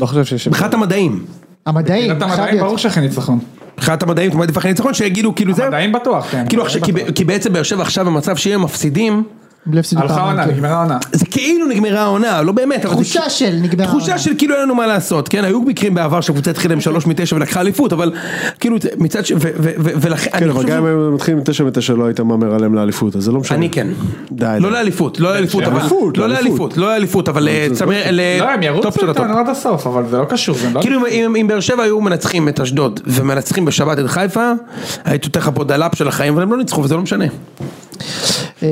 [SPEAKER 3] לא חושב שיש...
[SPEAKER 2] מבחינת המדעים.
[SPEAKER 1] המדעים,
[SPEAKER 3] מבחינת
[SPEAKER 1] חייב
[SPEAKER 3] המדעים
[SPEAKER 1] להיות.
[SPEAKER 3] ברור שאכן ניצחון.
[SPEAKER 2] מבחינת המדעים אתה מעדיף אחרי ניצחון שיגידו כאילו זה...
[SPEAKER 3] המדעים בטוח, כן.
[SPEAKER 2] כאילו עכשיו, כי ב- כי בעצם באר שבע עכשיו במצב שאם הם מפסידים,
[SPEAKER 1] בלי הפסידו
[SPEAKER 3] הלכה
[SPEAKER 1] פעמיים,
[SPEAKER 3] העונה,
[SPEAKER 1] כן.
[SPEAKER 3] נגמרה העונה.
[SPEAKER 2] זה כאילו נגמרה העונה, לא באמת. אנחנו-
[SPEAKER 1] תחושה של נגמרה
[SPEAKER 2] תחושה
[SPEAKER 1] העונה.
[SPEAKER 2] של כאילו אין לנו מה לעשות, כן? היו מקרים בעבר שהקבוצה התחילה עם שלוש מתשע ולקחה אליפות, אבל כאילו זה- מצד ש... ו- ו- ו- ולכן...
[SPEAKER 4] כן,
[SPEAKER 2] אני
[SPEAKER 4] אבל
[SPEAKER 2] חושב
[SPEAKER 4] גם אם
[SPEAKER 2] ש-
[SPEAKER 4] הם מתחילים עם 9 ו-9 לא היית מהמר עליהם לאליפות, אז זה לא משנה.
[SPEAKER 2] אני כן.
[SPEAKER 4] די.
[SPEAKER 2] לא
[SPEAKER 4] די.
[SPEAKER 2] לאליפות, לא לאליפות, אבל...
[SPEAKER 4] לאליפות,
[SPEAKER 2] לא
[SPEAKER 4] לאליפות.
[SPEAKER 2] לאליפות, לא לאליפות, אבל אה, צמר... ל-
[SPEAKER 3] לא, הם
[SPEAKER 2] טופ
[SPEAKER 3] ירוצו
[SPEAKER 2] של הטופ.
[SPEAKER 3] איתנו עד הסוף, אבל זה לא קשור, זה לא...
[SPEAKER 4] אוקיי.
[SPEAKER 2] כאילו אם- אם- אם באר שבע היו מנצחים את אשדוד ומנצחים בשבת את חיפה, הייתי נותן לך פה דלאפ של החיים, אבל הם לא ניצחו וזה לא משנה.
[SPEAKER 4] כן.
[SPEAKER 1] אה,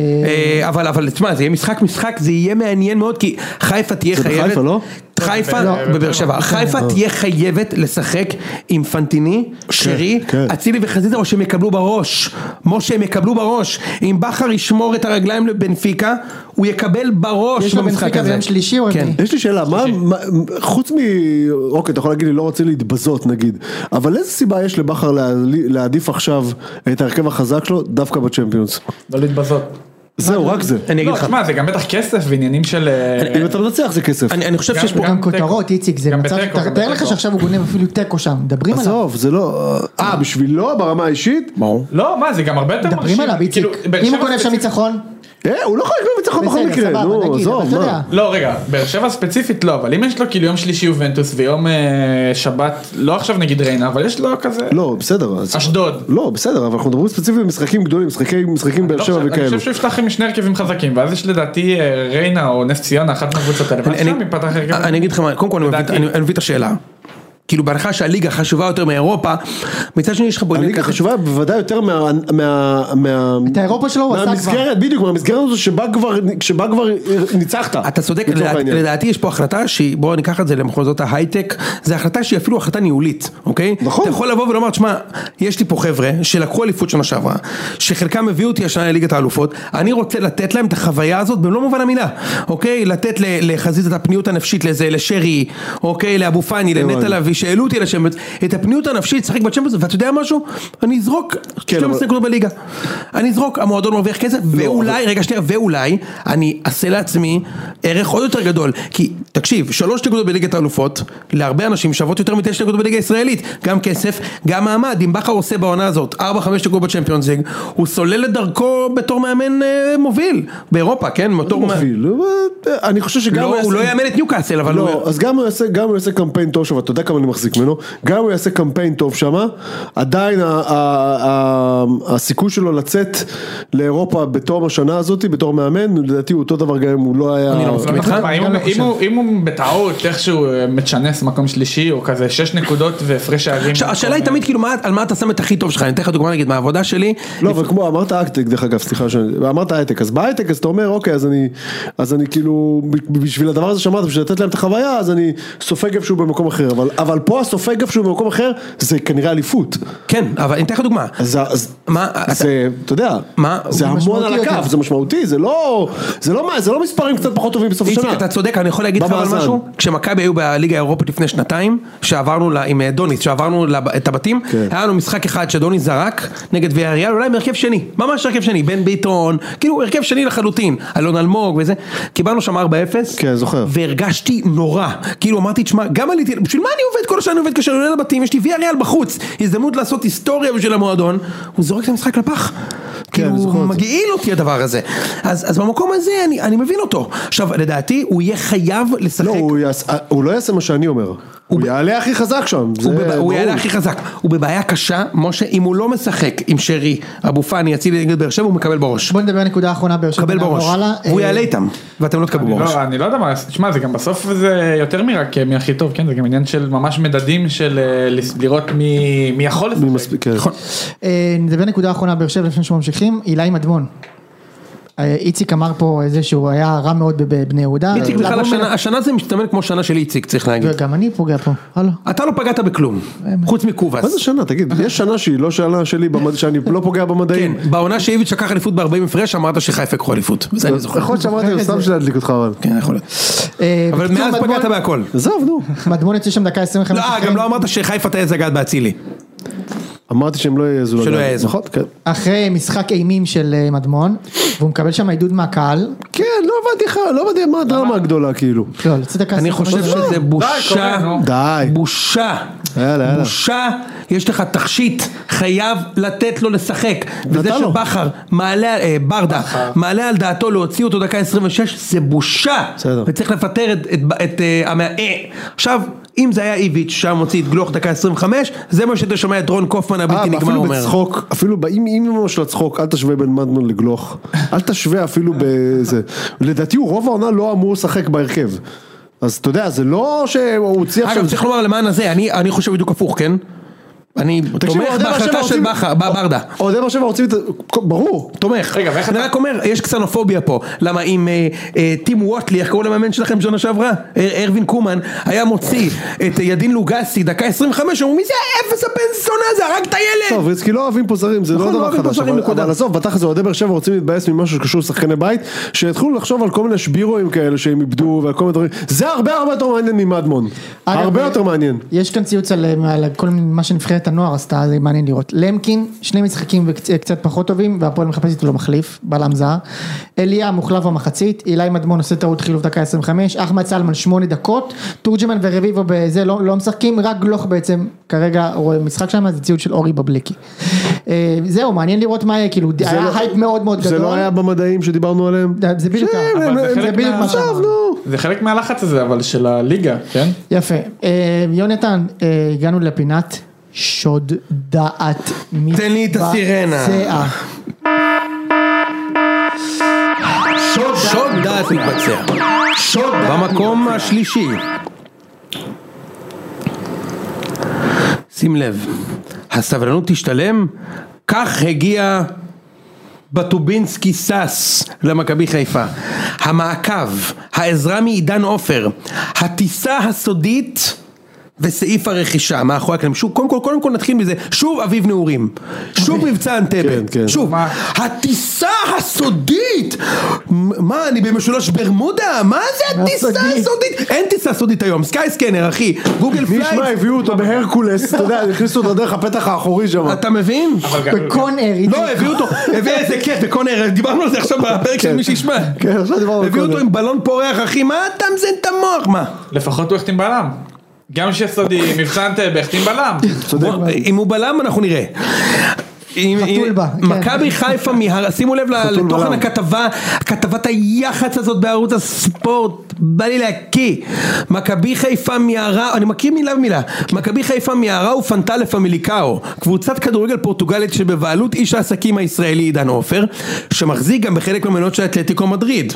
[SPEAKER 2] אה, אבל אבל תשמע, זה יהיה משחק משחק, זה יהיה מעניין מאוד, כי חיפה תהיה
[SPEAKER 4] זה
[SPEAKER 2] חייבת...
[SPEAKER 4] בחיפה, לא? אה.
[SPEAKER 2] חיפה,
[SPEAKER 1] לא.
[SPEAKER 2] בבאר שבע, חיפה תהיה חייבת לשחק עם פנטיני, שרי,
[SPEAKER 4] כן.
[SPEAKER 2] אצילי וחזיזה, או שהם יקבלו בראש, משה הם יקבלו בראש, אם בכר ישמור את הרגליים לבנפיקה, הוא יקבל בראש
[SPEAKER 1] יש לו
[SPEAKER 2] במשחק
[SPEAKER 1] בנפיקה
[SPEAKER 2] הזה.
[SPEAKER 1] ביום שלישי או
[SPEAKER 2] כן.
[SPEAKER 1] רביעי?
[SPEAKER 4] יש לי שאלה, מה, מה, חוץ מ... אוקיי, אתה יכול להגיד לי, לא רוצה להתבזות נגיד, אבל איזה סיבה יש לבכר לה- להעדיף עכשיו את ההרכב החזק שלו דווקא בצ'מפיונס?
[SPEAKER 3] לא להתבזות.
[SPEAKER 4] זהו, רק זה.
[SPEAKER 2] אני אגיד
[SPEAKER 3] לא,
[SPEAKER 2] לך,
[SPEAKER 3] תשמע, זה גם בטח כסף ועניינים של... אה,
[SPEAKER 4] אם אתה מנצח זה כסף.
[SPEAKER 2] אני אני חושב
[SPEAKER 3] גם-
[SPEAKER 2] שיש פה...
[SPEAKER 1] גם
[SPEAKER 3] תיקו.
[SPEAKER 1] כותרות, איציק, זה
[SPEAKER 3] גם
[SPEAKER 1] מצב,
[SPEAKER 3] בתיקו, גם
[SPEAKER 1] תאר לך
[SPEAKER 3] בתיקו.
[SPEAKER 1] שעכשיו הוא גונב אפילו תיקו שם, מדברים עליו.
[SPEAKER 4] עזוב, זה לא... אה, בשבילו ברמה האישית?
[SPEAKER 2] ברור.
[SPEAKER 3] לא, מה, זה גם הרבה יותר
[SPEAKER 1] מדברים עליו, איציק.
[SPEAKER 3] כאילו, באר
[SPEAKER 1] אם
[SPEAKER 3] שבע
[SPEAKER 1] הוא גונב שם
[SPEAKER 3] ספציפית-
[SPEAKER 1] ניצחון,
[SPEAKER 4] אה, הוא לא יכול לקנות ניצחון בכל
[SPEAKER 1] בסדר,
[SPEAKER 4] מקרה,
[SPEAKER 1] סבבה,
[SPEAKER 4] נו,
[SPEAKER 1] נגיד, אבל
[SPEAKER 4] עזוב,
[SPEAKER 1] אתה יודע.
[SPEAKER 4] מה?
[SPEAKER 3] לא, רגע, באר שבע ספציפית לא, אבל אם יש לו כאילו יום שלישי יובנטוס ויום אה, שבת, לא עכשיו נגיד ריינה, אבל יש לו כזה...
[SPEAKER 4] לא, בסדר. אז-
[SPEAKER 3] אשדוד.
[SPEAKER 4] לא, בסדר, אבל אנחנו מדברים ספציפית על משחקים גדולים, משחקי- משחקים באר
[SPEAKER 3] לא
[SPEAKER 4] שבע
[SPEAKER 3] חושב- אני
[SPEAKER 4] וכאלו.
[SPEAKER 3] חושב שהוא יפתח עם שני הרכבים חזקים, ואז יש לדעתי אה, ריינה או נס ציונה, אחת מהקבוצות האלה, ואז
[SPEAKER 2] אני-
[SPEAKER 3] שם יפתח הרכב.
[SPEAKER 2] אה, אני אגיד לך מה, קודם כל אני מבין-
[SPEAKER 3] לדעתי.
[SPEAKER 2] אני אני מבין את השאלה. כאילו בהנחה שהליגה חשובה יותר מאירופה, מצד שני יש לך פה... עניין
[SPEAKER 4] הליגה
[SPEAKER 2] כזה.
[SPEAKER 4] חשובה בוודאי יותר מה... מה... מה...
[SPEAKER 1] את האירופה שלו הוא עשה כבר.
[SPEAKER 4] מהמסגרת, בדיוק, מהמסגרת הזו שבה כבר, שבה כבר ניצחת.
[SPEAKER 2] אתה צודק,
[SPEAKER 4] לצורך
[SPEAKER 2] לדעת,
[SPEAKER 4] העניין.
[SPEAKER 2] לדעתי יש פה החלטה שהיא, בואו ניקח את זה למחוזות ההייטק, זו החלטה שהיא אפילו החלטה ניהולית, אוקיי?
[SPEAKER 4] נכון.
[SPEAKER 2] אתה יכול לבוא ולומר, תשמע, יש לי פה חבר'ה שלקחו אליפות שנה שעברה, שחלקם הביאו אותי השנה לליגת האלופות, אני רוצה לתת להם את החוויה הזאת במלוא מובן המילה, אוקיי? לתת ל- לחזית את הפניות הנפשית לזה, לשרי, אוקיי? לאבו פאני, לנטע לביא, שהעלו אותי לשמץ, את הפניות הנפשית, לשחק בצ'מפיונס, ואתה יודע משהו? אני אזרוק
[SPEAKER 4] כן,
[SPEAKER 2] 12
[SPEAKER 4] אבל- לא,
[SPEAKER 2] נקודות בליגה. אני אזרוק, המועדון מרוויח כסף, ואולי, רגע שנייה, ואולי, אני אעשה לעצמי ערך עוד יותר גדול. כי, תקשיב, שלוש נקודות בליגת האלופות, להרבה אנשים שוות יותר מתשע נקודות בליגה הישראלית. גם כסף, גם מעמד. אם בכר עושה בעונה הזאת 4-5 נקודות בצ'מפיונס ליג, הוא סולל את דרכו בתור מאמן אה, מוביל. באירופה, כן? בתור מאמן-
[SPEAKER 4] מוביל, אבל אני חושב שגם
[SPEAKER 2] לא, הוא לא יאמן את ניוקאסל, אבל הוא...
[SPEAKER 4] לא, אז גם הוא יעשה, גם הוא יעשה קמפיין טוב שם, אתה יודע כמה אני מחזיק ממנו, גם הוא יעשה קמפיין טוב שם, עדיין ה- ה- ה- הסיכוי שלו לצאת לאירופה בתום השנה הזאת, בתור מאמן, לדעתי הוא אותו דבר גם אם הוא לא היה...
[SPEAKER 2] אני לא מסכים. איתך?
[SPEAKER 3] מה,
[SPEAKER 1] גם
[SPEAKER 3] אם הוא-
[SPEAKER 1] לא
[SPEAKER 3] אם הוא- אם הוא בטעות איכשהו אה, מצ'נס מקום שלישי, או כזה שש נקודות והפרש שערים.
[SPEAKER 2] עכשיו, השאלה היא תמיד כאילו מה- על מה אתה שם את הכי טוב שלך, אני אתן לך דוגמה נגיד מהעבודה שלי,
[SPEAKER 4] לא, אבל כמו אמרת הייטק, דרך אגב, סליחה, ש- אמרת הייטק, אז בהייטק אז אתה אומר, אוקיי, אז אני, אז אני כאילו, ב- בשביל הדבר הזה שאמרת, בשביל לתת להם את החוויה, אז אני סופג איפשהו במקום אחר, אבל, אבל פה הסופג איפשהו במקום אחר, זה כנראה אליפות.
[SPEAKER 2] כן, אבל אני אתן לך דוגמה,
[SPEAKER 4] אז, אז
[SPEAKER 2] מה,
[SPEAKER 4] זה, אתה יודע,
[SPEAKER 2] מה?
[SPEAKER 4] זה
[SPEAKER 2] הוא
[SPEAKER 4] המון על
[SPEAKER 1] משמעותי
[SPEAKER 4] הקו,
[SPEAKER 1] יותר.
[SPEAKER 4] זה משמעותי, זה לא, זה לא, מה- זה לא מספרים קצת פחות טובים בסוף
[SPEAKER 2] איציק
[SPEAKER 4] השנה.
[SPEAKER 2] אתה צודק אני יכול להגיד לך אבל
[SPEAKER 4] במאזן.
[SPEAKER 2] משהו כשמכבי היו בליגה האירופית לפני שנתיים שעברנו לה, עם אה, דוניס שעברנו לב, את הבתים
[SPEAKER 4] כן.
[SPEAKER 2] היה לנו משחק אחד שדוניס זרק נגד ויאריאל אולי עם הרכב שני ממש הרכב שני בן ביטון כאילו הרכב שני לחלוטין אלון אלמוג וזה קיבלנו שם 4-0
[SPEAKER 4] כן, זוכר.
[SPEAKER 2] והרגשתי נורא כאילו אמרתי תשמע גם עליתי בשביל מה אני עובד כל השנה אני עובד כאשר אני עולה לבתים יש לי ויאריאל בחוץ הזדמנות לעשות היסטוריה בשביל המועדון הוא זורק את המשחק לפח
[SPEAKER 4] כן, אני
[SPEAKER 2] כאילו
[SPEAKER 4] זוכר את זה.
[SPEAKER 2] מגעיל אותי הדבר הזה אז, אז במקום הזה אני, אני מבין אותו עכשיו לדעתי הוא יהיה חייב לשחק
[SPEAKER 4] לא, הוא, יעש, הוא לא יעשה מה שאני אומר, הוא,
[SPEAKER 2] ב-
[SPEAKER 4] יעלה הכי חזק שם, זה לא.
[SPEAKER 2] הוא, בבע...
[SPEAKER 4] ברור.
[SPEAKER 2] הוא יעלה הכי חזק, הוא בבעיה קשה, משה, אם הוא לא משחק עם שרי, אבו פאני, אצילי נגד באר שבע, הוא מקבל בראש. הוא
[SPEAKER 1] בוא נדבר נקודה אחרונה באר שבע.
[SPEAKER 2] מקבל
[SPEAKER 1] נעבור
[SPEAKER 2] בראש.
[SPEAKER 1] הלאה.
[SPEAKER 2] הוא
[SPEAKER 1] אה,
[SPEAKER 2] יעלה איתם, ואתם לא תקבלו
[SPEAKER 3] אני
[SPEAKER 2] בראש.
[SPEAKER 3] לא- אני לא יודע מה, תשמע זה גם בסוף זה יותר מרק מי הכי טוב, כן? זה גם עניין של ממש מדדים של אה, לס- לראות מי מי יכול
[SPEAKER 4] מי
[SPEAKER 3] לשחק.
[SPEAKER 2] נכון.
[SPEAKER 4] מספיק, כן.
[SPEAKER 1] אה, נדבר נקודה אחרונה באר שבע לפני שממשיכים, אילי מדמון. אה, איציק אמר פה איזה שהוא היה רע מאוד בב- בבני יהודה.
[SPEAKER 2] איציק
[SPEAKER 1] לבוא
[SPEAKER 2] בכלל
[SPEAKER 1] מן-
[SPEAKER 2] השנה, השנה זה מסתמן כמו שנה של איציק צריך להגיד.
[SPEAKER 1] וגם לא, אני פוגע פה, הלו.
[SPEAKER 2] אתה לא פגעת בכלום, חוץ
[SPEAKER 4] מה זה
[SPEAKER 2] מקובס.
[SPEAKER 4] שנה? תגיד, יש שנה שהיא לא שנה שלי, במד- שאני לא פוגע במדעים.
[SPEAKER 2] כן, בעונה שאיביץ' לקח אליפות ב-40 הפרש אמרת שחיפה יקחו אליפות. זה אני זוכר.
[SPEAKER 4] יכול להיות נכון שאמרתי לו סתם בשביל להדליק אותך אבל.
[SPEAKER 2] כן, יכול להיות.
[SPEAKER 1] אה,
[SPEAKER 2] אבל
[SPEAKER 1] בקיצור,
[SPEAKER 2] מאז
[SPEAKER 1] מדמון-
[SPEAKER 2] פגעת בהכל.
[SPEAKER 4] עזוב נו.
[SPEAKER 1] מדמון יוצא שם דקה 25.
[SPEAKER 2] לא, אה, גם
[SPEAKER 1] אחרי-
[SPEAKER 2] לא אמרת שחיפה תהיה זגת באצילי.
[SPEAKER 4] אמרתי שהם לא יעזו
[SPEAKER 2] שלא
[SPEAKER 4] לגעת.
[SPEAKER 2] יעזו.
[SPEAKER 4] נכון? כן.
[SPEAKER 1] אחרי משחק אימים של אה, מדמון, והוא מקבל שם עידוד מהקהל.
[SPEAKER 4] כן, לא הבנתי לך, לא הבנתי מה הדרמה הגדולה כאילו.
[SPEAKER 1] לא, לצאת דקה
[SPEAKER 2] אני חושב שזה בושה,
[SPEAKER 3] קורה, נו.
[SPEAKER 4] די.
[SPEAKER 2] בושה,
[SPEAKER 4] יאללה, יאללה.
[SPEAKER 2] בושה, יש לך תכשיט, חייב לתת לו לשחק, וזה
[SPEAKER 4] נתן לו.
[SPEAKER 2] שבכר, מעלה, אה, ברדה, מעלה על דעתו להוציא אותו דקה 26, זה בושה,
[SPEAKER 4] בסדר.
[SPEAKER 2] וצריך לפטר את, את, את אה, המאה, אה. עכשיו, אם זה היה איביץ' שהיה מוציא את גלוך דקה 25, זה מה שאתה שומע את רון קופמן
[SPEAKER 4] אה,
[SPEAKER 2] הבלתי נגמר
[SPEAKER 4] אפילו
[SPEAKER 2] אומר.
[SPEAKER 4] בצחוק, אפילו באימימו של הצחוק, אל תשווה בין מדמון לגלוך. אל תשווה אפילו בזה. לדעתי הוא רוב העונה לא אמור לשחק בהרכב. אז אתה יודע, זה לא שהוא הוציא עכשיו...
[SPEAKER 2] אגב, צריך לומר למען הזה, אני, אני חושב בדיוק הפוך, כן? אני
[SPEAKER 4] תקשיב,
[SPEAKER 2] תומך
[SPEAKER 4] אוהדי באר שבע
[SPEAKER 2] בהחלטה של
[SPEAKER 4] רוצים-
[SPEAKER 2] בכר, ברדה.
[SPEAKER 4] אוהדי באר שבע רוצים את... ברור.
[SPEAKER 2] תומך.
[SPEAKER 3] רגע, ואיך
[SPEAKER 2] אני
[SPEAKER 3] אתה-
[SPEAKER 2] רק אומר, יש קסנופוביה פה. למה אם אה, אה, טים ווטלי, איך קראו למאמן שלכם שנה שעברה? אה, ארווין קומן, היה מוציא את אה, ידין לוגסי, דקה 25, אמרו מי זה האפס הבן זונה הזה, הרג את הילד!
[SPEAKER 4] טוב, ריצקי לא אוהבים פה זרים, זה לא
[SPEAKER 2] כן. נכון, לא
[SPEAKER 4] דבר
[SPEAKER 2] אוהבים פה
[SPEAKER 4] חדש,
[SPEAKER 2] זרים,
[SPEAKER 4] אבל-
[SPEAKER 2] נקודה.
[SPEAKER 4] אבל עזוב, בתכל'ס אוהדי באר שבע רוצים להתבאס ממשהו שקשור לשחקני בית, שיתחילו לחשוב על כל מיני שבירואים כאלה שהם איבדו ועל כל מיני דברים, זה הרבה הרבה יותר מעניין ממדמון,
[SPEAKER 1] אגב,
[SPEAKER 4] הרבה
[SPEAKER 1] אה,
[SPEAKER 4] יותר מעניין.
[SPEAKER 1] יש כאן ציוץ על, אה, על כל מיני- מה שנבחרת הנוער עשתה, זה מעניין לראות. למקין, שני משחקים וקצת פחות טובים, והפועל מחפשת לו מחליף, בלם זר. אליה מוחלף במחצית, אילי מדמון עושה טעות חילוף דקה 25, אחמד סלמן שמונה דקות, תורג'מן ורביבו בזה לא, לא משחקים, רק גלוך בעצם כרגע רואה משחק שם, זה ציוץ של אורי בבליקי. אה, זהו, מעניין לראות מה יהיה, כאילו,
[SPEAKER 4] זה
[SPEAKER 1] היה
[SPEAKER 4] לא-
[SPEAKER 1] הייפ מאוד מאוד
[SPEAKER 4] זה
[SPEAKER 1] גדול.
[SPEAKER 4] לא היה במדעים שדיברנו עליהם?
[SPEAKER 1] זה בדיוק
[SPEAKER 4] כן,
[SPEAKER 1] ככה.
[SPEAKER 4] הם-
[SPEAKER 3] אבל
[SPEAKER 4] הם-
[SPEAKER 3] זה
[SPEAKER 1] זה
[SPEAKER 3] חלק
[SPEAKER 1] בדיוק
[SPEAKER 3] מה-
[SPEAKER 1] מה
[SPEAKER 4] עזוב,
[SPEAKER 1] שאמרנו.
[SPEAKER 4] נו.
[SPEAKER 3] זה חלק מהלחץ הזה, אבל של הליגה, כן?
[SPEAKER 1] יפה. אה, יונתן, אה, הגענו לפינת שוד דעת מי
[SPEAKER 2] תן לי את הסירנה.
[SPEAKER 1] בצע.
[SPEAKER 2] שוד שוד דעת מתבצע. שוד דעת במקום השלישי. שים לב, הסבלנות תשתלם, כך הגיע בטובינסקי סס למכבי חיפה. המעקב, העזרה מעידן עופר, הטיסה הסודית וסעיף הרכישה, מאחורי הקלעים. שוב, קודם כל, קודם כל נתחיל מזה, שוב אביב נעורים, שוב מבצע אנטבה,
[SPEAKER 4] כן, כן.
[SPEAKER 2] שוב,
[SPEAKER 3] מה?
[SPEAKER 2] הטיסה הסודית! מ- מה, אני במשולש ברמודה? מה זה הטיסה
[SPEAKER 1] הסודית?
[SPEAKER 2] הסודית? אין טיסה סודית היום, סקייסקנר אחי, גוגל
[SPEAKER 4] מי ישמע,
[SPEAKER 2] פלייט,
[SPEAKER 4] הביאו אותו בהרקולס, אתה יודע, הכניסו אותו דרך הפתח האחורי שם.
[SPEAKER 2] אתה מבין?
[SPEAKER 3] אבל גם-
[SPEAKER 1] בקון אר, איציק.
[SPEAKER 2] לא, הביאו אותו, הביא איזה כיף, וקונר, דיברנו על זה עכשיו בפרק של מי שישמע.
[SPEAKER 4] כן, עכשיו דיברנו על
[SPEAKER 2] הביאו אותו
[SPEAKER 4] קונר.
[SPEAKER 2] עם בלון פורח, אחי, מה אתה מזיין את המוח, מה?
[SPEAKER 3] לפחות הוא החתים בלם. גם שסודי, מבצע אנטבה, החתים בלם.
[SPEAKER 2] בוא, אם הוא בלם אנחנו נראה. אם-
[SPEAKER 1] חתול
[SPEAKER 2] אם-
[SPEAKER 1] בה, כן.
[SPEAKER 2] מכבי חיפה, מהר- שימו לב ל-
[SPEAKER 4] חתול
[SPEAKER 2] לתוכן
[SPEAKER 4] בלם.
[SPEAKER 2] הכתבה, כתבת היח"צ הזאת בערוץ הספורט, בא לי להקיא. מכבי חיפה מיהרה, אני מכיר מילה במילה, מכבי חיפה מיהרה ופנטלה פמיליקאו, קבוצת כדורגל פורטוגלית שבבעלות איש העסקים הישראלי עידן עופר, שמחזיק גם בחלק מהמניות של אתלטיקו מדריד.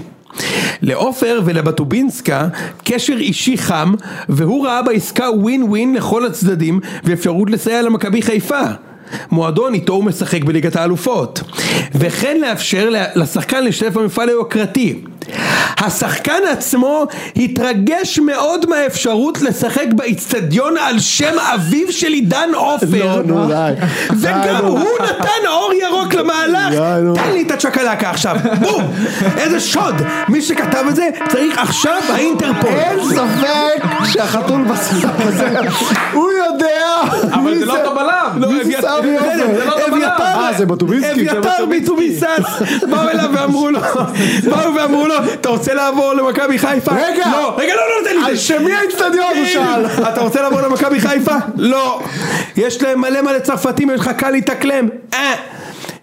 [SPEAKER 2] לעופר ולבטובינסקה קשר אישי חם והוא ראה בעסקה ווין ווין לכל הצדדים ואפשרות לסייע למכבי חיפה. מועדון איתו הוא משחק בליגת האלופות וכן לאפשר לה- לשחקן להשתתף במפעל היוקרתי. השחקן עצמו התרגש מאוד מהאפשרות לשחק באיצטדיון על שם אביו של עידן עופר
[SPEAKER 4] לא, נו, די. די,
[SPEAKER 2] וגם
[SPEAKER 4] נו.
[SPEAKER 2] הוא נתן אור ירוק למהלך,
[SPEAKER 4] די, נו.
[SPEAKER 2] תן לי את הצ'קלקה עכשיו, בום! איזה שוד! מי שכתב את זה צריך עכשיו האינטרפול.
[SPEAKER 4] אין ספק שהחתול בסרט הזה, הוא יודע
[SPEAKER 3] אבל
[SPEAKER 4] מי
[SPEAKER 3] זה לא אותו בלם.
[SPEAKER 2] לא,
[SPEAKER 4] מי זה
[SPEAKER 2] אביתר-
[SPEAKER 4] סבי עופר?
[SPEAKER 2] בסדר,
[SPEAKER 4] זה לא
[SPEAKER 3] אותו
[SPEAKER 2] אביתר-
[SPEAKER 3] בלם.
[SPEAKER 4] אה, זה בטובינסקי, זה
[SPEAKER 2] אביתר
[SPEAKER 4] בטובינסקי.
[SPEAKER 2] מטוביסס, באו אליו ואמרו לו, באו ואמרו לו, אתה רוצה לעבור למכבי חיפה?
[SPEAKER 4] רגע.
[SPEAKER 2] לא, רגע, לא, לא נותן לי
[SPEAKER 4] על
[SPEAKER 2] את זה.
[SPEAKER 4] שמי האיצטדיון הוא שאל?
[SPEAKER 2] אתה רוצה לעבור למכבי חיפה? לא. יש להם מלא מלא צרפתים, יש לך קל להתאקלם. אה.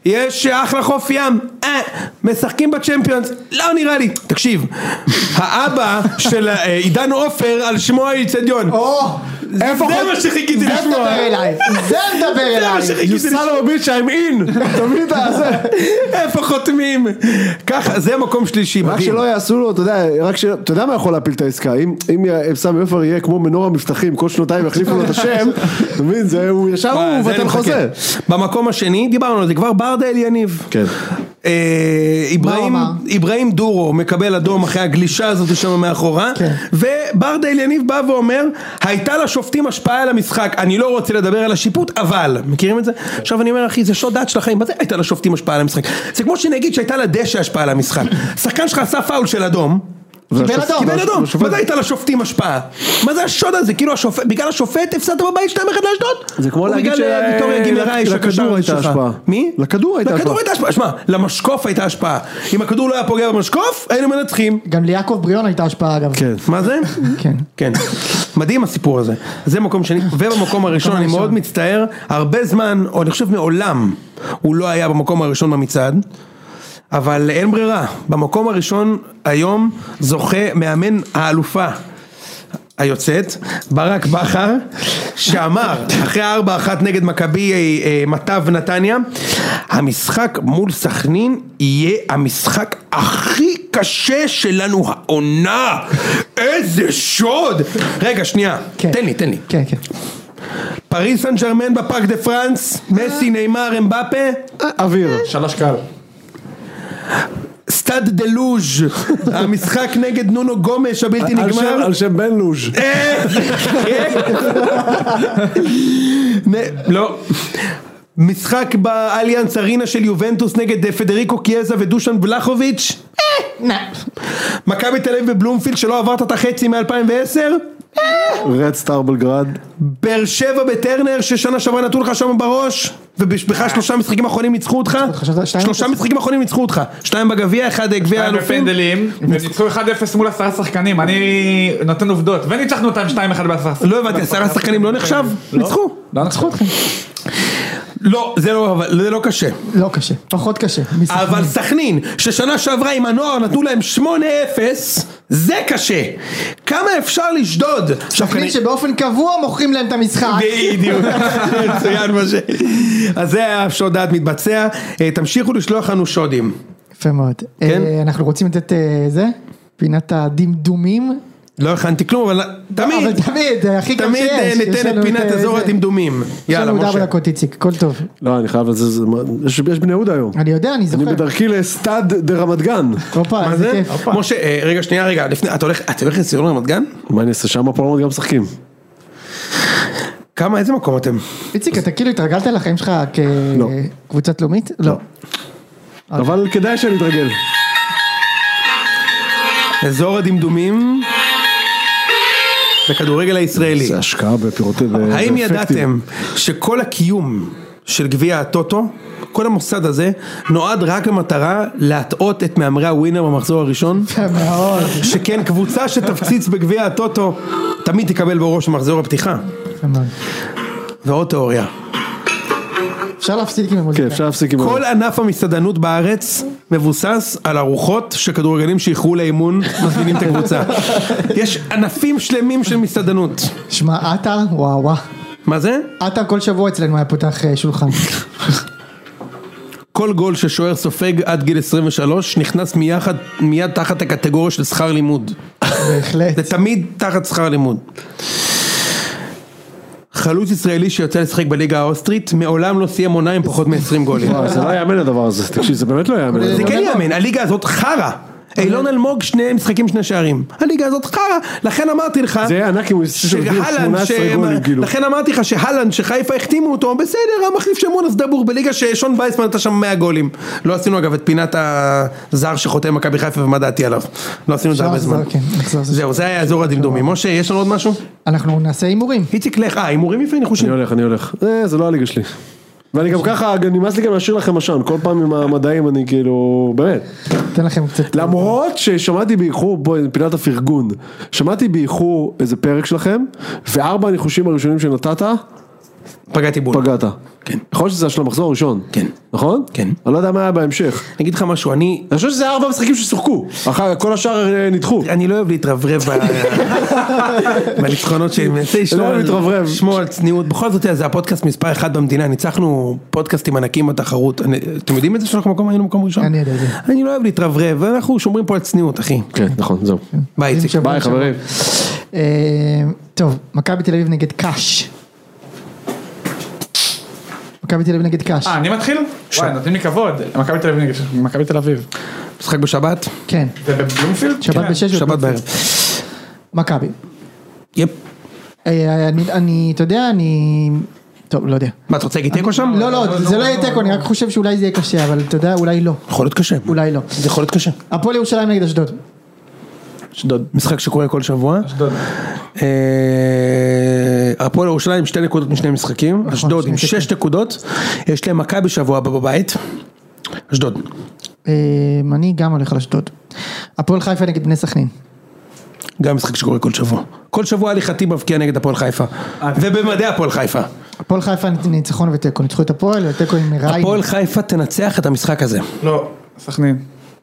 [SPEAKER 2] יש אחלה חוף ים, אה, משחקים בצ'מפיונס, לא נראה לי. תקשיב, האבא של אה, עידן עופר על שמו
[SPEAKER 4] אוקיי.
[SPEAKER 2] האיצטדיון.
[SPEAKER 1] או,
[SPEAKER 2] איפה זה
[SPEAKER 1] חוץ-
[SPEAKER 2] מה שחיכיתי
[SPEAKER 1] זה
[SPEAKER 2] לשמוע.
[SPEAKER 1] מדבר אליי, זה מדבר
[SPEAKER 2] זה מה
[SPEAKER 1] אליי.
[SPEAKER 2] שחיכיתי לשמוע.
[SPEAKER 4] סלוביץ' I'm in, תמיד הזה.
[SPEAKER 2] איפה חותמים? ככה, זה מקום שלישי,
[SPEAKER 4] רק
[SPEAKER 2] מדהים.
[SPEAKER 4] שלא יעשו לו, אתה יודע, רק ש... אתה יודע מה יכול להפיל את העסקה, אם- אם י- סמי עופר יהיה כמו מנור המבטחים, כל שנתיים יחליפו לו את השם, אתה מבין, זה- הוא ישר
[SPEAKER 2] וואי,
[SPEAKER 4] הוא
[SPEAKER 2] אה, זה אני
[SPEAKER 4] מבטל
[SPEAKER 2] מחכה.
[SPEAKER 4] חוזה.
[SPEAKER 2] במקום השני, דיברנו על זה כבר, ברדה אל יניב.
[SPEAKER 4] כן.
[SPEAKER 2] אה, אברהים-
[SPEAKER 1] מה הוא אמר?
[SPEAKER 2] אברהים דורו מקבל אדום אחרי הגלישה הזאת שם מאחורה,
[SPEAKER 1] כן.
[SPEAKER 2] וברדה אליניב בא ואומר, הייתה לשופטים השפעה על המשחק, אני לא רוצה לדבר על השיפוט, אבל, מכירים את זה?
[SPEAKER 1] כן.
[SPEAKER 2] עכשיו אני אומר, אחי, זה שוד דעת של החיים, מה זה הייתה לשופטים השפעה על המשחק? זה כמו שנגיד שהייתה לדשא השפעה על המשחק. שחקן שלך עשה פאול של אדום.
[SPEAKER 1] קיבל
[SPEAKER 4] והשופט-
[SPEAKER 1] אדום.
[SPEAKER 2] קיבל אדום,
[SPEAKER 4] והשופט-
[SPEAKER 2] מה זה הייתה לשופטים השפעה? מה זה השוד הזה? כאילו השופט, בגלל השופט הפסדת בבית 2-1 לאשדוד?
[SPEAKER 4] זה כמו
[SPEAKER 2] או
[SPEAKER 4] להגיד
[SPEAKER 2] בגלל,
[SPEAKER 4] ש-
[SPEAKER 2] אה, ויקטוריה גימרייש,
[SPEAKER 4] לכדור
[SPEAKER 2] הקשר
[SPEAKER 4] הייתה
[SPEAKER 2] שלך.
[SPEAKER 4] השפעה.
[SPEAKER 2] מי?
[SPEAKER 4] לכדור הייתה
[SPEAKER 2] לכדור
[SPEAKER 4] השפעה.
[SPEAKER 2] הייתה השפעה. שמע, למשקוף הייתה השפעה. אם הכדור לא היה פוגע במשקוף, היינו מנצחים.
[SPEAKER 1] גם ליעקב בריאון הייתה השפעה אגב.
[SPEAKER 4] כן.
[SPEAKER 2] מה זה?
[SPEAKER 1] כן.
[SPEAKER 2] כן. מדהים הסיפור הזה. זה מקום שני, ובמקום הראשון אני
[SPEAKER 1] הראשון.
[SPEAKER 2] מאוד מצטער, הרבה זמן, או אני חושב מעולם, הוא לא היה במקום הראשון במצעד. אבל אין ברירה, במקום הראשון היום זוכה מאמן האלופה היוצאת, ברק בכר, שאמר אחרי הארבע אחת נגד מכבי אה, אה, מטב נתניה, המשחק מול סכנין יהיה המשחק הכי קשה שלנו העונה, איזה שוד! רגע שנייה,
[SPEAKER 1] כן.
[SPEAKER 2] תן לי, תן לי.
[SPEAKER 1] כן, כן.
[SPEAKER 2] פריס סן ג'רמן בפארק דה פרנס, מסי, ניימר, אמבפה,
[SPEAKER 4] אוויר.
[SPEAKER 3] שלוש קהל.
[SPEAKER 2] סטאד דה לוז', המשחק נגד נונו גומש הבלתי
[SPEAKER 4] על שם-
[SPEAKER 2] נגמר. אה,
[SPEAKER 4] על שם בן לוז'.
[SPEAKER 2] איזה כיף. כן. נ- לא. משחק באליאנס ארינה של יובנטוס נגד אה, פדריקו קיאזה ודושן בלחוביץ'. אה,
[SPEAKER 1] נה.
[SPEAKER 2] מכבי תל אביב בבלומפילד שלא עברת את החצי מ-2010.
[SPEAKER 4] רד סטאר בלגרד.
[SPEAKER 2] באר שבע בטרנר ששנה שעברה נתנו לך שם בראש ובכלל שלושה משחקים אחרונים ניצחו אותך
[SPEAKER 1] חשבת שתיים?
[SPEAKER 2] שלושה משחקים אחרונים ניצחו אותך שתיים בגביע אחד גביע
[SPEAKER 3] שתיים
[SPEAKER 2] האלופים
[SPEAKER 3] בפנדלים, וניצחו 1-0 מול עשרה שחקנים, אני נותן עובדות, וניצחנו אותם 2-1 בעשרה שחקנים.
[SPEAKER 2] לא הבנתי, עשרה שחקנים לא נחשב? ניצחו.
[SPEAKER 3] לא ניצחו אתכם.
[SPEAKER 2] לא, זה לא, אבל זה לא קשה.
[SPEAKER 1] לא קשה. פחות קשה. מסכנין.
[SPEAKER 2] אבל סכנין, ששנה שעברה עם הנוער נתנו להם 8-0, זה קשה. כמה אפשר לשדוד? עכשיו,
[SPEAKER 1] סכנין
[SPEAKER 2] כנראה-
[SPEAKER 1] שבאופן קבוע מוכרים להם את המשחק.
[SPEAKER 2] בדיוק, מצוין מה ש... אז זה היה שוד דעת מתבצע. אה, תמשיכו לשלוח לנו שודים.
[SPEAKER 1] יפה מאוד.
[SPEAKER 2] כן?
[SPEAKER 1] אה, אנחנו רוצים לתת אה, זה? פינת הדמדומים.
[SPEAKER 2] לא הכנתי כלום, אבל
[SPEAKER 1] אבל
[SPEAKER 2] תמיד,
[SPEAKER 1] תמיד, אה, הכי קל
[SPEAKER 2] תמיד אה,
[SPEAKER 1] שיש. יש
[SPEAKER 2] ניתן
[SPEAKER 1] לנו
[SPEAKER 2] את פינת
[SPEAKER 1] אה,
[SPEAKER 2] אזור
[SPEAKER 1] זה.
[SPEAKER 2] הדמדומים. יאללה,
[SPEAKER 1] יש לנו עוד
[SPEAKER 2] משה.
[SPEAKER 1] ארבע דקות איציק, הכל טוב.
[SPEAKER 4] לא, אני חייב לזה, זה- יש יש בני יהודה היום.
[SPEAKER 1] אני יודע, אני
[SPEAKER 4] אני
[SPEAKER 1] זוכר.
[SPEAKER 4] בדרכי לסטאד דה רמת גן.
[SPEAKER 1] הופה,
[SPEAKER 2] מה
[SPEAKER 1] איזה
[SPEAKER 2] זה?
[SPEAKER 1] כיף.
[SPEAKER 2] משה, אה, רגע, שנייה, רגע, לפני, אתה הולך, אתה הולך לסיור רמת גן?
[SPEAKER 4] מה אני אעשה שם? פה רמת גן משחקים.
[SPEAKER 1] אוקיי.
[SPEAKER 2] כמה, איזה מקום אתם?
[SPEAKER 1] איציק, אתה כאילו התרגלת לחיים שלך
[SPEAKER 4] לא.
[SPEAKER 1] כקבוצת לאומית? לא.
[SPEAKER 4] אבל כדאי שאני אתרגל.
[SPEAKER 2] אזור הדמדומים בכדורגל הישראלי.
[SPEAKER 4] זה השקעה בפירוט...
[SPEAKER 2] האם ידעתם שכל הקיום של גביע הטוטו, כל המוסד הזה, נועד רק למטרה להטעות את מהמרי הווינר במחזור הראשון?
[SPEAKER 1] מאוד,
[SPEAKER 2] שכן קבוצה שתפציץ בגביע הטוטו תמיד תקבל בראש מחזור הפתיחה.
[SPEAKER 1] יפה מאוד.
[SPEAKER 2] ועוד תיאוריה.
[SPEAKER 1] אפשר להפסיק עם
[SPEAKER 4] כן,
[SPEAKER 1] המוזיקה.
[SPEAKER 4] אפשר להפסיק עם... ה-
[SPEAKER 2] כל ענף המסעדנות בארץ מבוסס על ארוחות שכדורגלים שאיחרו לאימון מזמינים את הקבוצה. יש ענפים שלמים של מסעדנות.
[SPEAKER 1] שמע, עטר, וואו וואו.
[SPEAKER 2] מה זה?
[SPEAKER 1] עטר כל שבוע אצלנו היה פותח אה, שולחן.
[SPEAKER 2] כל גול ששוער סופג עד גיל 23 נכנס מיחד, מיד תחת הקטגוריה של שכר לימוד.
[SPEAKER 1] בהחלט.
[SPEAKER 2] זה תמיד תחת שכר לימוד. חלוץ ישראלי שיוצא לשחק בליגה האוסטרית מעולם לא סיים עונה עם פחות מ-20 גולים.
[SPEAKER 4] וואי, זה לא יאמן הדבר הזה, תקשיב, זה באמת לא יאמן.
[SPEAKER 2] זה כן
[SPEAKER 1] אלמוג.
[SPEAKER 2] יאמן, הליגה הזאת חרא.
[SPEAKER 4] אוקיי.
[SPEAKER 2] אילון אלמוג שני משחקים שני שערים. הליגה הזאת חרא, לכן אמרתי לך.
[SPEAKER 4] זה יהיה ענק אם הוא יסתכל
[SPEAKER 2] שהלנד,
[SPEAKER 4] 18
[SPEAKER 2] שהם-
[SPEAKER 4] גולים, כאילו.
[SPEAKER 2] לכן אמרתי לך שהלנד שחיפה החתימו אותו בסדר המחליף של מונס דבור בליגה ששון וייסמן נתן שם 100 גולים לא עשינו אגב את פינת הזר שחותם מכבי חיפה ומה דעתי עליו לא עשינו את זה הרבה
[SPEAKER 1] אפשר לחזור,
[SPEAKER 2] זמן
[SPEAKER 1] כן, נחזור לזה.
[SPEAKER 2] זהו זה היה אזור הדמדומים משה יש לנו עוד משהו?
[SPEAKER 1] אנחנו נעשה הימורים.
[SPEAKER 2] איציק לך אה הימורים יפה
[SPEAKER 4] אני
[SPEAKER 2] ניחושים
[SPEAKER 4] הולך, אני הולך. אה, זה לא הליגה שלי. ואני גם ככה, גם נמאס לי גם להשאיר לכם עשן, כל פעם עם המדעים אני כאילו, באמת.
[SPEAKER 1] אתן לכם קצת...
[SPEAKER 4] למרות ששמעתי באיחור, בואי, פינת הפרגון, שמעתי באיחור איזה פרק שלכם, וארבע הניחושים הראשונים שנתת,
[SPEAKER 2] פגעתי בול
[SPEAKER 4] פגעת. כן. יכול להיות שזה של המחזור הראשון.
[SPEAKER 2] כן.
[SPEAKER 4] נכון?
[SPEAKER 2] כן.
[SPEAKER 4] אני לא יודע מה היה בהמשך.
[SPEAKER 2] אני אגיד לך משהו אני
[SPEAKER 4] אני חושב שזה ארבע משחקים ששוחקו, אחר כל השאר אה, נדחו.
[SPEAKER 2] אני לא אוהב להתרברב ב- בניצחונות שלי, מנסה לשמור
[SPEAKER 4] אוהב
[SPEAKER 2] על-
[SPEAKER 4] להתרברב.
[SPEAKER 2] לשמור על צניעות, בכל זאת זה הפודקאסט מספר אחת במדינה, ניצחנו פודקאסטים ענקים בתחרות, אני- אתם יודעים את זה שאנחנו במקום היינו במקום ראשון?
[SPEAKER 1] אני יודע את זה.
[SPEAKER 2] אני לא אוהב להתרברב, אנחנו שומרים פה על צניעות אחי,
[SPEAKER 4] כן, נכון, זהו.
[SPEAKER 2] ביי איציק.
[SPEAKER 1] שבוע
[SPEAKER 4] ביי
[SPEAKER 1] לשבוע.
[SPEAKER 4] חברים.
[SPEAKER 1] אה, טוב, מכבי תל אביב נגד קאש. מכבי תל אביב נגד קאש.
[SPEAKER 3] אה, אני מתחיל? וואי, נותנים לי כבוד. מכבי תל אביב נגד מכבי תל אביב.
[SPEAKER 2] משחק בשבת,
[SPEAKER 1] כן.
[SPEAKER 3] זה בבלומפילד?
[SPEAKER 1] שבת
[SPEAKER 3] כן.
[SPEAKER 1] בשש.
[SPEAKER 2] שבת בערב.
[SPEAKER 1] מכבי.
[SPEAKER 2] יפ.
[SPEAKER 1] אה, אני- אני, אתה יודע, אני... טוב, לא יודע.
[SPEAKER 2] מה, אתה רוצה להגיד תיקו שם?
[SPEAKER 1] לא, לא, זה לא יהיה תיקו, אני רק חושב שאולי זה יהיה קשה, אבל אתה יודע, אולי לא.
[SPEAKER 2] יכול להיות קשה.
[SPEAKER 1] אולי לא.
[SPEAKER 2] זה יכול להיות קשה.
[SPEAKER 1] הפועל ירושלים נגד אשדוד.
[SPEAKER 2] אשדוד. משחק שקורה כל שבוע.
[SPEAKER 3] אשדוד.
[SPEAKER 2] אה, הפועל ירושלים עם שתי נקודות משני משחקים,
[SPEAKER 3] נכון,
[SPEAKER 2] אשדוד
[SPEAKER 1] שני
[SPEAKER 2] עם
[SPEAKER 1] תיקו.
[SPEAKER 2] שש נקודות, יש להם מכבי שבוע הבא בבית, אשדוד.
[SPEAKER 1] אה, אני גם הולך על אשדוד. הפועל חיפה נגד בני סכנין.
[SPEAKER 2] גם משחק שקורה כל שבוע. כל שבוע הליכתי מבקיע נגד הפועל חיפה,
[SPEAKER 3] אה.
[SPEAKER 2] ובמדי הפועל חיפה.
[SPEAKER 1] הפועל חיפה ניצחון ותיקו, ניצחו את הפועל, ותיקו עם ראי.
[SPEAKER 2] הפועל חיפה תנצח את המשחק הזה.
[SPEAKER 3] לא, סכנין.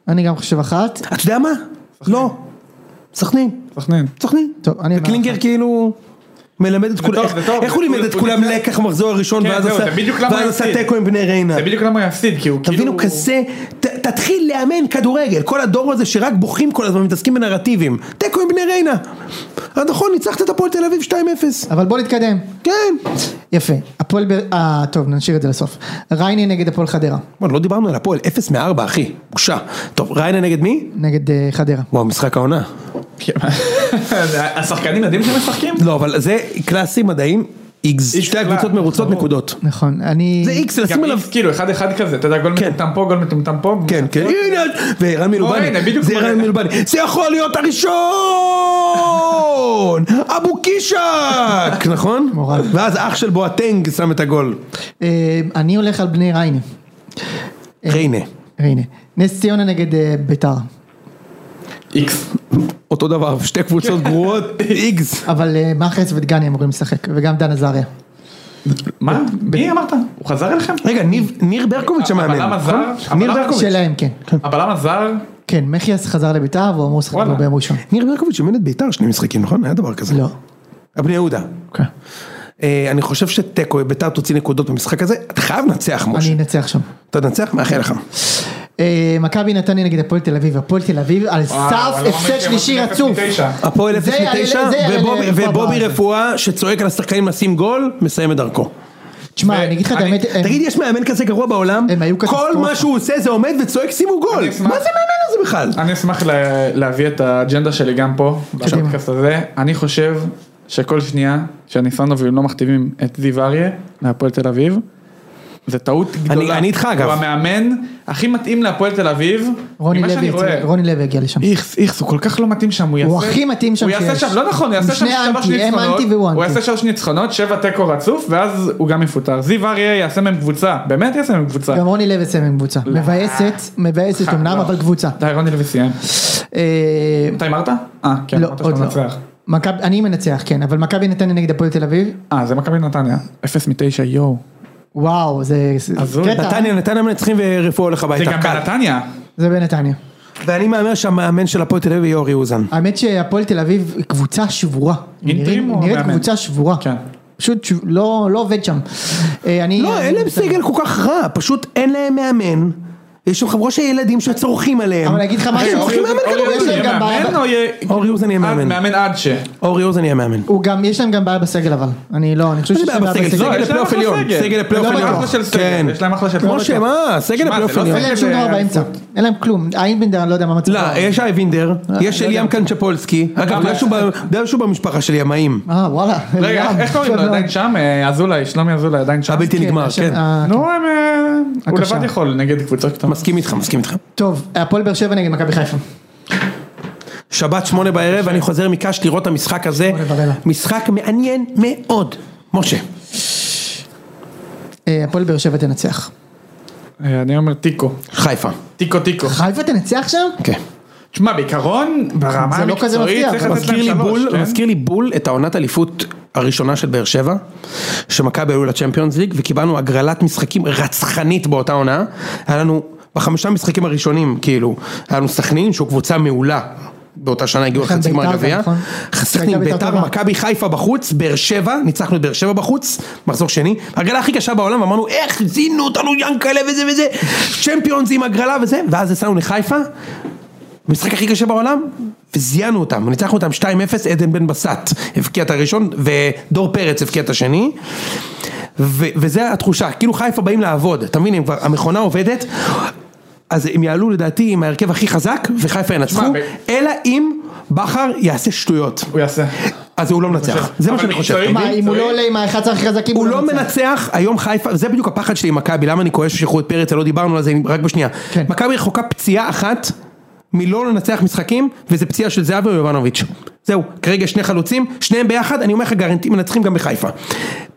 [SPEAKER 1] אני גם חושב אחת.
[SPEAKER 2] אתה יודע מה? לא. סכנין.
[SPEAKER 3] סכנין.
[SPEAKER 2] סכנין.
[SPEAKER 1] טוב, אני...
[SPEAKER 2] קלינגר כאילו... מלמד את כולם,
[SPEAKER 3] טוב, זה טוב.
[SPEAKER 2] איך הוא לימד את
[SPEAKER 3] הוא
[SPEAKER 2] כולם
[SPEAKER 3] לפני-
[SPEAKER 2] לקח מחזור ראשון
[SPEAKER 3] כן,
[SPEAKER 2] ואז
[SPEAKER 3] זהו,
[SPEAKER 2] עשה-
[SPEAKER 3] זה בדיוק למה הוא
[SPEAKER 2] ואז עשה
[SPEAKER 3] הפסיד.
[SPEAKER 2] תיקו עם בני ריינה?
[SPEAKER 3] זה בדיוק למה הוא יפסיד, כי הוא כאילו...
[SPEAKER 2] תבינו כזה, ת, תתחיל לאמן כדורגל, כל הדור הזה שרק בוכים כל הזמן, מתעסקים בנרטיבים, תיקו עם בני ריינה. אז נכון, ניצחת את הפועל תל אביב 2-0,
[SPEAKER 1] אבל בוא נתקדם.
[SPEAKER 2] כן.
[SPEAKER 1] יפה. הפועל ב... אה, טוב, נשאיר את זה לסוף. ריינה נגד הפועל חדרה.
[SPEAKER 2] בוא, לא דיברנו על הפועל, 0 מ-4 אחי, בושה. טוב, ריינה נגד מי?
[SPEAKER 1] נגד אה, חדרה.
[SPEAKER 2] וואו, משחק העונה.
[SPEAKER 3] כן. השחקנים יודעים שהם משחקים?
[SPEAKER 2] לא, אבל זה קלאסי מדעים, איקס,
[SPEAKER 3] איקס
[SPEAKER 2] שתי
[SPEAKER 3] קלאס,
[SPEAKER 2] הקבוצות מרוצות
[SPEAKER 3] ברור.
[SPEAKER 2] נקודות.
[SPEAKER 1] נכון, אני...
[SPEAKER 2] זה איקס,
[SPEAKER 3] גם
[SPEAKER 2] לשים עליו...
[SPEAKER 3] איקס, כאילו אחד אחד כזה, אתה יודע, גול
[SPEAKER 2] כן.
[SPEAKER 3] מטומטם פה, גול מטומטם פה.
[SPEAKER 2] כן, כן, הנה, ורן
[SPEAKER 3] אוי,
[SPEAKER 2] מלובני,
[SPEAKER 3] אוקיי. הנה, בדיוק
[SPEAKER 2] זה
[SPEAKER 3] כמו-
[SPEAKER 2] רן מלובני, זה יכול להיות הראשון! אבו קישק! נכון?
[SPEAKER 1] מורל.
[SPEAKER 2] ואז אח של בואטנג שם את הגול.
[SPEAKER 1] אה, אני הולך על בני ריינה. אה.
[SPEAKER 2] ריינה,
[SPEAKER 1] ריינה. נס ציונה נגד אה, ביתר.
[SPEAKER 3] איקס.
[SPEAKER 2] אותו דבר, שתי קבוצות
[SPEAKER 3] כן.
[SPEAKER 2] גרועות, איגס.
[SPEAKER 1] אבל אה, מאחז ודגני אמורים לשחק, וגם דן עזריה.
[SPEAKER 3] מה? מי אמרת? הוא חזר אליכם?
[SPEAKER 2] רגע, ניב- ניר ברקוביץ'
[SPEAKER 3] אבל
[SPEAKER 2] המאמן.
[SPEAKER 3] למה
[SPEAKER 2] נכון?
[SPEAKER 3] זר?
[SPEAKER 2] ניר
[SPEAKER 3] אבל למה-
[SPEAKER 2] ברקוביץ'.
[SPEAKER 1] שלהם, כן.
[SPEAKER 3] הבלם הזר?
[SPEAKER 1] כן, מחיאס חזר לביתר, והוא אמור לשחק
[SPEAKER 3] וואלה.
[SPEAKER 1] בו ביום ראשון.
[SPEAKER 2] ניר ברקוביץ' אימן את ביתר שני משחקים, נכון? היה דבר כזה.
[SPEAKER 1] לא.
[SPEAKER 2] בני יהודה.
[SPEAKER 1] אוקיי.
[SPEAKER 2] אה, אני חושב שתיקו, ביתר תוציא נקודות במשחק הזה, אתה חייב לנצח
[SPEAKER 1] אני
[SPEAKER 2] משה.
[SPEAKER 1] אנצח שם.
[SPEAKER 2] אתה תנצח, מאחל לך.
[SPEAKER 1] אה, מכבי נתניה נגד הפועל תל אביב, הפועל תל אביב על סף
[SPEAKER 3] אבל לא הוא
[SPEAKER 1] הפסד
[SPEAKER 3] אמר שהם
[SPEAKER 1] שלישי
[SPEAKER 3] עושים
[SPEAKER 1] רצוף.
[SPEAKER 3] 0.9.
[SPEAKER 2] הפועל
[SPEAKER 1] זה יעלה-
[SPEAKER 2] 0.9
[SPEAKER 1] זה יעלה
[SPEAKER 2] ובובי-
[SPEAKER 1] לרפואה
[SPEAKER 2] ובובי
[SPEAKER 1] בארץ.
[SPEAKER 2] רפואה שצועק על השחקנים לשים גול, מסיים את דרכו.
[SPEAKER 1] תשמע, אני אגיד לך את
[SPEAKER 3] אני-
[SPEAKER 1] האמת, הם-
[SPEAKER 2] תגיד, יש מאמן כזה גרוע בעולם?
[SPEAKER 1] הם היו
[SPEAKER 2] כל
[SPEAKER 1] קטסטרופה.
[SPEAKER 2] מה שהוא עושה זה עומד וצועק שימו גול. מה זה
[SPEAKER 3] אשמח-
[SPEAKER 2] מאמן הזה בכלל?
[SPEAKER 3] אני אשמח ל- להביא את האג'נדה שלי גם פה,
[SPEAKER 1] קדימה.
[SPEAKER 3] בפודקאסט הזה. אני חושב שכל שנייה שהניסנובים לא מכתיבים את זיו אריה מהפועל תל אביב, זה טעות גדולה.
[SPEAKER 2] אני איתך, אגב.
[SPEAKER 3] הוא המאמן הכי מתאים להפועל תל אביב.
[SPEAKER 1] רוני
[SPEAKER 3] ממה שאני
[SPEAKER 1] לוי יצא-
[SPEAKER 3] רואה.
[SPEAKER 1] רוני לוי הגיע לשם.
[SPEAKER 3] איכס, איכס, הוא כל כך לא מתאים שם, הוא יעשה...
[SPEAKER 1] הכי מתאים שם
[SPEAKER 3] הוא יעשה
[SPEAKER 1] שיש.
[SPEAKER 3] שם, לא נכון, הוא
[SPEAKER 1] הם
[SPEAKER 3] יעשה שם
[SPEAKER 1] שני
[SPEAKER 3] שלוש
[SPEAKER 1] אנטי, הם
[SPEAKER 3] ניצחונות.
[SPEAKER 1] אנטי והוא
[SPEAKER 3] הוא
[SPEAKER 1] אנטי.
[SPEAKER 3] יעשה שלוש ניצחונות, שבע תיקו רצוף, ואז הוא גם יפוטר. זיו אריה יעשה מהם קבוצה, באמת יעשה מהם קבוצה.
[SPEAKER 1] גם רוני לוי סמל קבוצה. מבאסת, מבאסת
[SPEAKER 3] לא.
[SPEAKER 1] אמנם, אבל קבוצה.
[SPEAKER 3] די, רוני לוי סיים.
[SPEAKER 1] אה,
[SPEAKER 3] אתה הימרת? אה, כן,
[SPEAKER 1] לא,
[SPEAKER 3] אמרת
[SPEAKER 1] עוד
[SPEAKER 3] שאתה
[SPEAKER 1] לא.
[SPEAKER 3] מנצח.
[SPEAKER 1] מכבי- אני מנצח, כן, אבל מכבי נתניה נגד הפועל תל אביב,
[SPEAKER 3] אה, זה מכבי נתניה. אפס מתשע, יואו.
[SPEAKER 1] וואו, זה זה
[SPEAKER 3] הזוי.
[SPEAKER 1] קטע.
[SPEAKER 2] נתניה, נתניה מנצחים ורפואה הולך
[SPEAKER 3] זה
[SPEAKER 2] הביתה.
[SPEAKER 3] גם
[SPEAKER 2] קל.
[SPEAKER 3] בנתניה.
[SPEAKER 1] זה בנתניה.
[SPEAKER 2] ואני מהמר שהמאמן של הפועל תל אביב יהיה אורי אוזן.
[SPEAKER 1] האמת שהפועל תל אביב היא קבוצה שבורה. היא נראית-
[SPEAKER 3] אינטרים או
[SPEAKER 1] היא נראית
[SPEAKER 3] מאמן?
[SPEAKER 1] קבוצה שבורה.
[SPEAKER 3] כן.
[SPEAKER 1] פשוט שוב- לא לא עובד שם. אה, אני-
[SPEAKER 2] לא,
[SPEAKER 1] אני-
[SPEAKER 2] אין להם סגל כל כך רע, פשוט אין להם מאמן. יש שם חבורה של ילדים שצורכים עליהם.
[SPEAKER 1] אבל אני אגיד לך משהו,
[SPEAKER 2] הם צריכים
[SPEAKER 1] אורי-
[SPEAKER 2] מאמן
[SPEAKER 1] אורי-
[SPEAKER 2] כדורגל.
[SPEAKER 1] יש להם
[SPEAKER 3] יהיה
[SPEAKER 1] גם
[SPEAKER 3] מאמן
[SPEAKER 1] בעיה-
[SPEAKER 3] או יהיה...
[SPEAKER 2] אורי אוזן יהיה
[SPEAKER 3] עד-
[SPEAKER 2] מאמן.
[SPEAKER 3] מאמן עד ש...
[SPEAKER 2] אורי אוזן יהיה מאמן.
[SPEAKER 1] הוא גם, יש להם גם בעיה בסגל אבל. אני לא, אני חושב
[SPEAKER 2] אין
[SPEAKER 1] שיש להם
[SPEAKER 2] בעיה בסגל,
[SPEAKER 1] בעיה
[SPEAKER 2] סגל
[SPEAKER 1] בסגל.
[SPEAKER 3] יש להם
[SPEAKER 2] לפלייאוף
[SPEAKER 3] אחלה
[SPEAKER 2] עליון.
[SPEAKER 3] סגל.
[SPEAKER 2] סגל לפלייאוף
[SPEAKER 3] יש להם
[SPEAKER 2] עליון.
[SPEAKER 3] אחלה של סגל,
[SPEAKER 2] כן.
[SPEAKER 3] יש להם אחלה של סגל.
[SPEAKER 2] משה, מה? סגל
[SPEAKER 3] שמע,
[SPEAKER 2] לפלייאוף
[SPEAKER 3] זה לא
[SPEAKER 2] עליון.
[SPEAKER 1] אין להם שום דבר באמצע. אין להם כלום. איינבנדר, אני לא יודע מה מצבו.
[SPEAKER 2] לא, יש אייבינדר,
[SPEAKER 3] אה,
[SPEAKER 2] יש אליאם קנצ'פולסקי, אגב, אתה יודע שהוא במשפחה של ימאים,
[SPEAKER 1] אה, וואלה.
[SPEAKER 3] רגע, איך- איך קוראים לו? עדיין שם? אה, אזולאי, שלומי אזולאי עדיין שם.
[SPEAKER 2] הבלתי נגמר,
[SPEAKER 1] השם-
[SPEAKER 2] כן.
[SPEAKER 1] אה,
[SPEAKER 3] נו, הם... אה, הוא
[SPEAKER 1] הקשר.
[SPEAKER 3] לבד יכול נגד קבוצות קטנות.
[SPEAKER 2] מסכים איתך, מסכים איתך.
[SPEAKER 1] טוב, הפועל באר שבע נגד מכבי חיפה.
[SPEAKER 2] שבת
[SPEAKER 3] אה,
[SPEAKER 2] שמונה בערב, אני חוזר מקאש לראות את המשחק הזה,
[SPEAKER 1] שמונה ורבע.
[SPEAKER 2] משחק מעניין מאוד. משה,
[SPEAKER 1] אה, הפועל באר שבע תנצח.
[SPEAKER 3] אה, אני אומר תיקו.
[SPEAKER 2] חיפה.
[SPEAKER 3] תיקו תיקו.
[SPEAKER 1] חיפה תנצח שם?
[SPEAKER 2] כן.
[SPEAKER 3] תשמע, בעיקרון, ברמה
[SPEAKER 1] זה לא כזה
[SPEAKER 3] המקצועית
[SPEAKER 1] מפתיע,
[SPEAKER 3] צריך
[SPEAKER 1] אבל
[SPEAKER 3] לתת
[SPEAKER 2] מזכיר
[SPEAKER 3] להם
[SPEAKER 2] לי
[SPEAKER 3] שלוש,
[SPEAKER 2] בול,
[SPEAKER 3] כן?
[SPEAKER 2] מזכיר לי בול את העונת אליפות הראשונה של באר שבע, שמכבי עלו לצ'מפיונס ליג וקיבלנו הגרלת משחקים רצחנית באותה עונה, היה לנו בחמישה משחקים הראשונים כאילו, היה לנו סכנין שהוא קבוצה מעולה. באותה שנה הגיעו
[SPEAKER 1] נכון,
[SPEAKER 2] לחצי גמר
[SPEAKER 1] בית"ר גם,
[SPEAKER 2] גביע,
[SPEAKER 1] נכון?
[SPEAKER 2] סכנין,
[SPEAKER 1] הייתה בית"ר
[SPEAKER 2] ביתר,
[SPEAKER 1] טובה.
[SPEAKER 2] מכבי חיפה בחוץ, באר שבע, ניצחנו את באר שבע בחוץ, מחזור שני, הגרלה הכי קשה בעולם, אמרנו איך זינו אותנו ינקלה וזה וזה, צ'מפיונס עם הגרלה וזה, ואז יצאנו לחיפה, המשחק הכי קשה בעולם, וזיינו אותם, ניצחנו אותם 2-0, עדן בן בסט הבקיע את הראשון, ודור פרץ הבקיע את השני, ו- וזה התחושה, כאילו חיפה באים לעבוד, אתה מבין, הם כבר- המכונה עובדת, אז הם יעלו לדעתי עם ההרכב הכי חזק, וחיפה ינצחו,
[SPEAKER 3] שמע, ב-
[SPEAKER 2] אלא אם בכר יעשה שטויות,
[SPEAKER 3] הוא יעשה.
[SPEAKER 2] אז הוא לא מנצח, זה מה שאני חושב.
[SPEAKER 3] מקצועית-
[SPEAKER 1] מה, אם הוא לא עולה עם האחד הכי חזקים
[SPEAKER 2] אה, הוא לא מנצח, היום חיפה, זה בדיוק הפחד שלי עם מכבי, למה אני כועס ששחררו את פרץ, לא דיברנו על זה רק בשנייה.
[SPEAKER 1] כן.
[SPEAKER 2] מכבי רחוקה פציעה אחת מלא לא לנצח משחקים, וזה פציעה של זהבי ויובנוביץ'. זהו, כרגע שני חלוצים, שניהם ביחד, אני אומר לך גרנטי, מנצחים גם בחיפה.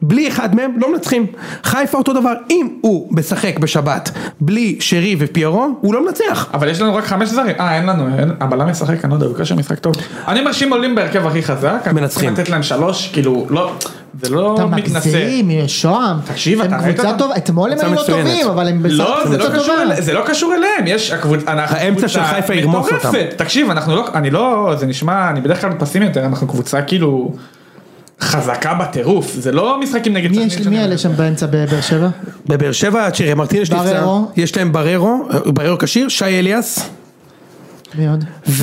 [SPEAKER 2] בלי אחד מהם, לא מנצחים. חיפה אותו דבר, אם הוא משחק בשבת בלי שרי ופיירו, הוא לא מנצח.
[SPEAKER 3] אבל יש לנו רק חמש זרים, אה אין לנו, אין- הבלם ישחק, אני לא יודע, הוא קשר משחק טוב. אני אומר שאם עולים בהרכב הכי חזק, אנחנו
[SPEAKER 2] מנצחים.
[SPEAKER 3] צריכים לתת להם שלוש, כאילו, לא, זה
[SPEAKER 1] אתה
[SPEAKER 3] לא מתנשא.
[SPEAKER 1] מגזים, שוהם.
[SPEAKER 3] תקשיב, אתה
[SPEAKER 1] הם
[SPEAKER 3] ראית
[SPEAKER 1] קבוצה
[SPEAKER 3] אותם?
[SPEAKER 1] טובה, אתמול הם
[SPEAKER 2] קבוצה
[SPEAKER 1] היו לא
[SPEAKER 2] מצוינת.
[SPEAKER 1] טובים, אבל הם בסך
[SPEAKER 3] לא,
[SPEAKER 1] הכל
[SPEAKER 3] זה לא,
[SPEAKER 1] קבוצה
[SPEAKER 3] קשור
[SPEAKER 1] טובה.
[SPEAKER 3] אל, זה לא קשור אליהם, יש הקבוצה, אנחנו
[SPEAKER 2] האמצע
[SPEAKER 3] קבוצה
[SPEAKER 2] של חיפה ירמוס אותם.
[SPEAKER 3] מטורפת. תקשיב, אנחנו לא, אני לא, זה נשמע, אני בדרך כלל פסימי יותר, אנחנו קבוצה כאילו חזקה בטירוף, זה לא משחקים נגד...
[SPEAKER 1] מי
[SPEAKER 3] סכנין
[SPEAKER 1] יש-
[SPEAKER 3] שאני-
[SPEAKER 1] מי אלה שם באמצע בבאר שבע?
[SPEAKER 2] בבאר שבע, צ'רי מרטינש
[SPEAKER 1] בררו.
[SPEAKER 2] נפצע, יש להם בררו, בררו כשיר, שי אליאס,
[SPEAKER 1] מי עוד?
[SPEAKER 3] אה.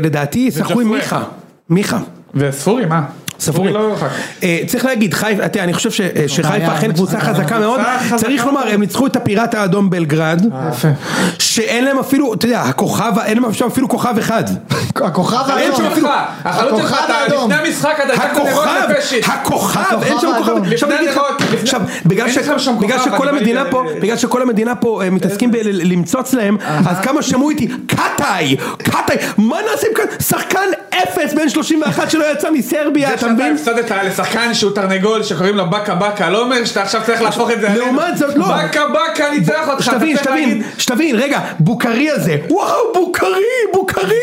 [SPEAKER 2] ולדעתי ישחקו עם
[SPEAKER 3] וג'פרי.
[SPEAKER 2] מיכה. מיכה.
[SPEAKER 3] וספורי, מה?
[SPEAKER 2] ספורי.
[SPEAKER 3] לא רחק.
[SPEAKER 2] אה, צריך להגיד, חיפה, אתה יודע, אני חושב ש- אה, שחיפה
[SPEAKER 1] לא, בעיה,
[SPEAKER 2] אכן
[SPEAKER 1] אני
[SPEAKER 2] קבוצה
[SPEAKER 1] חושב
[SPEAKER 2] חזקה מאוד,
[SPEAKER 3] חזקה
[SPEAKER 2] צריך
[SPEAKER 3] מאוד. אה.
[SPEAKER 2] לומר, הם ניצחו את הפיראט האדום בלגרד,
[SPEAKER 3] יפה.
[SPEAKER 2] שאין להם אפילו, אתה יודע, הכוכב, אין להם שם אפילו כוכב אחד,
[SPEAKER 1] הכוכב
[SPEAKER 3] אין
[SPEAKER 1] האדום.
[SPEAKER 3] שם אפילו... החלוץ שלך,
[SPEAKER 1] הכוכב
[SPEAKER 3] אתה
[SPEAKER 1] האדום.
[SPEAKER 3] לפני המשחק אתה הצגת נרות
[SPEAKER 2] הכוכב,
[SPEAKER 3] לפשיט.
[SPEAKER 2] הכוכב,
[SPEAKER 1] הכוכב
[SPEAKER 2] אין שם כוכב,
[SPEAKER 1] האדום.
[SPEAKER 2] עכשיו
[SPEAKER 3] לפני
[SPEAKER 2] אני אגיד לך-
[SPEAKER 3] הנרות, לפני-
[SPEAKER 2] עכשיו, בגלל
[SPEAKER 3] אין
[SPEAKER 2] ש-
[SPEAKER 3] לכם שם
[SPEAKER 2] בגלל
[SPEAKER 3] כוכב,
[SPEAKER 2] שכל
[SPEAKER 3] אני
[SPEAKER 2] המדינה
[SPEAKER 3] בא-
[SPEAKER 2] פה, בגלל שכל המדינה פה אה, מתעסקים בלמצוץ להם,
[SPEAKER 1] אה.
[SPEAKER 2] אז כמה שמעו איתי, קטאי, קטאי, מה נעשה עם קטאי, שחקן אפס בן 31 שלא יצא מסרביה,
[SPEAKER 3] זה
[SPEAKER 2] אתה
[SPEAKER 3] שאתה
[SPEAKER 2] מבין?
[SPEAKER 3] הפסדת לשחקן שהוא תרנגול שקוראים לו באקה באקה לא אומר שאתה עכשיו צריך להפוך את זה עלינו.
[SPEAKER 2] לעומת זאת, לא.
[SPEAKER 3] באקה באקה ניצח אותך. אתה
[SPEAKER 2] שתבין,
[SPEAKER 3] צריך
[SPEAKER 2] שתבין,
[SPEAKER 3] להגיד,
[SPEAKER 2] שתבין, רגע, בוקרי הזה, וואו, בוקרי, בוקרי,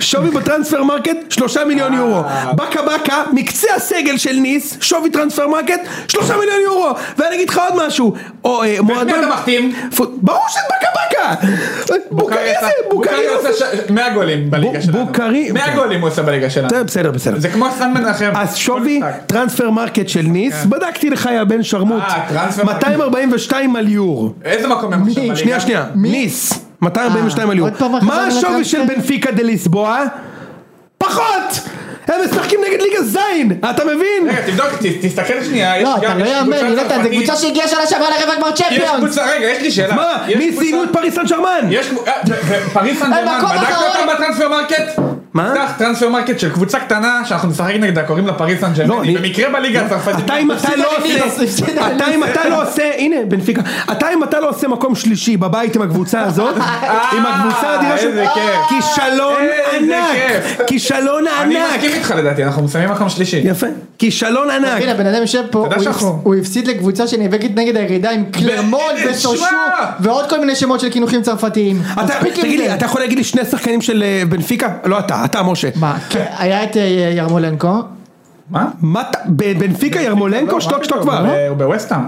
[SPEAKER 2] שווי בטרנספר מרקט, שלושה מיליון
[SPEAKER 3] אה.
[SPEAKER 2] יורו, בקה בקה, מקצה הסגל של ניס, שווי טרנספר מרקט, שלושה מיליון יורו, ואני אגיד לך עוד משהו, או אה, מועדון,
[SPEAKER 3] אתה מחתים?
[SPEAKER 2] פו- ברור שאת בקה בקה, בוקרי הזה, בוקרי הזה,
[SPEAKER 3] עושה ש- 100 גולים בליגה
[SPEAKER 2] בו-
[SPEAKER 3] שלנו.
[SPEAKER 2] בוקרי-
[SPEAKER 3] 100
[SPEAKER 2] אוקיי.
[SPEAKER 3] גולים הוא עושה בליגה שלנו.
[SPEAKER 2] בסדר, בסדר, בסדר.
[SPEAKER 3] זה כמו סן מנחם.
[SPEAKER 2] אז
[SPEAKER 3] כל
[SPEAKER 2] שווי
[SPEAKER 3] משחק. כן.
[SPEAKER 2] טרנספר מרקט של ניס, בדקתי לך יא בן שרמוט,
[SPEAKER 3] אה, טרנספר מרקט.
[SPEAKER 2] 242 על יור,
[SPEAKER 3] איזה מקום הם עכשיו בליגה?
[SPEAKER 2] שנייה, שנייה, ניס, 242
[SPEAKER 1] אה,
[SPEAKER 2] עליו.
[SPEAKER 1] עוד פעם
[SPEAKER 2] מה
[SPEAKER 1] חזרנו
[SPEAKER 2] השווי
[SPEAKER 1] לטרנספר?
[SPEAKER 2] של
[SPEAKER 3] כן.
[SPEAKER 2] בנפיקה דה ליסבואה? פחות! הם משחקים נגד ליגה זין, אתה מבין?
[SPEAKER 3] רגע תבדוק, ת- תסתכל שנייה. יש
[SPEAKER 1] לא, אתה
[SPEAKER 3] גם-
[SPEAKER 1] לא
[SPEAKER 3] יש קבוצה
[SPEAKER 1] יאמן, יונתן, זו
[SPEAKER 3] צרפתית.
[SPEAKER 1] קבוצה שהגיעה שנה שעברה לרבע גמר
[SPEAKER 3] יש
[SPEAKER 1] צ'מפיונס.
[SPEAKER 3] קבוצה, רגע, יש לי שאלה.
[SPEAKER 2] מה,
[SPEAKER 3] אה, יש
[SPEAKER 2] ניס
[SPEAKER 3] קבוצה-
[SPEAKER 2] זינו את פריס סן שרמן?
[SPEAKER 3] יש קבוצה, פריס סן גרמן,
[SPEAKER 1] במקום
[SPEAKER 3] בדקת
[SPEAKER 1] האחרון.
[SPEAKER 3] אותם בטרנספר מרקט?
[SPEAKER 2] מה?
[SPEAKER 3] פתח טרנספר מרקט של קבוצה קטנה שאנחנו נשחק נגדה, קוראים לה פריס סן גרמן,
[SPEAKER 2] לא,
[SPEAKER 3] היא
[SPEAKER 2] אני-
[SPEAKER 3] במקרה בליגה הצרפתית.
[SPEAKER 2] אתה אם
[SPEAKER 3] אה,
[SPEAKER 2] אתה לא
[SPEAKER 1] הפסידה לניס,
[SPEAKER 2] עושה,
[SPEAKER 1] הפסידה
[SPEAKER 2] אתה אם אתה לא עושה, הנה בנפיקה, אתה אם אתה לא עושה מקום שלישי בבית עם הקבוצה הזאת, עם הקבוצה האדירה של...
[SPEAKER 3] אה, איזה כיף.
[SPEAKER 2] כישלון
[SPEAKER 3] איזה
[SPEAKER 2] ענק,
[SPEAKER 3] כיף.
[SPEAKER 2] כישלון
[SPEAKER 3] אני
[SPEAKER 2] ענק,
[SPEAKER 3] מסכים איתך לדעתי, אנחנו מסיימים מקום שלישי.
[SPEAKER 2] יפה, כישלון ענק.
[SPEAKER 1] הנה, הבן אדם יושב פה,
[SPEAKER 3] אתה יודע
[SPEAKER 1] הוא
[SPEAKER 3] שאנחנו-
[SPEAKER 1] הפס- הוא הפסיד לקבוצה שנאבקת נגד הירידה עם קלרמון
[SPEAKER 3] ב- אה,
[SPEAKER 1] ושושו
[SPEAKER 3] שמע!
[SPEAKER 1] ועוד כל מיני שמות של קינוחים צרפתיים.
[SPEAKER 2] אתה,
[SPEAKER 1] מספיק עם
[SPEAKER 2] תגיד לי,
[SPEAKER 1] זה.
[SPEAKER 2] אתה יכול להגיד לי שני שחקנים של אה, בנפיקה? לא אתה, אתה משה.
[SPEAKER 1] מה, כן, היה את אה, ירמולנקו,
[SPEAKER 3] מה?
[SPEAKER 2] מה אתה, ב- בנפיקה לא, ירמולנקו? שתוק שתוק כבר.
[SPEAKER 3] הוא בווסטהאם.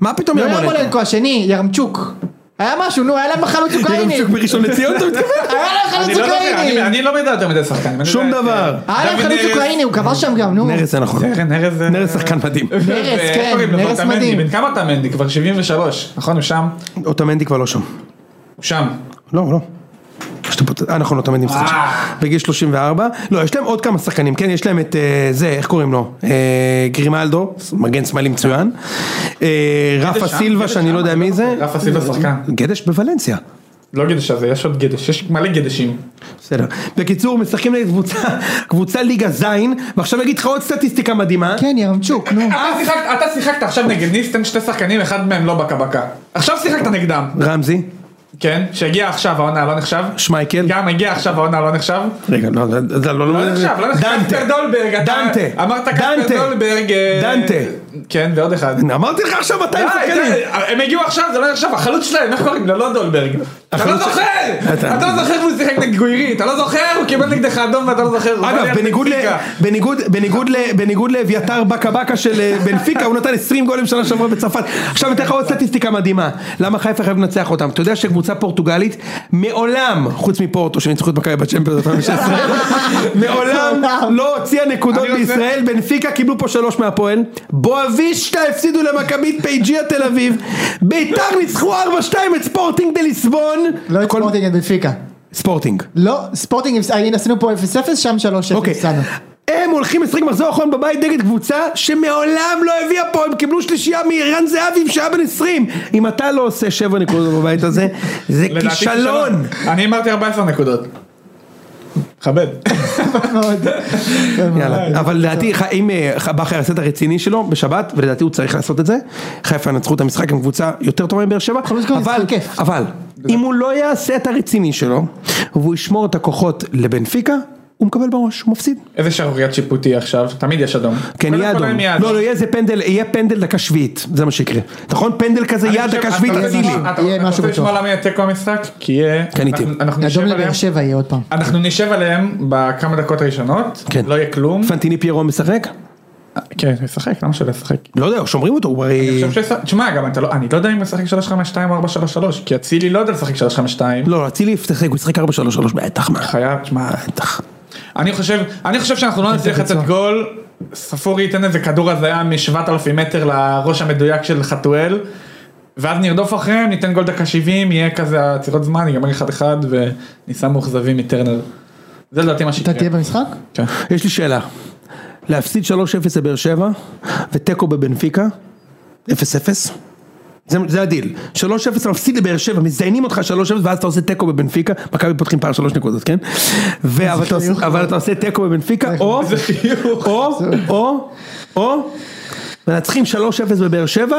[SPEAKER 2] מה פתאום
[SPEAKER 1] לא
[SPEAKER 2] ירמולנקו?
[SPEAKER 1] ירמולנקו השני, ירמצ'וק. היה משהו, נו, היה להם חלוץ אוקראיני.
[SPEAKER 2] ירמצ'וק כאילו, בראשון לציון אתה מתכוון?
[SPEAKER 1] היה להם
[SPEAKER 3] אני
[SPEAKER 1] חלוץ
[SPEAKER 3] לא יודע,
[SPEAKER 1] אוקראיני.
[SPEAKER 3] אני- אני לא יודע יותר מדי שחקנים. אני
[SPEAKER 2] שום
[SPEAKER 3] יודע את,
[SPEAKER 2] דבר.
[SPEAKER 3] אה,
[SPEAKER 1] היה להם
[SPEAKER 3] דוד
[SPEAKER 1] חלוץ
[SPEAKER 3] נרס.
[SPEAKER 1] אוקראיני, הוא כבש שם גם, נו.
[SPEAKER 2] נרס זה נכון.
[SPEAKER 3] כן, ארז... אה,
[SPEAKER 2] נרס שחקן מדהים.
[SPEAKER 1] נרס,
[SPEAKER 3] אה,
[SPEAKER 1] כן,
[SPEAKER 3] קוראים לו?
[SPEAKER 1] נרס
[SPEAKER 3] אוטמנדי.
[SPEAKER 1] מדהים.
[SPEAKER 3] בן כמה אתה מנדי? כבר 73. נכון, הוא שם?
[SPEAKER 2] אוטמנדי כבר לא שם.
[SPEAKER 3] הוא שם.
[SPEAKER 2] לא, לא. שאתה פות- אה נכון, אוטמנדי משחק
[SPEAKER 3] אה.
[SPEAKER 2] שם. בגיל 34. לא, יש להם עוד כמה שחקנים, כן? יש להם את אה, זה, איך קוראים לו? אה, גרימלדו, מגן שמאלי מצוין. אה, רפה
[SPEAKER 3] שם,
[SPEAKER 2] סילבה,
[SPEAKER 3] גדש
[SPEAKER 2] שאני
[SPEAKER 3] שם,
[SPEAKER 2] לא יודע מי זה.
[SPEAKER 3] רפה סילבה שחקן.
[SPEAKER 2] גדש בוולנסיה.
[SPEAKER 3] לא גדש הזה, יש עוד גדש, יש מלא גדשים.
[SPEAKER 2] בסדר. בקיצור, משחקים נגד קבוצה- קבוצה ליגה זין, ועכשיו אגיד לך עוד סטטיסטיקה מדהימה.
[SPEAKER 1] כן, ירמצ'וק, נו.
[SPEAKER 3] אתה שיחקת- אתה שיחקת עכשיו נגד ניסטן שתי שחקנים, אחד מהם לא בקה בקה. עכשיו שיחקת נגדם,
[SPEAKER 2] רמזי,
[SPEAKER 3] כן? שהגיע עכשיו העונה לא נחשב.
[SPEAKER 2] שמייקל.
[SPEAKER 3] גם הגיע עכשיו העונה לא נחשב.
[SPEAKER 2] רגע, לא, לא, לא, לא,
[SPEAKER 3] לא נחשב, לא נחשב.
[SPEAKER 2] דנטה.
[SPEAKER 3] קספר דולברג. אתה-
[SPEAKER 2] דנטה.
[SPEAKER 3] אמרת
[SPEAKER 2] דנטה.
[SPEAKER 3] קספר דולברג. אה,
[SPEAKER 2] דנטה.
[SPEAKER 3] כן, ועוד אחד.
[SPEAKER 2] אמרתי לך עכשיו
[SPEAKER 3] די,
[SPEAKER 2] 200
[SPEAKER 3] די,
[SPEAKER 2] שחקנים.
[SPEAKER 3] הם הגיעו עכשיו, זה לא נחשב, החלוץ שלהם, איך קוראים לו? לא דולברג. אתה לא
[SPEAKER 2] החלוץ-
[SPEAKER 3] זוכר!
[SPEAKER 2] אתה-
[SPEAKER 3] אתה לא זוכר והוא שיחק נגד גוירי, אתה לא זוכר, הוא קיבל נגדך אדום ואתה לא זוכר. הוא בא ליד
[SPEAKER 2] אגב, בניגוד ל-
[SPEAKER 3] בנפיקה.
[SPEAKER 2] בניגוד- בניגוד ל- בניגוד לאביתר בקה בקה של אה, בנפיקה, הוא נתן 20 גולים שנה שעברה בצרפת. עכשיו אני אתן לך עוד סטטיסטיקה מדהימה. למה חיפה חייב לנצח אותם? אתה יודע שקבוצה פורטוגלית, מעולם, חוץ מפורטו שניצחו את מכבי בצ'מפיונס 2016, מעולם
[SPEAKER 1] מעולם.
[SPEAKER 2] לא הוציאה נקודות
[SPEAKER 3] אני רוצה-
[SPEAKER 2] בישראל. בנפיקה קיבלו פה שלוש מהפועל. בואבישטה הפסידו למכבית פייג'יה תל אביב. ביתר ניצחו 4-2 את ספורטינג דה ליסבון.
[SPEAKER 1] לא את
[SPEAKER 2] כל-
[SPEAKER 1] ספורטינג את בנפיקה.
[SPEAKER 2] ספורטינג.
[SPEAKER 1] לא, ספורטינג, הנה עשינו אה, פה 0-0, שם 3-0
[SPEAKER 2] אוקיי.
[SPEAKER 1] הפסדנו.
[SPEAKER 2] הם הם הולכים לשחק מחזור אחרון בבית נגד קבוצה שמעולם לא הביאה פה, הם קיבלו שלישייה מערן זהבי שהיה בן 20. אם אתה לא עושה שבע נקודות בבית הזה, זה
[SPEAKER 3] לדעתי
[SPEAKER 2] כישלון.
[SPEAKER 3] כישלון. אני אמרתי 14 נקודות. כבד.
[SPEAKER 1] כן,
[SPEAKER 2] יאללה. אבל לדעתי, ח- אם אה, ח- בכר יעשה את הרציני שלו בשבת, ולדעתי הוא צריך לעשות את זה, חיפה ינצחו את המשחק עם קבוצה יותר טובה מבאר שבע,
[SPEAKER 1] אבל זה גם
[SPEAKER 2] אבל,
[SPEAKER 1] משחק כיף.
[SPEAKER 2] אבל, אם הוא לא יעשה את הרציני שלו, והוא ישמור את הכוחות לבנפיקה, הוא מקבל בראש, הוא מפסיד.
[SPEAKER 3] איזה שערוריית שיפוטי עכשיו, תמיד יש אדום.
[SPEAKER 2] כן,
[SPEAKER 3] קודם
[SPEAKER 2] יהיה
[SPEAKER 3] כל
[SPEAKER 2] אדום.
[SPEAKER 3] להם יהיה
[SPEAKER 2] לא, לא, יהיה איזה פנדל, יהיה פנדל דקה שביעית, זה מה שיקרה. נכון? פנדל כזה,
[SPEAKER 3] אני
[SPEAKER 2] יד
[SPEAKER 3] חושב- לא
[SPEAKER 2] דקה
[SPEAKER 3] אתה
[SPEAKER 2] שביעית,
[SPEAKER 3] רוצה
[SPEAKER 2] אצילי.
[SPEAKER 3] לשמוע- אתה-
[SPEAKER 1] יהיה
[SPEAKER 3] אתה
[SPEAKER 1] משהו
[SPEAKER 3] רוצה לשמוע
[SPEAKER 1] בטוח.
[SPEAKER 3] למה יהיה תיקו המשחק? כי יהיה...
[SPEAKER 2] קניתי.
[SPEAKER 3] אנחנו- אנחנו נשב
[SPEAKER 1] אדום לבאר
[SPEAKER 3] עליהם.
[SPEAKER 1] שבע יהיה עוד פעם.
[SPEAKER 3] אנחנו נשב עליהם בכמה דקות הראשונות,
[SPEAKER 2] כן.
[SPEAKER 3] לא יהיה כלום.
[SPEAKER 2] פנטיני פיירו משחק?
[SPEAKER 3] כן, ישחק, למה שלא ישחק?
[SPEAKER 2] לא יודע, שומרים אותו, הוא הרי...
[SPEAKER 3] אני חושב שיש- תשמע, גם אתה לא, אני לא יודע אם הוא ישחק 352 או 433, כי אצילי לא יודע לשחק 352.
[SPEAKER 2] לא, אצילי ישחק, הוא ישחק 4-3-3 בטח, מה?
[SPEAKER 3] חייב, תשמע,
[SPEAKER 2] בטח.
[SPEAKER 3] אני חושב, אני חושב שאנחנו לא נצליח לצאת גול, ספורי ייתן איזה כדור הזיה מ-7,000 מטר לראש המדויק של חתואל, ואז נרדוף אחריהם, ניתן גול דקה 70, יהיה כזה עצירות זמן, ייגמר 1-1 וניסע מאוכזבים מטרנר. זה לדעתי מה
[SPEAKER 1] אתה תהיה
[SPEAKER 3] שיקרה.
[SPEAKER 1] במשחק?
[SPEAKER 3] כן.
[SPEAKER 2] יש לי שאלה. להפסיד 3-0 לבאר שבע, ותיקו בבנפיקה, 0-0? זה, זה הדיל. 3-0 מפסיד לבאר שבע, מזיינים אותך 3-0 ואז אתה עושה תיקו בבנפיקה, מכבי פותחים פער 3 נקודות, כן? ו- אבל, אתה עושה,
[SPEAKER 1] חיוך.
[SPEAKER 2] אבל אתה עושה תיקו בבנפיקה, או, או, או, או, מנצחים 3-0 בבאר שבע,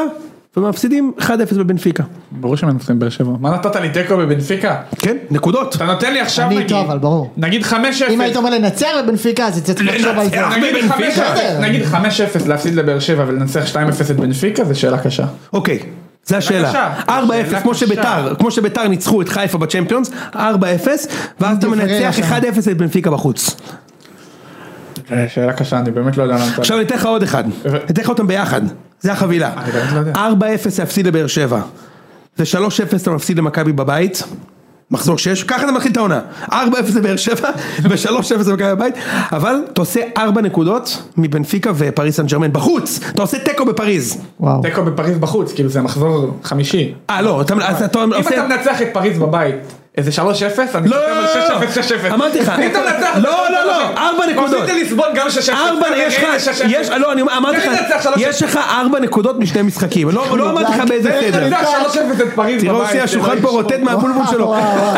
[SPEAKER 2] ומפסידים 1-0 בבנפיקה.
[SPEAKER 3] ברור שמנצחים באר שבע. מה נתת לי תיקו בבנפיקה?
[SPEAKER 2] כן, נקודות.
[SPEAKER 3] אתה נותן לי עכשיו
[SPEAKER 1] אני
[SPEAKER 3] נגיד,
[SPEAKER 1] איתו, אבל ברור.
[SPEAKER 3] נגיד 5-0,
[SPEAKER 1] אם היית אומר לנצח בבנפיקה אז צריך לחשוב על זה.
[SPEAKER 2] לנצח.
[SPEAKER 3] נגיד
[SPEAKER 2] בבנפיקה.
[SPEAKER 3] 5-0, נגיד 5-0 להפסיד לבאר שבע ולנצח 2-0 את בנפיקה זה שאלה קשה.
[SPEAKER 2] אוקיי, זו השאלה.
[SPEAKER 3] קשה.
[SPEAKER 2] 4-0,
[SPEAKER 3] שאלה
[SPEAKER 2] כמו
[SPEAKER 3] קשה.
[SPEAKER 2] שביתר, כמו שביתר ניצחו את חיפה בצ'מפיונס, 4-0, ואז אתה מנצח
[SPEAKER 1] שם.
[SPEAKER 2] 1-0 את בנפיקה בחוץ.
[SPEAKER 3] אה, שאלה קשה, אני באמת לא יודע למה אתה...
[SPEAKER 2] עכשיו אני אתן לך עוד אחד,
[SPEAKER 3] ו-
[SPEAKER 2] אני אתן לך אותם ביחד, זה החבילה.
[SPEAKER 3] אני באמת לא יודע.
[SPEAKER 2] 4-0 להפסיד לבאר שבע, ו-3-0 אתה מפסיד למכבי בבית. מחזור 6, ככה אתה מתחיל את העונה, 4-0 לבאר שבע ו-3-0 למכבי בבית, אבל אתה עושה 4 נקודות מבנפיקה ופריס סן ג'רמן בחוץ, אתה עושה תיקו בפריז.
[SPEAKER 1] וואו.
[SPEAKER 3] תיקו בפריז בחוץ, כאילו זה מחזור חמישי.
[SPEAKER 2] אה לא, אתה אז אתה
[SPEAKER 3] אם
[SPEAKER 2] עושה...
[SPEAKER 3] אתה מנצח את פריז בבית, איזה 3-0, אני
[SPEAKER 2] לא,
[SPEAKER 3] חושב
[SPEAKER 2] לא, לא,
[SPEAKER 3] על
[SPEAKER 2] לא.
[SPEAKER 3] 6-0, 6-0.
[SPEAKER 2] אמרתי לך.
[SPEAKER 3] אם אתה מנצח...
[SPEAKER 2] לא, לא, לא, ארבע נקודות.
[SPEAKER 3] מפסיק לי לסבול גם 6-0.
[SPEAKER 2] ארבע,
[SPEAKER 3] גם
[SPEAKER 2] יש
[SPEAKER 3] אלה
[SPEAKER 2] לך,
[SPEAKER 3] 6-0.
[SPEAKER 2] יש, לא, אני אמרתי
[SPEAKER 3] תן לי לנצח
[SPEAKER 2] לך,
[SPEAKER 3] 3-0.
[SPEAKER 2] יש לך ארבע נקודות משני משחקים, לא לא אמרתי לך באיזה
[SPEAKER 3] תן לי
[SPEAKER 2] סדר.
[SPEAKER 3] לנצח 3-0 את פריז
[SPEAKER 2] תראה
[SPEAKER 3] בבית.
[SPEAKER 2] אוסי
[SPEAKER 3] זה לא
[SPEAKER 2] השולחן פה
[SPEAKER 3] ישבור.
[SPEAKER 2] רוטט מהבולבול שלו.
[SPEAKER 1] וואו, וואו.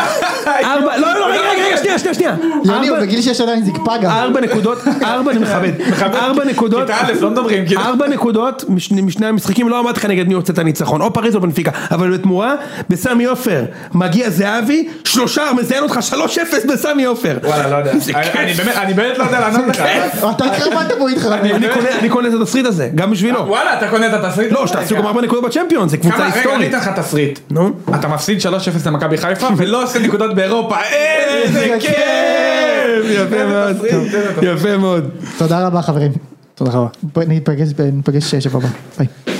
[SPEAKER 2] ארבע, לא, לא, רגע, רגע, רגע, שנייה, שנייה, שנייה.
[SPEAKER 1] יוני הוא
[SPEAKER 2] ארבע-
[SPEAKER 1] בגיל שש עדיין זקפה גם.
[SPEAKER 2] ארבע נקודות, ארבע, אני מכבד, ארבע נקודות,
[SPEAKER 3] כיתה א', לא מדברים, כאילו.
[SPEAKER 2] ארבע נקודות משני משני המשחקים, לא אמרתי לך נגד מי הוצאת הניצחון, או פריז או בנפיקה, אבל בתמורה, בסמי עופר, מגיע זהבי, שלושה, מזיין אותך, שלוש אפס בסמי עופר.
[SPEAKER 3] וואלה, לא יודע. אני- אני באמת- אני באמת לא יודע לענות לך.
[SPEAKER 1] אתה התחרפנת פה התחרפנת.
[SPEAKER 2] אני קונה- אני קונה את התסריט הזה, גם בשבילו.
[SPEAKER 3] וואלה, אתה קונה את התסריט?
[SPEAKER 2] לא, שתעשו גם ארבע נקודות בצ'מפיון, זה קבוצה
[SPEAKER 3] כמה, רגע, אני
[SPEAKER 2] היסטורית.
[SPEAKER 3] אתן לך תסריט.
[SPEAKER 2] נו.
[SPEAKER 3] אתה מפסיד 3-0 למכבי חיפה ולא עושה נקודות באירופה. איזה
[SPEAKER 1] איזה
[SPEAKER 3] כיף!
[SPEAKER 2] יפה מאוד,
[SPEAKER 3] תסריט,
[SPEAKER 2] טוב.
[SPEAKER 3] תן לו תסריט.
[SPEAKER 2] יפה מאוד.
[SPEAKER 1] תודה רבה חברים.
[SPEAKER 3] תודה רבה.
[SPEAKER 1] בוא ניפגש ניפגש שבוע הבא. ביי.